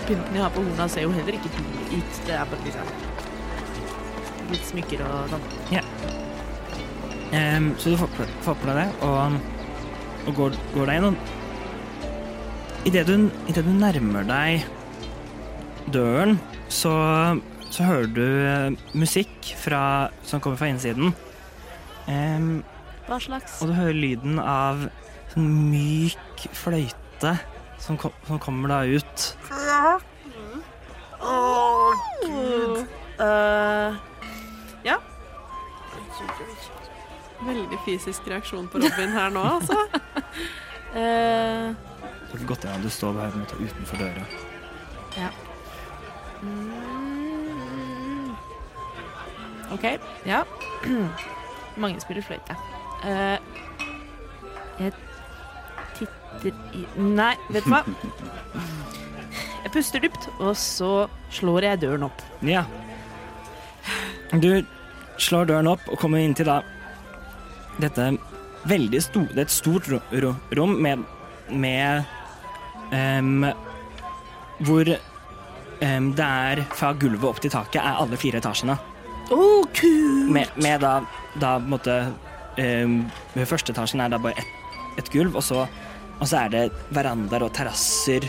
pynten jeg har på horna, ser jo heller ikke billig ut. Det er bare liksom litt smykker og sånn.
Em, Ehm, så du får på, får på deg det, og, og går, går deg inn. Og idet du, i det du nærmer deg døren, så, så hører du eh, musikk fra, som kommer fra innsiden. Em,
Hva slags
Og du hører lyden av sånn myk fløyte som, kom, som kommer da ut.
Eh,
Veldig fysisk reaksjon på Robin her nå, altså.
eh,
Det er godt gjerne du står her på en måte utenfor døra.
mm. OK. Ja. Mange spiller fløyte. Eh, jeg titter i Nei, vet du hva? Jeg puster dypt, og så slår jeg døren opp.
Ja. Du slår døren opp og kommer inn til da dette veldig sto- Det er et stort ro- ro- rom med, med em, Hvor em, det er fra gulvet opp til taket er alle fire etasjene.
Oh, kult!
Med, med da, da på en måte em, med Første etasjen er da bare ett et gulv, og så, og så er det verandaer og terrasser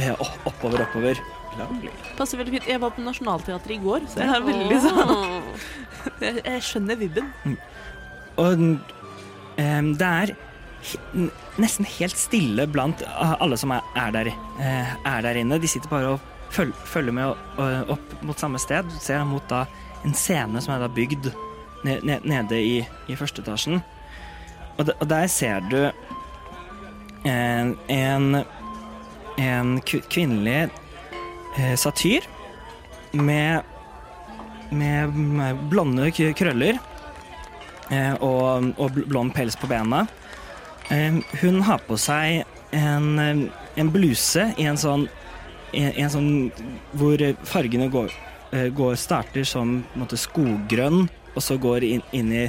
eh, opp- oppover, oppover.
Passer veldig fint. Jeg var på Nationaltheatret i går, så jeg, er veldig, sånn, jeg, jeg skjønner vibben.
Og em, det er he- n- nesten helt stille blant a- alle som er, er, der, eh, er der inne. De sitter bare og føl følger med og, og, opp mot samme sted. Du ser mot da en scene som er da bygd ne ne nede i, i første etasjen. Og, de- og der ser du en, en, en kvi- kvinnelig eh, satyr med, med, med blonde k- krøller eh, og, og bl- blond pels på bena. Eh, Hun har på seg en, eh, en bluse i en sånn, i en sånn hvor fargene går, eh, går starter som på en måte, skoggrønn, og så går inn, inn, i,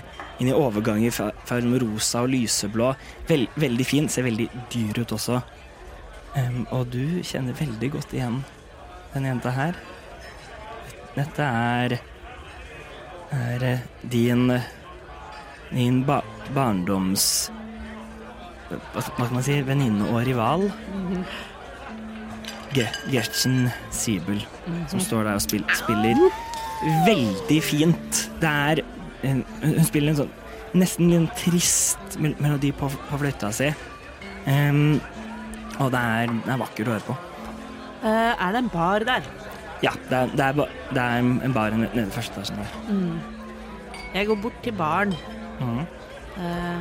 inn i overganger fra, fra rosa og lyseblå. Vel, veldig fin. Ser veldig dyr ut også. Em, og du kjenner veldig godt igjen den jenta her. Dette er, er eh, din eh, Min ba barndoms Hva hva skal man si? Venninne og rival. Ge Gertsen Siebel, som står der og spill spiller veldig fint. Det er en, Hun spiller en sånn nesten en trist mel melodi på, på fløyta si. Em, og det er, det er vakkert å høre på.
Eh, er det en bar der?
Ja, det er, det er, ba det er en bar nede i første etasjen der.
Jeg går bort til baren.
Mhm.
Eh,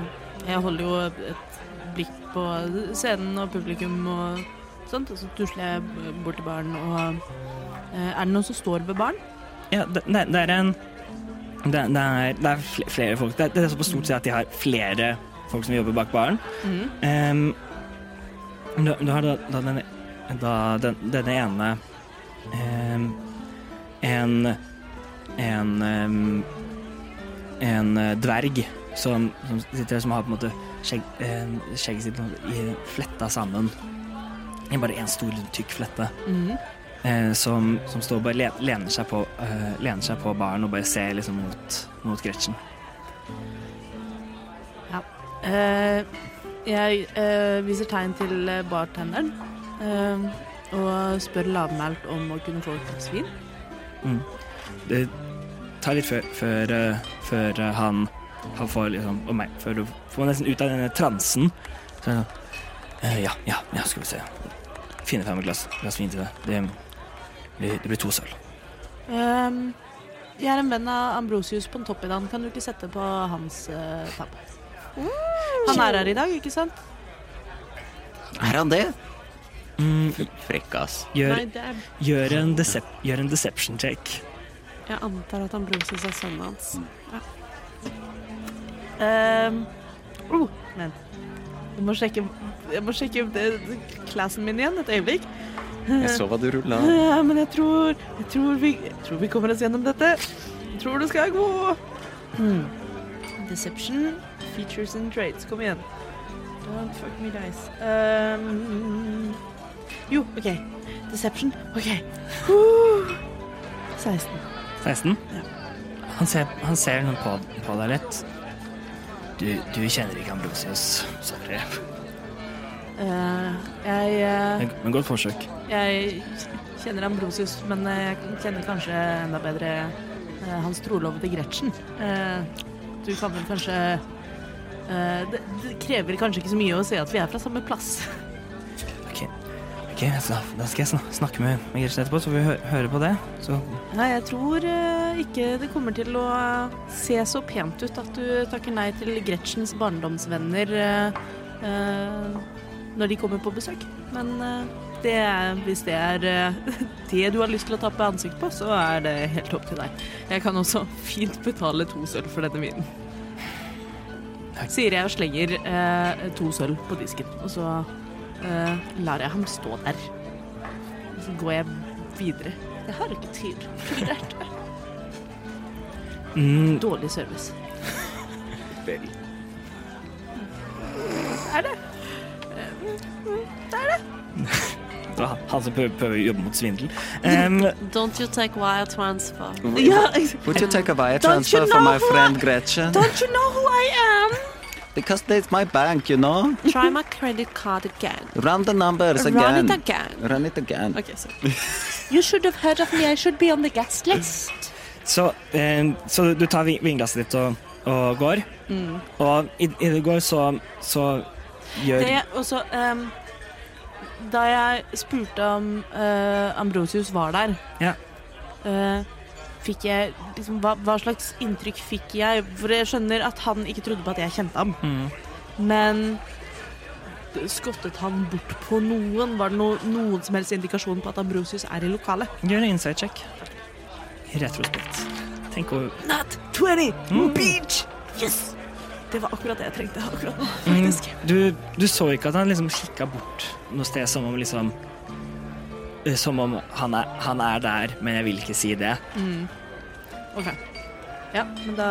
jeg holder jo et blikk på scenen og publikum og sånt, og så tusler jeg b- bort til baren og eh, Er det noen som står ved baren?
Ja, det, det, det er en det, det, er, det er fl- flere folk. Det, det er så på stort sett at de har flere folk som jobber bak baren. Em, du, du har da, da, den, da den, denne ene em, En En em, En eh, dverg som, som sitter som har på en måte skjegg, em, skjegget sitt på en måte i- fletta sammen. I bare én stor, tykk flette eh, som, som står og bare le- lener seg på, eh, lener seg på baren og bare ser liksom mot, mot Gretchen.
Eh, jeg eh, viser tegn til eh, bartenderen eh, og spør lavmælt om å kunne få et glass vin.
Det tar litt før, før, eh, før eh, han, han får liksom Og meg, før du får nesten ut av denne transen. Så er det sånn eh, Ja, ja, ja, skal vi se. Finne frem et glass, glass vin til deg. Det blir, det blir to sølv.
Eh, jeg er en venn av Ambrosius Pontoppidan. Kan du ikke sette på hans uh, tab? Han er her i dag, ikke sant?
Er han det?
Mm,
Frekkas.
gjør,
Nei, det er,
gjør, en decep, gjør en deception check.
jeg antar at Ambrosius er sønnen hans.
Ehm, oh, men jeg må sjekke, jeg må sjekke det- det- klassen min igjen et øyeblikk.
Jeg så hva du rulla.
Eh, men jeg tror, jeg, tror vi, jeg tror vi kommer oss gjennom dette. Jeg tror det skal gå. Hmm. Deception, features and traits. Kom igjen. Don't fuck me dice. Ehm, jo, OK. Deception. OK. Huh. 16.
16? Han ser, han ser noen på, på deg litt. Du, du kjenner ikke Ambrosius. Sorry.
Eh, jeg eh,
Men, men godt forsøk.
Jeg kjenner Ambrosius, men
eh,
jeg kjenner kanskje enda bedre eh, hans trolovede Gretchen. Eh, Du kan vel kanskje
Eh, Det, det krever kanskje ikke så mye å se at vi er fra samme plass.
Ok, ok, så Da skal jeg snak- snakke med med Gretchen etterpå, så får vi hø høre på det. Så
Nei, jeg tror eh, ikke det kommer til å se så pent ut at du takker nei til Gretchens barndomsvenner eh, eh, når de kommer på besøk. Men eh, det, er- hvis det er eh, det du har lyst til å tappe ansikt på, så er det helt opp til deg. Jeg kan også fint betale to sølv for denne vinen. Sier jeg og slenger eh, to sølv på disken, og så eh, lar jeg ham stå der. Og så går jeg videre. Jeg har ikke tid.
mm,
Dårlig service.
Vel.
Er
det var han som prøver, prøver å jobbe mot svindel. Em,
Don't you take wire transfer.
Would you take a wire transfer for my friend Gretchen?
Don't you know who I am?
Because it's my bank, you know.
Try my credit card again.
Run the numbers
Run
again.
it again.
Run it again.
Okay, sorry. You should have heard of me. I should be on the guest list.
så, em, så du tar vin- vinglasset ditt og, og går. Og i, i det går så, så gjør
Det også ehm, Da jeg spurte om eh, Ambrosius var der,
Ja.
eh, fikk jeg liksom, hva, hva slags inntrykk fikk jeg? For jeg skjønner at han ikke trodde på at jeg kjente ham.
Mm.
Men skottet han bort på noen? Var det no, noen som helst indikasjon på at Ambrosius er i lokalet?
Gjør en insight check. I retrospekt. Tenk over
Not 20!
Mm.
Beach! Yes! Det var akkurat det jeg trengte akkurat nå.
Mm, Du, du så ikke at han liksom kikka bort noe sted, som om liksom eh, Som om han er, han er der, men jeg vil ikke si det.
Ja, men da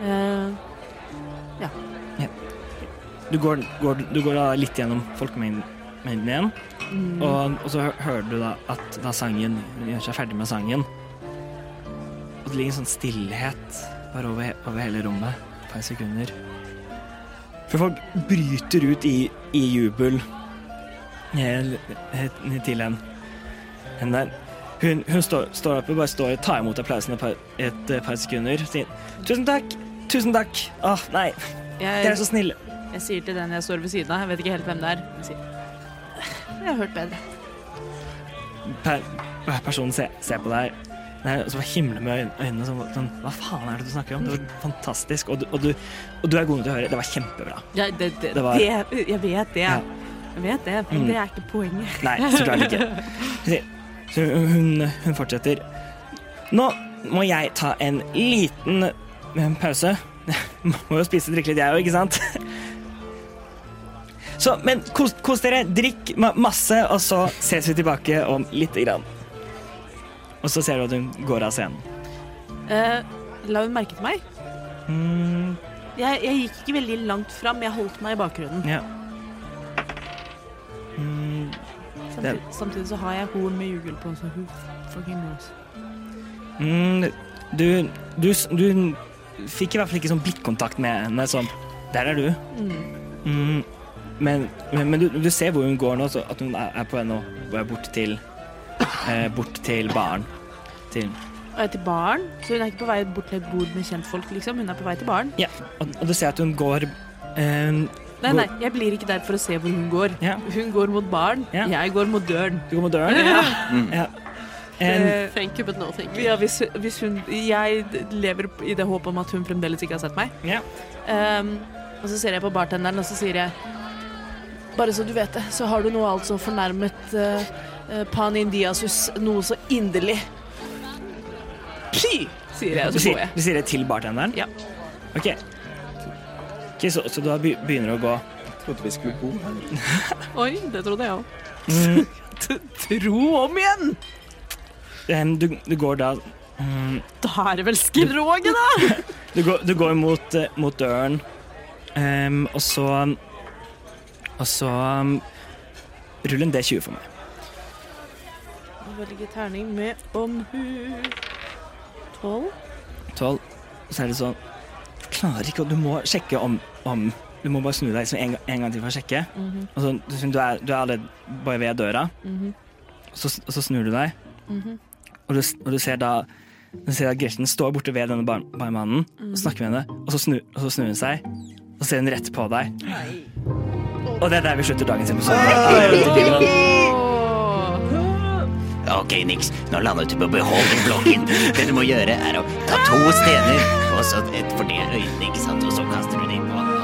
eh,
Du går, går, du går da litt gjennom folkemengden igjen, og, og så hø- hører du da at da sangen gjør seg ferdig med sangen, og det ligger en sånn stillhet bare over, he- over hele rommet et par sekunder. For folk bryter ut i, i jubel eh, eh, til en. en der. Hun, hun står, står oppe og bare står og tar imot applausen et par, et eh, par sekunder. Sier, tusen takk, tusen takk. Åh, nei, dere er så snille.
Jeg sier til den jeg står ved siden av, jeg vet ikke helt hvem det er. Jeg, sier, jeg har hørt bedre.
per, per- personen ser, ser på deg Nei, og så bare himler med øyn- øynene sånn, sånn, Hva faen er det du snakker om? Det var fantastisk. Og du, og du, og du er god nok til å høre. Det var kjempebra.
Jeg, det, det,
Det var-
det, jeg vet det.
Ja.
Jeg vet det, men
Mm.
det er ikke poenget.
Nei, så klart ikke. Så hun, hun fortsetter. Nå må jeg ta en liten eh, pause. Må jo spise og drikke litt, jeg òg, ikke sant? Så, men kos, kos dere. Drikk ma- masse, og så ses vi tilbake om lite grann. Og så ser du at hun går av scenen.
Eh, la hun merke til meg?
Mm,
Jeg, jeg gikk ikke veldig langt fram, jeg holdt meg i bakgrunnen.
Ja. Mm,
Samtidig, samtidig så har jeg horn med jugel på, så who fucking knows.
mm, du, du, s- du fikk i hvert fall ikke sånn blikkontakt med henne sånn Der er du. Mm, men men, men du, du ser hvor hun går nå, så at hun er, er på vei nå og er bort til eh, Bort til baren. Til,
Og jeg er til baren, så hun er ikke på vei bort til et bord med kjentfolk, liksom. Hun er på vei til baren.
ja, og, og du ser at hun går eh,
Nei, nei, jeg blir ikke der for å se hvor hun går.
Ja.
Hun går mot baren,
Ja.
jeg går mot døren.
Du går mot døren. Ja. ja. En,
Eh,
Thank you, but no thank you.
Ja, hvis, hvis hun Jeg lever i det håpet om at hun fremdeles ikke har sett meg.
ja.
Ehm, og så ser jeg på bartenderen, og så sier jeg Bare så du vet det, så har du nå altså fornærmet eh, eh, Pan Indiasus noe så inderlig. Py! sier jeg, og
Du
så går
sier,
jeg.
du sier det til bartenderen?
Ja.
Ok. Ok, så, så da be- begynner du å gå.
Trodde vi skulle bo her.
Oi, det trodde jeg òg.
Mm.
Tro om igjen!
Em, du, du går da mm,
Da er det vel skroget, da!
Du går, du går mot, eh, mot døren, Em, og så Og så um, Rull en D20 for meg.
Velge terning med omhu. Tolv?
Tolv. Og så er det sånn Du klarer ikke, og du må sjekke om, om Du må bare snu deg liksom en, gang- en gang til for å sjekke. Og så, du, du, er, du er allerede bare ved døra, og, så, og så snur du deg, og, du, og du ser da Du ser at Gretchen står borte ved denne bar- barmannen og snakker med henne. Og så, snur, og så snur hun seg og ser hun rett på deg. Og det er der vi slutter dagens episode. av Eventyrtimen.
Ok, Nix, nå landet du på å beholde blokken. Det du må gjøre, er å ta to stener, og så et for det altså. øyet, ikke sant, og så kaster du dem på.